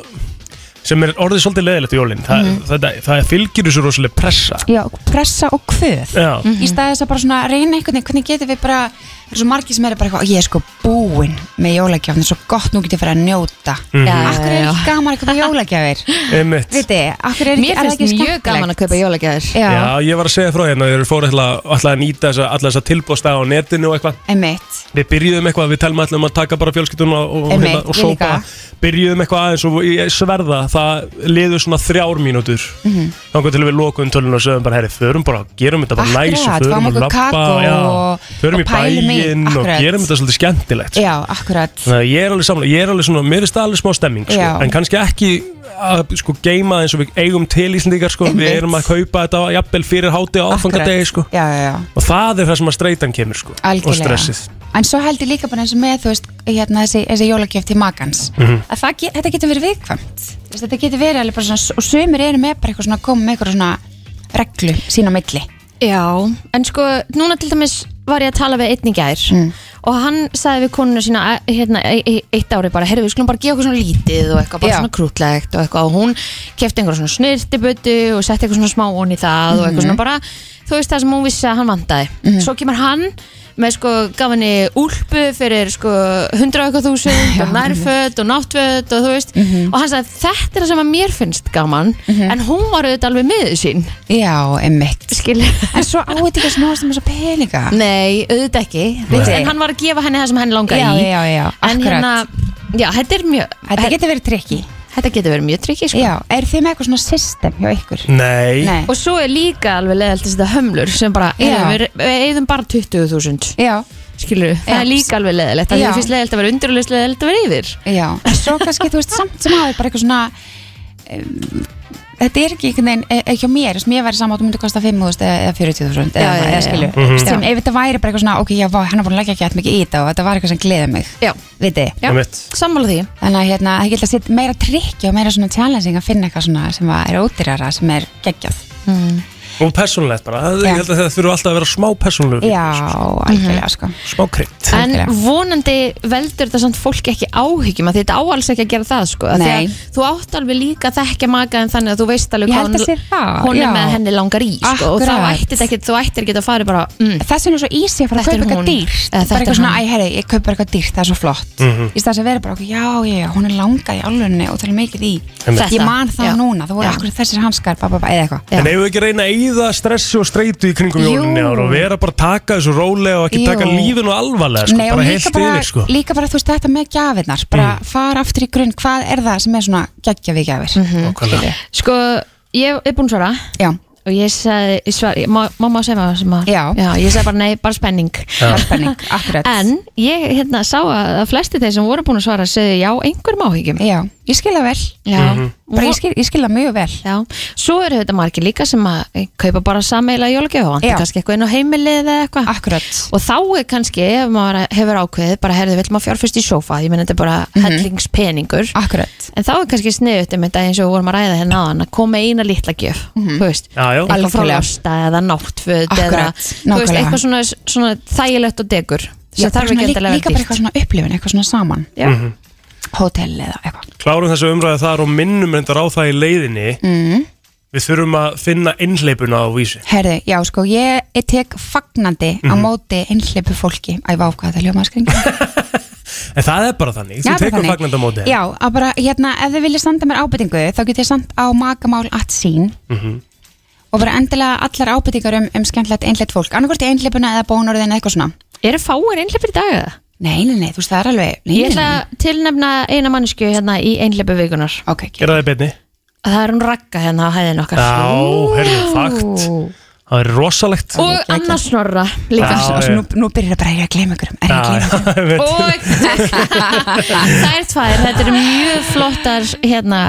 sem er orðið svolítið leðilegt í jólinn. Þa,
Mhm.
þetta, það fylgir þessu rosalega pressa.
Já, pressa og kvöð
Já.
í staði þess að bara svona reyna einhvern veginn hvernig getum við bara, það er svo margir sem eru bara eitthvað, ég er sko búinn með jólagjafn svo gott nú getur ég fyrir að njóta
Mhm. Já,
akkur er
já,
ekki gaman að kaupa
[LAUGHS]
jólagjafir
Einmitt.
viti, akkur er ekki,
Mér
er það
finnst
ekki
mjög
skemmtilegt?
gaman að kaupa jólagjafir
já,
Já, ég var að segja frá hérna, þeir fóru alltaf að nýta þessa, alla þessa tilbúðstæða á netinu og eitthvað.
einmitt
Við byrjuðum eitthvað, við telma allum að taka bara fjölskyldun og, og, hérna,
Einmitt,
og
ég
sópa. Byrjuðum eitthvað aðeins og ég sverða, það liður svona þrjár mínútur.
Mhm.
Þannig til við lokuðum tölun og sögum bara, herri, förum bara, gerum þetta bara
Akkurat,
næs og
fáum
förum
okkur
og labba,
kakó
já,
og-
förum
og
í
pælum í,
bæinn og
akkurat.
gerum þetta svolítið skemmtilegt. sko.
já, akkurat
Þannig að ég er alveg samlega, ég er alveg svona, mér er það alveg smá stemming, sko,
Já.
en kannski ekki að sko geima eins og við eigum til Íslandíkar, sko, við
Einmitt.
erum að kaupa þetta jafnvel fyrir háti og áfangadegi, sko,
já, já, já
og það er það sem að streitan kemur, sko,
Algjörlega.
og stressið.
En svo held ég líka bara eins og með, þú veist, hérna, þessi, þessi jólagjöf til makans.
Mhm.
Að það, get- þetta getur verið viðkvæmt. Þú veist, Þetta getur verið alveg bara svona, og sömur eru með bara eitthvað svona, komið með eitthvað svona reglu sín á milli.
Já, en sko, núna til dæmis var ég að tala við einn í gær
Mm.
og hann sagði við konuna sína eh, hérna, e- e- eitt ári bara, heyrðu, við skulum bara gefa okkur svona lítið og eitthvað, bara
Já.
svona krútlegt og eitthvað og hún kefti einhverja svona snirtibötu og setti eitthvað svona smá onni í það og eitthvað
Mhm.
svona bara, þú veist það sem hún vissi að hann vantaði svo kemur hann með sko gaf henni úlpu fyrir sko 100 og eitthvað
[LAUGHS]
þúsund og nærföt og náttföt og þú veist
Mhm.
og hann sagði þetta er það sem að mér finnst gaman en hún var auðvitað alveg miður sín
Já, emmitt.
Skil.
En svo
[LAUGHS]
á þetta ekki að snúast um þessa peninga.
Nei, auðvitað ekki Vist, En hann var að gefa henni það sem henni langar
Já,
í
já, já,
En
akkurat.
hérna, já, þetta er mjög
Þetta getur verið trikki
Þetta getur verið mjög trikki, sko
Já, er þið með eitthvað svona system hjá ykkur?
Nei.
Og svo er líka alveg leðalt að setja hömlur sem bara,
Já.
heyrðu, við, við eigðum bara 20.000
Já
Skilur, það
Já.
er líka alveg leðalt Það
Já.
er fyrst leðalt að vera undir og leðalt að vera yfir
Já, en svo kannski, þú veist, samt sem aður bara eitthvað svona um, Þetta er ekki einhvern veginn, e- e- hjá mér, sem ég væri saman að þú myndi kosta 5.000 eða eða 40.000 eða,
Já, já,
eða,
já, já.
skilju,
Mhm.
sem ef þetta væri bara eitthvað svona, ok, já, vá, hann er búin að leggja ekki eitthvað mikið í þetta og þetta var eitthvað sem gleði mig,
Já.
viti
Já. Einmitt.
Sammála því
Þannig að hérna, það geta sitt meira trikki og meira svona challenging að finna eitthvað svona sem að er ódýrara, sem er geggjað mm.
Og persónulegt bara, það-
Já.
ég held að þetta þurfa alltaf að vera smá persónulegur.
Já, algjörlega, sko
Smá krydd.
En vonandi veldur þetta samt fólki ekki áhyggjum að þetta á alls ekki að gera það sko af því að
Nei.
Þú átt alveg líka að þekkja maka en þannig að þú veist alveg
Ég held að sé það,
hún
já.
er með henni langar í sko, og þá
Akkurat.
ættir ekki, þú ættir ekki að fara bara mm,
Þess vegna er svo easy að fara að
Þetta er
kaupa eitthvað
hún.
dýrt
Eða þetta
Bara
er
eitthvað svona, æ,
hann.
herri, ég kaupa eitthvað dýrt, það er svo flott
Mhm.
Í staðis að vera bara, okkur, já, já, já, hún er langað í alvörunni og það er mikið í
Einmitt.
Ég
Þetta,
man það
já.
núna, það voru
Já.
akkur þessir hanskar, ba, ba, ba, eða eitthvað
En eigum við ekki að reyna að eyða stressi og streitu í kringum
Jú.
jólinni ára og vera bara að taka þessu rólega og ekki
Jú.
taka lífinu alvarlega, sko,
Nei, og
bara
líka
heilt
bara,
yfir, sko. Mm.
líka bara, þú veist, þetta með gjafirnar Bara fara aftur í grunn, hvað er það sem er svona geggja við gjafir Skilju.
Sko, ég er búin að svara
Já
Og ég sagði, ég svar, ég, má, má maður segja maður sem maður
Já.
Ég sagði bara nei, bara spenning
Já. Bara spenning, akkurat.
En ég hérna sá að að flesti þeir sem voru búin að svara segði já, einhverjum áhyggjum
Já, ég skilja vel
Já,
Mhm.
Bara ég skil, ég skil það mjög vel
Já, svo eru þetta margir líka sem að eh, kaupa bara sameila jólagjöf og vantar
Já.
kannski eitthvað inn á heimilið eða eitthvað Akkurat Og þá er kannski, ef maður hefur ákveðið bara herðið, vill maður fjárfyrst í sófa ég menn þetta er bara hellingspeningur
Mhm. Akkurat
En þá er kannski sniðut um þetta eins og við vorum að ræða hérna aðan að koma með eina litla gjöf
Mhm.
þú veist,
Já, já.
eitthvað frá
Algjörlega.
lásta eða náttföt eða,
Akkurat,
þú veist,
nákvæmlega.
eitthvað svona, svona þægilegt og degur
Já,
sem
bara
þarf
svona líka-
ekki endilega að vera
Líka bara eitthvað svona upplifin, eitthvað svona saman
Já.
Mhm.
Hótel eða eitthvað
Klárum þessu umræðu þar og minnum reyndar á það í leiðinni
Mhm.
mm.
Við þurfum að finna innleipuna á vísi
Herðu, já sko, ég ég tek fagnandi á
Mhm.
móti einhleipu fólki Æ, vá, hvað það ljóma að
[LAUGHS]
skringa
En það er bara þannig,
Já, bara
þú tekur
þannig.
fagnandamóti
Já, að bara, hérna, ef þið viljið senda mér ábyrtingu þá get ég sendt á magamál at sín
Mhm.
og bara endilega allar ábyrtingar um, um skemmtilegt einhleitt fólk annarkvort í einhleipuna eða bónorðin eða eitthvað svona
Eru fáir einhleipir í dag eða?
Nei, nei, nei, þú veist, það er alveg nei,
Ég ætla
nei, nei.
að tilnefna eina mannsku hérna í einhleipu vikunar
okay,
Gerða það í beinni
Það er hún ragga hérna á hæðin okkar
Já, herðu, fakt Það er rosalegt
Og annars snorra líka
Já,
og svo nú, nú byrjar það bara að ég er að gleyma ykkur er ég að gleyma ykkur
[LAUGHS]
Og það er tvær, þetta eru mjög flottar hérna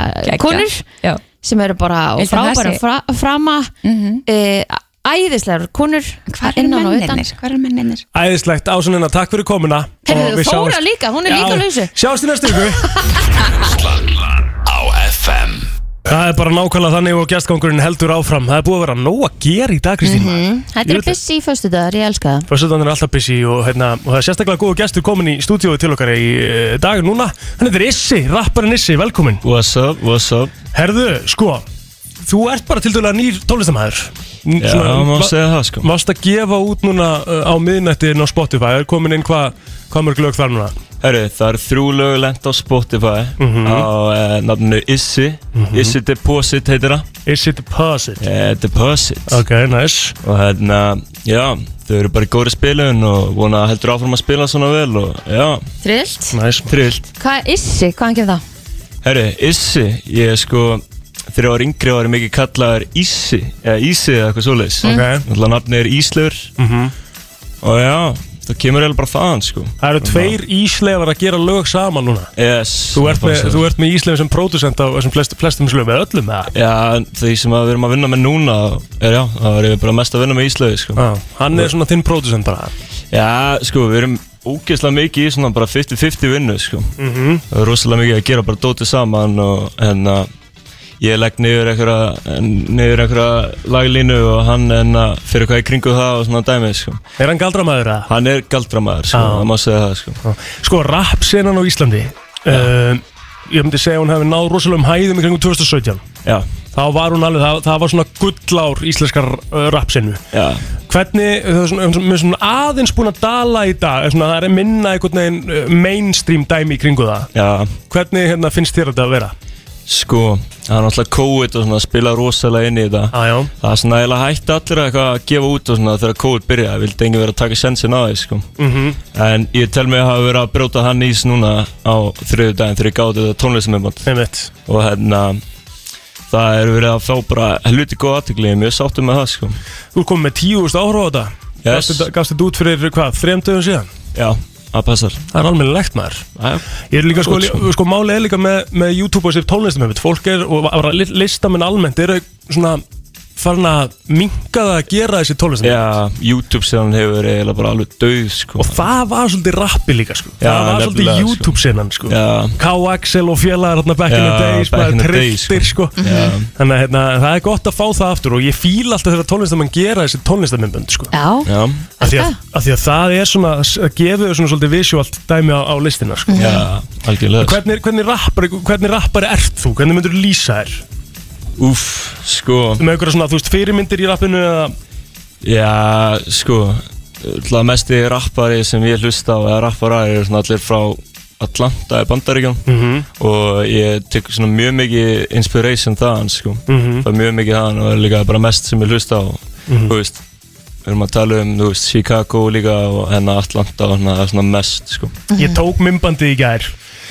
konur
Já.
sem eru bara og
Viltu að það
frábæra
sé?
fra, frama mm æðislegar konur
Mhm. Hvar eru
innan og utan.
menninir? Hvar eru menninir?
Æðislegt, Ásannina, takk fyrir komuna Og
Herðu,
við
Þóra
sjáumst-
líka, hún er líka
Já,
lausu
Sjáumst í næstu viku
á FM
Það er bara nákvæmlega þannig og gestgangurinn heldur áfram Það er búið að vera nóg að gera í dag, Kristín
Mhm.
mm
Þetta eru busy í föstudagar, ég elska það
Föstudan er alltaf busy og, hérna, og það er sérstaklega góðu gestur komin í stúdíói til okkar í eh, dag núna Hann heitir Issi, rapparinn Issi, velkomin
What's up, what's up
Herðu, sko, þú ert bara til dæla nýr tónlistamæður
Já, má segja það, sko
Mást að gefa út núna eh, á miðnættin á Spotify Er komin inn hvað hva mörg lög þar núna?
Herru, það eru þrjú lög lent á Spotify
Mhm.
á uh, nafnu Issi Issi Deposit heitir það
Issi Deposit
uh, Deposit
Ok, nice
Og hérna, já, þau eru bara í góri spilun og vona heldur áfram að spila svona vel og já
Trillt
Nice
Trillt
Hvað, issi, hvaðan kemur það?
Herru, Issi, ég er sko þegar ég var yngri var ég mikið kallaður Ísi eða Ísi eða eitthvað svoleiðis
Ok.
Þannig að nafni er Íslur
Mhm.
og já, það kemur eiginlega bara þaðan sko
Það eru tveir íslefar að gera lög saman núna
yes,
Þú ert með, þú ert með íslefin sem pródusent á þessum flest, flestum slögum með öllum með það
Já, en því sem að við erum að vinna með núna er já, það er bara mest að vinna með Íslöfi sko.
Já, hann er svona þinn pródusent bara
Já, sko, við erum ógeðslega mikið í svona bara 50-50 vinnu sko.
Mhm.
Það er rosalega mikið að gera bara dótið saman og en að ég legg niður einhverja niður einhverja laglínu og hann en að fyrir hvað í kringu það og svona dæmið sko.
Er hann galdramæður eða?
Hann er galdramæður, sko,
Já.
það má segja það sko.
Sko, rapsenan á Íslandi uh, Ég myndi segja að hún hefði náð rosalegum hæðum í kringum 2017
Já.
Þá var hún alveg, það, það var svona gullár íslenskar uh, rapsenu
Já.
Hvernig, það er svona, svona, svona aðeins búin að dala í dag svona, Það er minna einhvern veginn eh, mainstream dæmi í kringu það
Já.
Hvernig hérna, finnst þér þetta að vera?
Sko, það er náttúrulega COVID og svona spila rosalega inn í þetta
Ajá.
Það er svona eiginlega hætti allir að eitthvað að gefa út og svona þegar COVID byrjaði, það vildi enginn vera að taka sensin á því sko
Mhm.
En ég tel mig að hafa verið að brjóta hann ís núna á þriðu daginn þegar ég gáði þetta tónlistamönd
Einmitt
Og hérna, það er verið að fá bara hluti góð aðtökli, mjög sáttum með það sko
Þú komið með 10.000 áhrá á þetta
Yes.
Gafst þetta- Gafst þetta út fyrir hvað, þremdöðum síðan?
Já, það passar
Það er alveg legt maður Ég er líka sko,
Gott,
sko. sko málið er líka með, með YouTube og sér tónlistum einmitt. Fólk er, og bara li- listamenn almennt eru svona farin að minka það að gera þessi tónlistum
Já, YouTube síðan hefur verið eiginlega bara alveg döð sko
Og það var svolítið rappi líka sko Það var svolítið YouTube sinnan sko
Já,
K-Axel og félagar hérna back in
Já,
the days
back in
bara
the days,
trilltir sko, þannig að hérna, það er gott að fá það aftur og ég fíla alltaf þegar tónlistamenn gera þessi tónlistamennbönd sko.
Já,
Já.
Af því, að, af því að það er svona að gefa þau svona svolítið visuált dæmi á, á listina sko.
Já, algjörlega sko.
hvernig, hvernig, rappari, hvernig rappari ert þú? Hvernig myndur þú lýsa þér?
Úff, sko
Þú með einhverja svona, þú veist, fyrirmyndir í rappinu eða
Já, sko Það mesti rappari sem ég hlusta á eða rappara er svona allir frá Atlanta í Bandaríkjum
Mhm.
og ég tek svona mjög mikið inspiration þaðan sko
Mhm.
það er mjög mikið þaðan og er líka bara mest sem ég hlusta á
Mhm.
þú veist við erum að tala um, þú hérna veist, Chicago líka og hennar Atlanta og hennar það er svona mest sko
Ég tók mymbandi í gær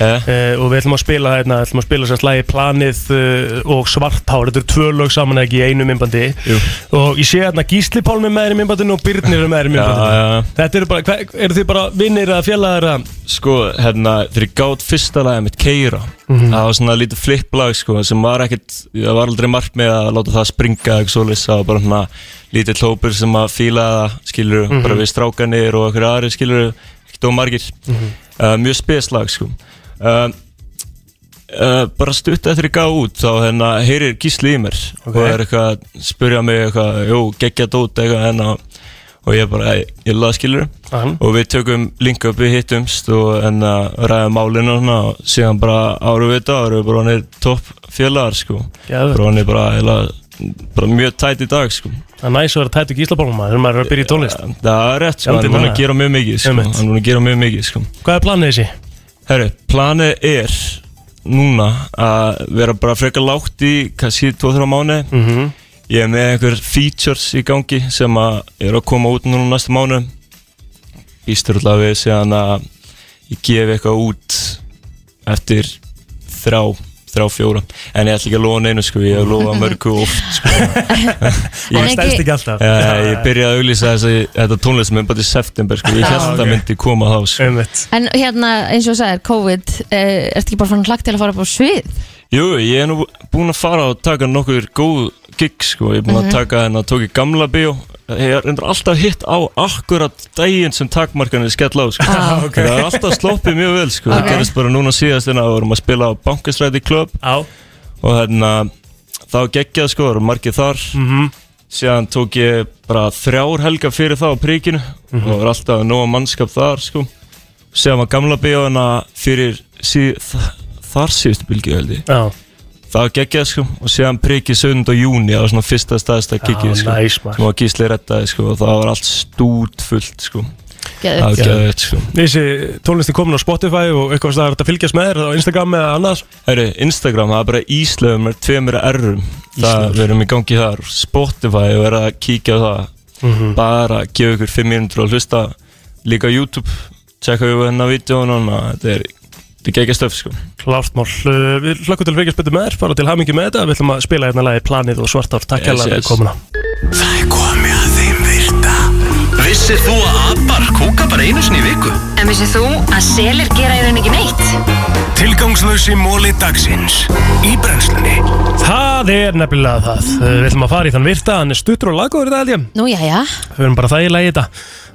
uh, og við ætlum að spila hérna, ætlum að spila sérst lagi Planið uh, og Svarthár þetta eru tvö lög saman ekki í einu mymbandi Jú. og ég sé hérna Gísli Pálmi með þér í mymbandinu og Byrnir er með þér í mymbandinu
já, já.
Þetta eru bara, hver, eru þið bara vinnir að fjallaðir að
Sko, hérna, þegar ég gátt fyrsta lagið mitt Keira
Mhm.
Það var svona lítið flipplag, sko sem var ekkert, það var aldrei margt með að láta það springa eitthvað svoleiðis Það var bara hérna lítið hlópur sem að fíla það, skilur
Mhm.
bara við strákanir og okkur aðri, skilur ekkert og margir
Mhm.
uh, Mjög speslag, sko uh, uh, Bara stutt eftir ég gáð út þá hérna heyrir Gísli í mér
Ok.
og er eitthvað að spyrja mig eitthvað, jú, geggja dót eitthvað hérna og ég bara, "Æ, ég laði skilur
Aha.
og við tökum link upp við hittumst og en að ræða málinu og svona og síðan bara árum við þetta árum við bara hann er topp félagar sko
Geðveikt.
bara hann er bara, heila, bara mjög tætt í dag sko
það er næs að vera tættu Gísla Pálmi maður þegar maður er að byrja í tónlist
það er rétt sko, hann er búin að gera mjög mikið sko,
Einmitt.
hann er búin að gera mjög mikið sko
Hvað er planið þessi?
Herru, planið er núna að vera bara frekar lágt í kannski 2-3 mánu
Mhm.
ég er með einhver features í gangi sem að eru að koma út núna næsta mánu Ísturla við séðan að ég gefi eitthvað út eftir þrjá, þrjá fjóra en ég ætla ekki að lofa neinu sko, ég hef lofað mörgu oft
[LAUGHS]
sko.
En ekki- Stenst ekki alltaf.
Já, ég byrjaði að auglýsa þessi, þetta tónlist með bara í september sko, ég held
Já,
að það
ok.
myndi koma þá sko.
Einmitt.
En hérna, eins og þú sagðir, COVID, eh, ertu ekki bara fann hlagt til að fara upp á svið?
Jú, ég er nú búinn að fara og taka nokkur góð gig sko, ég er búinn að
Mhm.
taka henn að tók í gamla bíó Ég er reyndar alltaf hitt á akkurat daginn sem takmarkanir skella á sko.
[LAUGHS] Ah, ok.
Það er alltaf sloppið mjög vel sko. Það
Ok.
gerist bara núna síðast en að vorum að spila á Bankastræti Club
ah.
og hérna þá geggjað sko, það voru margir þar
Mhm.
síðan tók ég bara þrjár helga fyrir það á príkinu
Mhm.
og var alltaf nóga mannskap þar sko. síðan var gamla bíóina fyrir síð, þ- þar síðustu bylgi held ég
Já.
Það var geggjað sko og síðan prikið sund og júni það var svona fyrsta staðista
Já,
kikið sko
nice, maður.
sem var gísli rettaði sko og það var allt stút fullt sko
Geðveikt.
Það var geðveikt sko
Þessi tónlist er komin á Spotify og eitthvað sem það er hægt að fylgjast með þér á Instagram eða annars
Herru, Instagram, það er bara íslöfum með tveimur errum Það
Íslöfur.
við erum í gangi þar Spotify og er að kíkja á það
Mhm.
Bara gefa ykkur 5 minútur og hlusta Líka á YouTube Tjekka við hennar vídjón og þetta er, þetta er geggjað stöf sko
Klárt mál, Uh, við hlökkum til að fylgjast betur með þér, bara til hamingi með þetta Við ætlum að spila hérna lagi Planið og Svartár, takk
Yes,
hérna yes,
yes.
fyrir komuna
Það er komið að þeim virta Vissir þú að abar kúka bara einu sinni í viku?
En vissið þú að selir gera í raun ekki neitt?
Tilgangslösi móli dagsins Í brennslunni
Það er nefnilega það, Uh, við ætlum að fara í þann virta, hann er stuttur og lagur þetta held ég
Nú, já, já.
Við erum bara það í lagi þetta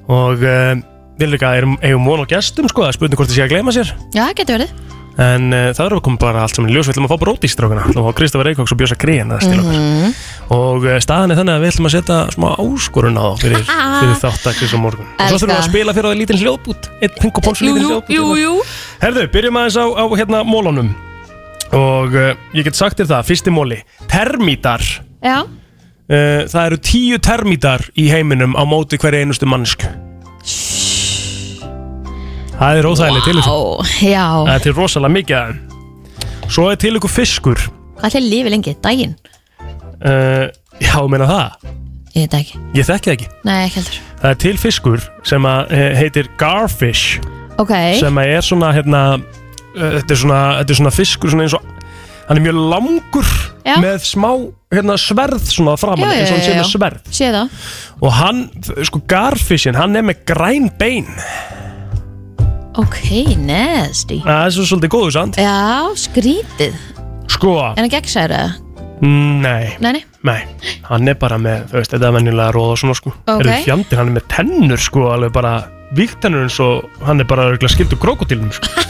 Og uh, við líka erum, eigum von á gestum sko, það er spurning hvort þið sé að gleyma sér
Já, getur verið.
En uh, það eru að koma bara allt saman í ljós, við ætlum að fá bróti í strákuna Við ætlum að fá Kristofar Eikóks og Björsa Krín að stila
Mhm.
Og uh, staðan er þannig að við ætlum að setja smá áskorun á þá
[LAUGHS]
fyrir, fyrir þáttaksins á morgun Og svo
Elska.
þurfum við að spila fyrir það lítinn hljóðbút Einn pingu póls
Jú,
lítinn
jú,
hljóðbút
jú, jú.
Herðu, byrjum aðeins á, á hérna mólunum Og uh, ég get sagt þér það, fyrsti móli Termítar
Já,
uh, Það eru tíu termítar í heiminum á móti hverja einustu mannsku Það er óþægileg til þessu
já.
Það er til rosalega mikið af þeim. Svo er til ykkur fiskur
Hvað ætlaði lífi lengi? Daginn?
uh, Já, ég meina það
Ég veit það ekki.
Ég þekki það ekki
Nei, ekki heldur.
Það er til fiskur sem að, eh, heitir garfish
Ok.
sem að er svona hérna, eh, þetta, er svona þetta er svona fiskur svona eins og Hann er mjög langur
Já.
með smá hérna, sverð svona framan eins og hann sé með sverð
Sé það.
og hann, sko garfishin, hann er með græn bein
Ok, nasty.
Það er svo svolítið góðu samt
Já, skrítið.
Sko,
En það gegnsæður eða?
nei,
Nei, nei.
nei Hann er bara með, þú veist, þetta er venjulega róð og svona sko
Ok.
Eru fjandir, hann er með tennur sko, alveg bara Víktennur eins og hann er bara skiptu krokodilum
[LAUGHS]
sko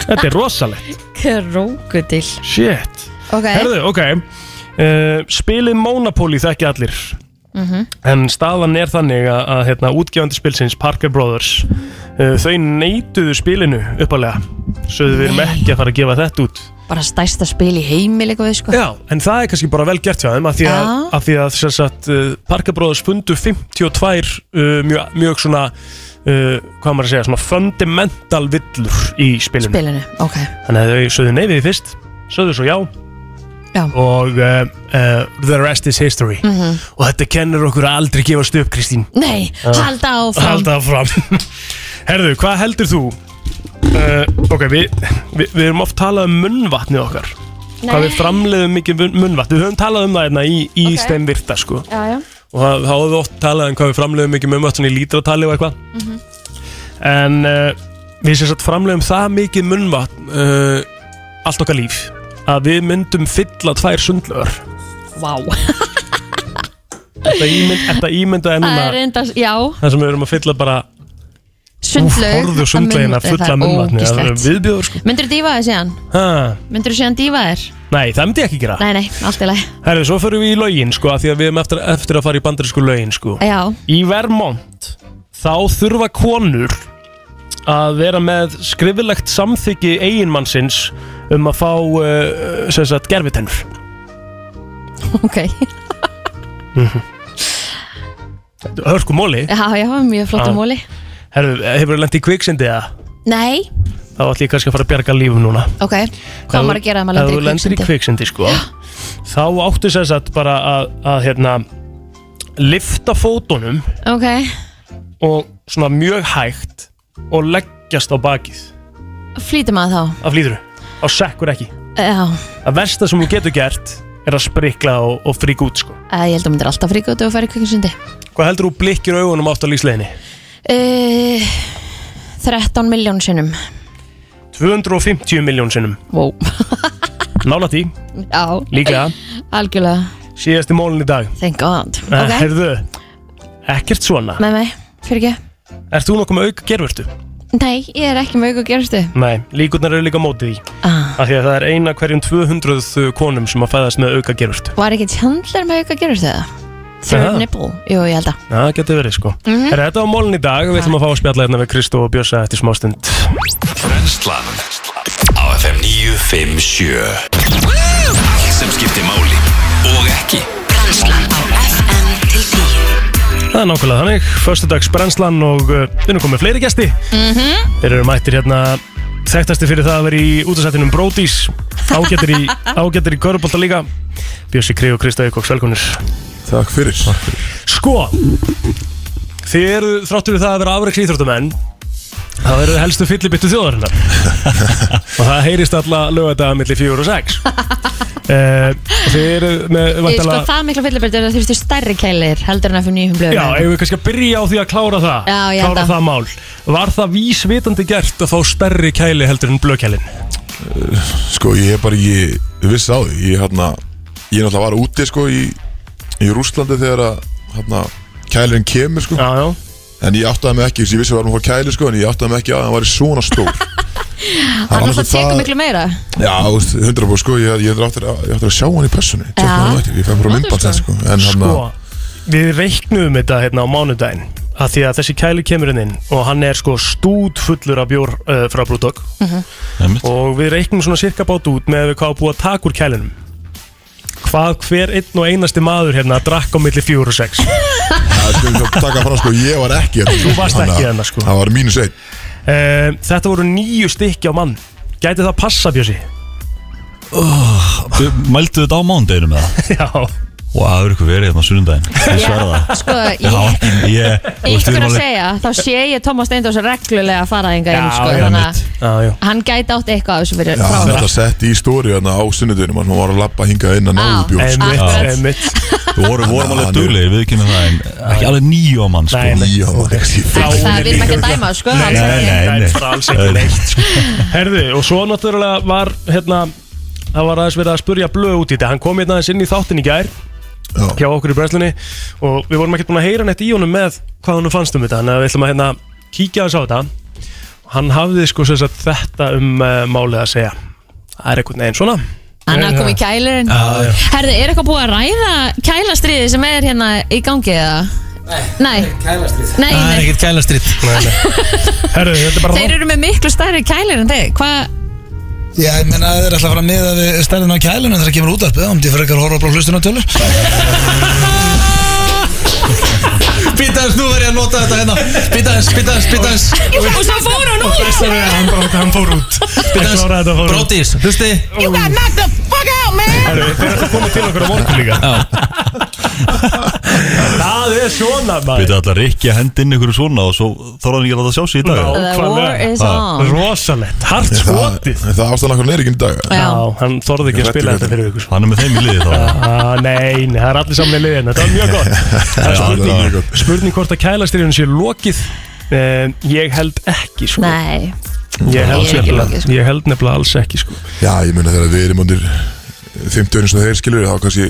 Þetta er rosalegt
Krókudil.
Shit
Ok.
Herðu, ok uh, Spilið Monopoly þekki allir
Mhm.
En staðan er þannig að, að hérna, útgefandi spilsins Parker Brothers uh, Þau neituðu spilinu uppalega Sögðu við erum ekki að fara að gefa þetta út
Bara stæsta spil í heimi líka við sko.
Já. En það er kannski bara vel gert hjá þeim að því að,
Já.
að, því að sem sagt, uh, Parker Brothers fundu 52 uh, mjög, mjög svona uh, hvað á maður að segja, svona fundamental villur í spilinu
Spilinu, ok.
Þannig að þau sögðu nei við því fyrst sögðu svo já,
Já.
og uh, uh, the rest is history
Mhm.
og þetta kennur okkur að aldrei gefast upp Kristín Ah.
Nei,
Já. [LAUGHS]
halda áfram.
Halda áfram Herðu, hvað heldur þú Uh, ok, við vi, vi erum oft talað um munnvatnið okkar Hvað
Nei.
við framleiðum mikið mun- munnvatn Við höfum talað um það hérna í, í okay. steinvirta sko.
Já, já.
Og það, þá höfum við oft talað um hvað við framleiðum mikið munnvatn Svona í lítratali og eitthvað
Mm.
Mhm.
En uh, við sem sagt framleiðum það mikið munnvatn uh, Allt okkar líf Að við myndum fylla tvær sundlögur
Vá
Þetta ímynd, þetta ímynda ennum
Það er
að
enda, já
Það sem við erum að fylla bara
Sundlaug
Hórðu
af
sundlegina
munnvatni, það
fulla
er
af munnvatni Það eru
ógeðslegt.
viðbjóður sko
Myndur þú dífa þér síðan?
ha.
Myndur þú síðan dífa þér?
Nei, það myndi ég ekki gera
Nei, nei, allt í lagi
Herðu, svo förum við í lögin sko, af því að við erum eftir, eftir að fara í bandarísku lögin sko.
Já,
Í Vermont þá þurfa konur að vera með skrifilegt samþyggi eiginmannsins um að fá uh, sem sagt gerfitennur [LAUGHS]
ok
Hörku móli
Já, já, mjög flottu
Já.
móli
Herðu, hefur þú lent í kviksindi eða?
Nei,
Þá ætlum ég kannski að fara að bjarga lífu núna
ok Hvað á maður að gera ef maður lendir í
lendir í
kviksindi?
kviksindi sko, þá áttu sem sagt bara að, að hérna lifta fótunum
Ok,
og svona mjög hægt og leggjast á bakið
flýtum að þá
af líðuru á sekkur ekki
Já,
að versta sem hún getur gert er að sprikla og, og frík út sko.
eh, ég held að þú myndir alltaf fríka út og færi kviksindi
hvað heldur þú blikkir augunum átt á lífsleginni?
uh, 13 miljón sinnum
250 miljón sinnum [LAUGHS]
wow.
nála því,
Já,
líka
[LAUGHS] algjörlega
síðasti mólin í dag
Thank God
okay.
Ok,
herðu, ekkert svona
með mig, fyrir ekki
ert þú nokkuð með auka gerfurtu?
Nei, ég er ekki með auka gerstu
Nei, líkurnar eru líka á mótið í
ah.
af því að það er eina hverjum 200 konum sem að fæðast með auka gerfurtu
Var ekki tjandlar með auka gerstu það? Third
Aha.
nipple, jú, ég held að
Já, það getur verið sko mm
Mhm.
Þetta var mólin í dag, við ætlum að fá að spjalla hérna við Kristó og Bjössa eftir smástund
Brenslan Á FM 957 Allt sem skiptir máli Og ekki
Það er nákvæmlega þannig, förstudags brennslan og uh, við erum komið fleiri gæsti
mm -hmm.
Þeir eru mættir hérna þekktasti fyrir það að vera í útasættinum Brodís ágættir í, ágættir í Körbólta líka Bjössi Kri og Krista Eikóks, velkonir
Takk fyrir Takk fyrir
Sko Þið eru þráttur við það að vera afreiks íþróttamenn Það eru helstu fyllibittu þjóðarinnar Og það heyrist alla lögadaga millir 4 og 6 uh, Þið eru með
Ég sko
væntanlega-
það mikla fyllibeldur að þú þurftu stærri kælir heldur en að fyrir nýjum blöðum
Já, eigum við kannski að byrja á því að klára það
Já, ég held
Klára
að.
það mál Var það vísvitandi gert að fá stærri kæli heldur en blökælin?
Sko ég hef bara ekki vissi á því Ég hérna Ég náttúrulega var úti sko í Í Rússlandi þegar að Hérna Kælirinn kemur sko
Já, já
En ég áttaði mig ekki Þess að ég vissi að við varum að fá kæli sko En ég áttaði mig ekki á að hann var svona [LAUGHS] stór
Það er náttúrulega tekur miklu meira
Já, þú veist, 100% sko Ég, ég áttur að, ég átti að sjá hann í personu
Já.
Ég fæði bara myndband þetta sko En hann
Sko, við reiknum þetta hérna á mánudaginn að því að þessi kæli kemur hérna inn og hann er sko stút fullur af bjór uh, frá Brúdók og við reiknum svona cirka bát út með hvað að búa að taka úr kælinum hvað hver einn og einasti maður hérna drakk á milli 4 og 6
Það sko, ég taka fram sko Ég var ekki hérna,
Þú varst
Þannig
ekki
að
hérna, sko.
Það var mínus einn
Eh, Þetta voru nýju stykki á mann Gæti það passa Bjössi?
Mældu þetta á mánudeginum eða?
[LAUGHS] Já
Og það er ykkur verið hérna á sunnundaginn Ég sverða það
Sko,
Já,
ég
ég þú veist, við erum
Ykkur að
alveg-
segja, þá sé ég Thomas Steindós reglulega að fara enga inn sko,
já,
þannig að
mitt.
Já, já
hann gæti átt eitthvað af þessu fyrir
Já,
frá
þetta sett í stóri hérna á sunnudunum hann var að lappa hinga inn að náðu bjór
Einmitt,
Já.
einmitt
Við vorum, vorum alveg duglegir, við kynum það en ekki alveg nýjó mann sko.
Nei, nei.
Nýjó
Það það vil maður ekki dæma, sko
Nei,
alls
nei, nei,
ekki.
Það
nei.
er bara alls ekki neitt sko. Herðu, og svo náttúrulega var hérna, það var aðeins verið að spurja blöð út í þetta Hann kom hérna aðeins inn í þáttin í gær hjá okkur í brennslunni og við vorum ekkert búin að heyra neitt í honum með hvað hann fannst um þetta þannig að við ætlum að hérna, kíkja aðeins á þetta Hann hafði sko sem sagt þetta um uh, málið að segja Það er einhvern veginn svona
Hann hafði komið í kælurinn
Já, já.
Herði, er eitthvað búið að ræða kælastriði sem er hérna í gangi eða? Nei,
Kælastrýtt
Nei, nei.
ekkert kælastrýtt
[LAUGHS]
Herru, þetta er
þeir eru með miklu stærri kælir en þig Hvað,
Já, ég meina þeir ætla að fara að miða við stærðin á kælinu þegar það kemur útarpið, þá myndi ég frekar að horfa bara
[LAUGHS]
á hlustunartölu
Býtaðins, nú verð ég að nota þetta hérna Býtaðins, býtaðins, býtaðins
Og svo fór hann út
Hann, bara, hann fór út
Býtaðins, brótis, hlusti
You got knocked the fuck out man
Herru, þeir eru komið til okkur á morgun líka Það er svona
Við ætla Rikki að henda inn ykkur svona og svo þorðan ekki að láta sjá sig í dag
The war is on. Rosalett, hart skotið
Það er ástæðan okkur er ekki í dag
Já, hann þorði ekki að spila þetta fyrir ykkur
Hann er með þeim í liði
[LAUGHS]
þá
Ah, Nei, nei, það er allir saman í liðin Þetta var mjög gott
[LAUGHS]
Það er
Já, þetta var mjög
spurning,
gott.
spurning hvort að kælastyrjun sé lokið um, Ég held ekki sko.
Nei
Ég held,
Ég er ekki lokið,
nefnilega,
sko.
ég held nefnilega alls ekki sko.
Já, ég meina þegar við erum undir 50 önni sem þeir skilur þá kannski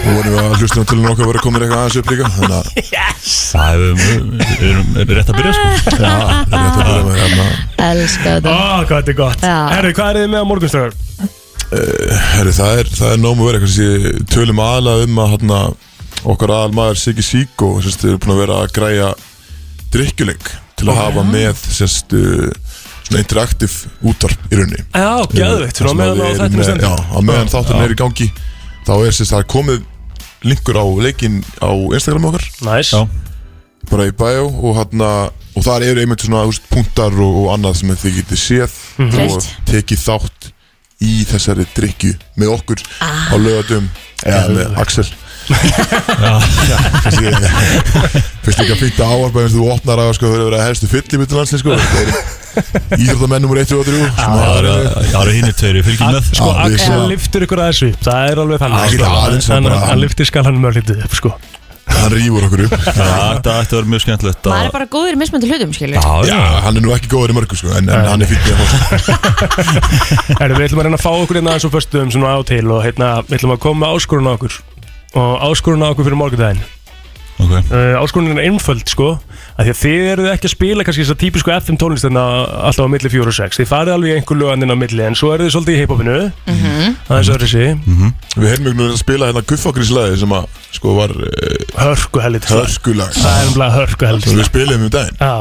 nú vonum við að hlustunum til nokkuð að vera komin eitthvað aðeins upp líka þannig að
Það er, við erum við erum rétt að byrja sko Já, rétt
að byrja með hérna
Elska þetta
Ó, hvað þetta er gott Herru, hvað er þið með á morgunströður?
uh, herri, það er, það er nóg með vera kannski tölum aðalega um að hana, okkar aðal maður Siggi Sík og sérst, við erum búin að vera að græja drikkjuleik til að hafa með sérst, uh, svona interaktiv útvarp í raunni
Já, geðveikt, svona á meðan á þættinum stendur.
Já, á meðan
Já.
þáttunum
Já.
er í gangi þá er sérst, það er komið linkur á leikinn á Instagram okkar
Næs
nice. bara í bæjó og, hana, og þar eru einmitt svona úst, punktar og, og annað sem þið getið séð
Mhm.
og
Treyst.
tekið þátt í þessari drikju með okkur
Ah.
á lögatum eða með Axel Já,
[LAUGHS]
já, fyrst líka fýnt að áarpa eins og þú opnar að sko, þau eru að vera helstu fyll í mittunlandsli sko. Íþjóttamennum er 1 og 3
Það eru hinnir tveir, við fylgjum með
Sko, Axel liftur ykkur að þessu Það er alveg
Ekki
þannig
aðeins,
Hann-
bara-
Hann liftir skalanum að litið upp sko.
Hann rýfur okkur upp
Þetta ætti að vera mjög skemmtilegt að-
Maður er bara góður í mismöndu hlutum, skilur
Já, hann er nú ekki góður í mörgu sko, en, en hann er fýtt með
[LAUGHS]
fólk
Herru, við ætlum að reyna að fá okkur hérna aðeins og föstum svona á til og hérna, við ætlum að koma með áskorun á okkur og áskorun á okkur fyrir morgundaginn
okay.
uh, Áskorunin er einföld sko að því að þið eruð ekki að spila kannski þess að típisku FM tónlist þarna alltaf á milli 4 og 6 þið farið alveg í einhver lögandinn á milli en svo eruð þið svolítið í hip-hopinu
Mhm.
aðeins öðru sig
Mhm.
Mhm.
Við heyrðum einhvern veginn að spila hérna guffakrislaði sem að sko var
Hörku hellit
Hörkulag
Það er umlega hörku hellit
Við spilum um daginn
Já,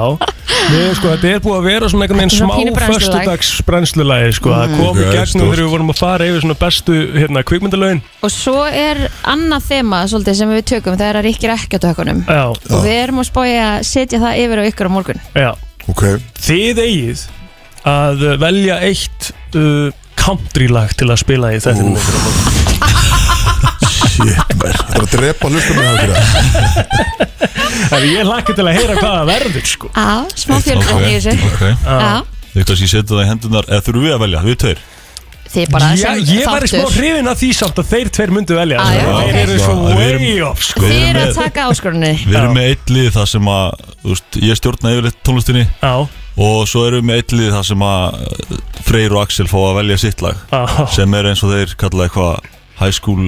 við, sko, þetta er búið að vera svona einhvern veginn
Svona
smá
pínu brennslulag.
föstudags brennslulagi sko. það kom í
Ok,
gegnum
stórt.
þegar við vorum að fara yfir svona bestu hérna, kvikmyndalögin
Og svo er annað þema svolítið sem við tökum Það er að ríkir ekki á tökunum
Já,
Og við erum að spája að setja það yfir á ykkur á morgun
Já.
Okay.
Þið eigið að velja eitt uh, country lag til að spila í þetta
Shit mær, það er að drepa hlustum með það fyrir það
Það er ég lakka til að heyra hvað það verður sko
Já, smá fjölbreytni í þessu
okay.
Já.
Við kannski setja það í hendunar Eða þurfum við að velja, við tveir
Þið bara
Já,
sem
ég væri smá
þáttur
hrifin af því samt að þeir tveir myndu velja
Ah, já,
sko.
ok.
Þeir eru svo
Við erum-
way up sko
Þið
Við erum
eru að
með-
taka áskorunni
Við erum með eitt lið það sem að þú veist, Ég stjórna yfirleitt tónlistinni
Já.
Og svo erum við með eitt lið það sem að uh, Freyr og Axel fá að velja sitt lag
Já.
Sem er eins og þeir kalla eitthvað High school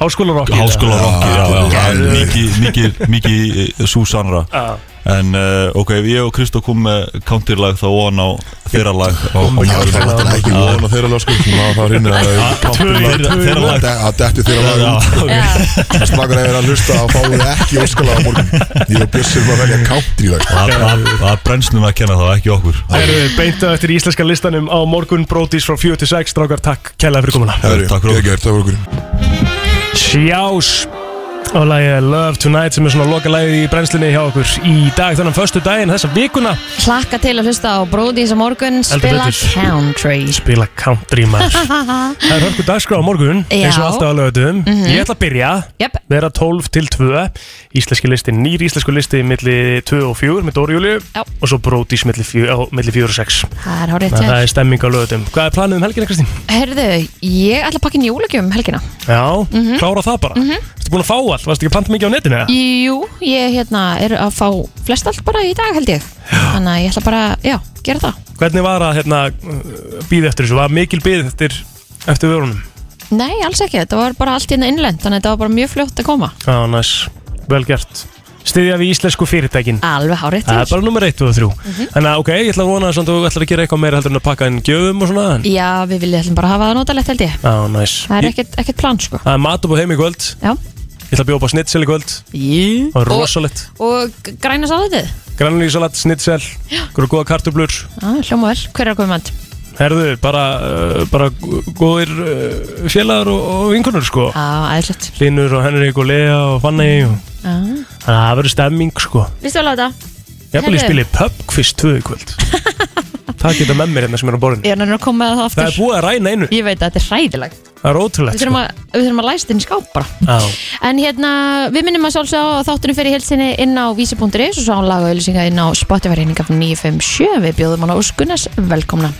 Háskólarokki
Háskólarokki já, já, já,
Geðveikt.
Mikið, mikið, mikið eh, sú sannra
Já.
En uh, ok, ef ég og Kristó kom með counterlag þá von á þeirra lag
Og maður þarf alltaf ekki von á þeirra lag sko Maður þarf hinn að
Þeirra lag
Að detti þeirra lag Það slakar eða að hlusta að fáið ekki óskalaða morgun Ég og Bjössi erum að velja country lag
Það er brennslum að kenna það, ekki okkur
Erum við beintu eftir íslenska listanum á morgun Brótis frá 46 Strákar, takk kella fyrir komuna
Herri, Takk fyrir okkur Takk fyrir okkur
Sjás og lagið Love Tonight sem er svona loka lagið í brennslinni hjá okkur í dag þannig förstu daginn þessa vikuna
Hlakka til að hlusta á Bróðís á morgun Spila country
Spila country maður
[LAUGHS] count
Það er hörku dagskrá á morgun
Já.
eins og alltaf að lögatum
Mhm.
Ég ætla að byrja
yep.
vera 12 til 2 Íslenski listi, nýr íslensku listi milli 2 og 4 með Dóri Júliu og svo Brótis milli 4 á- milli 4 og 6
Það er hárið
Það
til
er stemming á lögatum Hvað er planið um helgina Kristín?
Herðu, ég ætla að pakka njólegum um helgina
Já,
Mhm.
klára það bara mm Ertu búin að fá allt? Varstu ekki að planta mikið á netinu? eða?
Jú, ég hérna er að fá flest allt bara í dag held ég Þannig að ég ætla bara, já, gera það
Hvernig var að hérna, býða eftir þessu? Var mikil býð eftir, eftir vörunum?
Nei, alls ekki, þetta var bara allt hérna innlend Þannig að þetta var bara mjög fljótt að koma
Já, næs, vel gert Styðja við íslensku fyrirtækin
Alveg hárið
Það er
Ah, til Mhm.
bara nummer 1 og 3 Þannig að ok, ég ætla að vona samt að þú ætlar að gera eitthvað meira heldur en að pakka inn gjöfum og svona en-
Já, við viljum ætlum bara hafa það notalegt held ég
Já, næs
Það er
Ég-
ekkert, ekkert plan sko
Það er mat upp á heim í kvöld
Já.
Ég ætla að bjóða upp á snitsel í kvöld
Jú
Það er rosalegt
Og g- græna sáðið
Grænlísalat, snitsel Hverju góða kartublur
Hljóma vel, hver er að koma með
Herðu, bara, uh, bara góðir uh, félagar og, og vinkunur sko
Já, aðeinslegt
Linur og Henrik og Lea og Fanny og...
hann?
Þannig að það verður stemming sko
Vistu vel á þetta?
Jafnvel ég
Herðu. [LAUGHS]
spili pubquiz 2 í kvöld Takk þetta með mér hérna sem er á borðinu
Ég er nefnir að koma með það aftur
Það er búið að ræna einu
Ég veit að þetta er hræðilegt
Það er
Við
ótrúlegt sko.
þurfum að, við þurfum að læst inn í skáp bara
Já.
En hérna, við minnum að sjálfsög á þáttunum fyrir hilsinni inn á vísi.is og svo án laga og ylýsinga inn á Spotify reyninga 957 Við bjóðum hann á Skunnas velkomna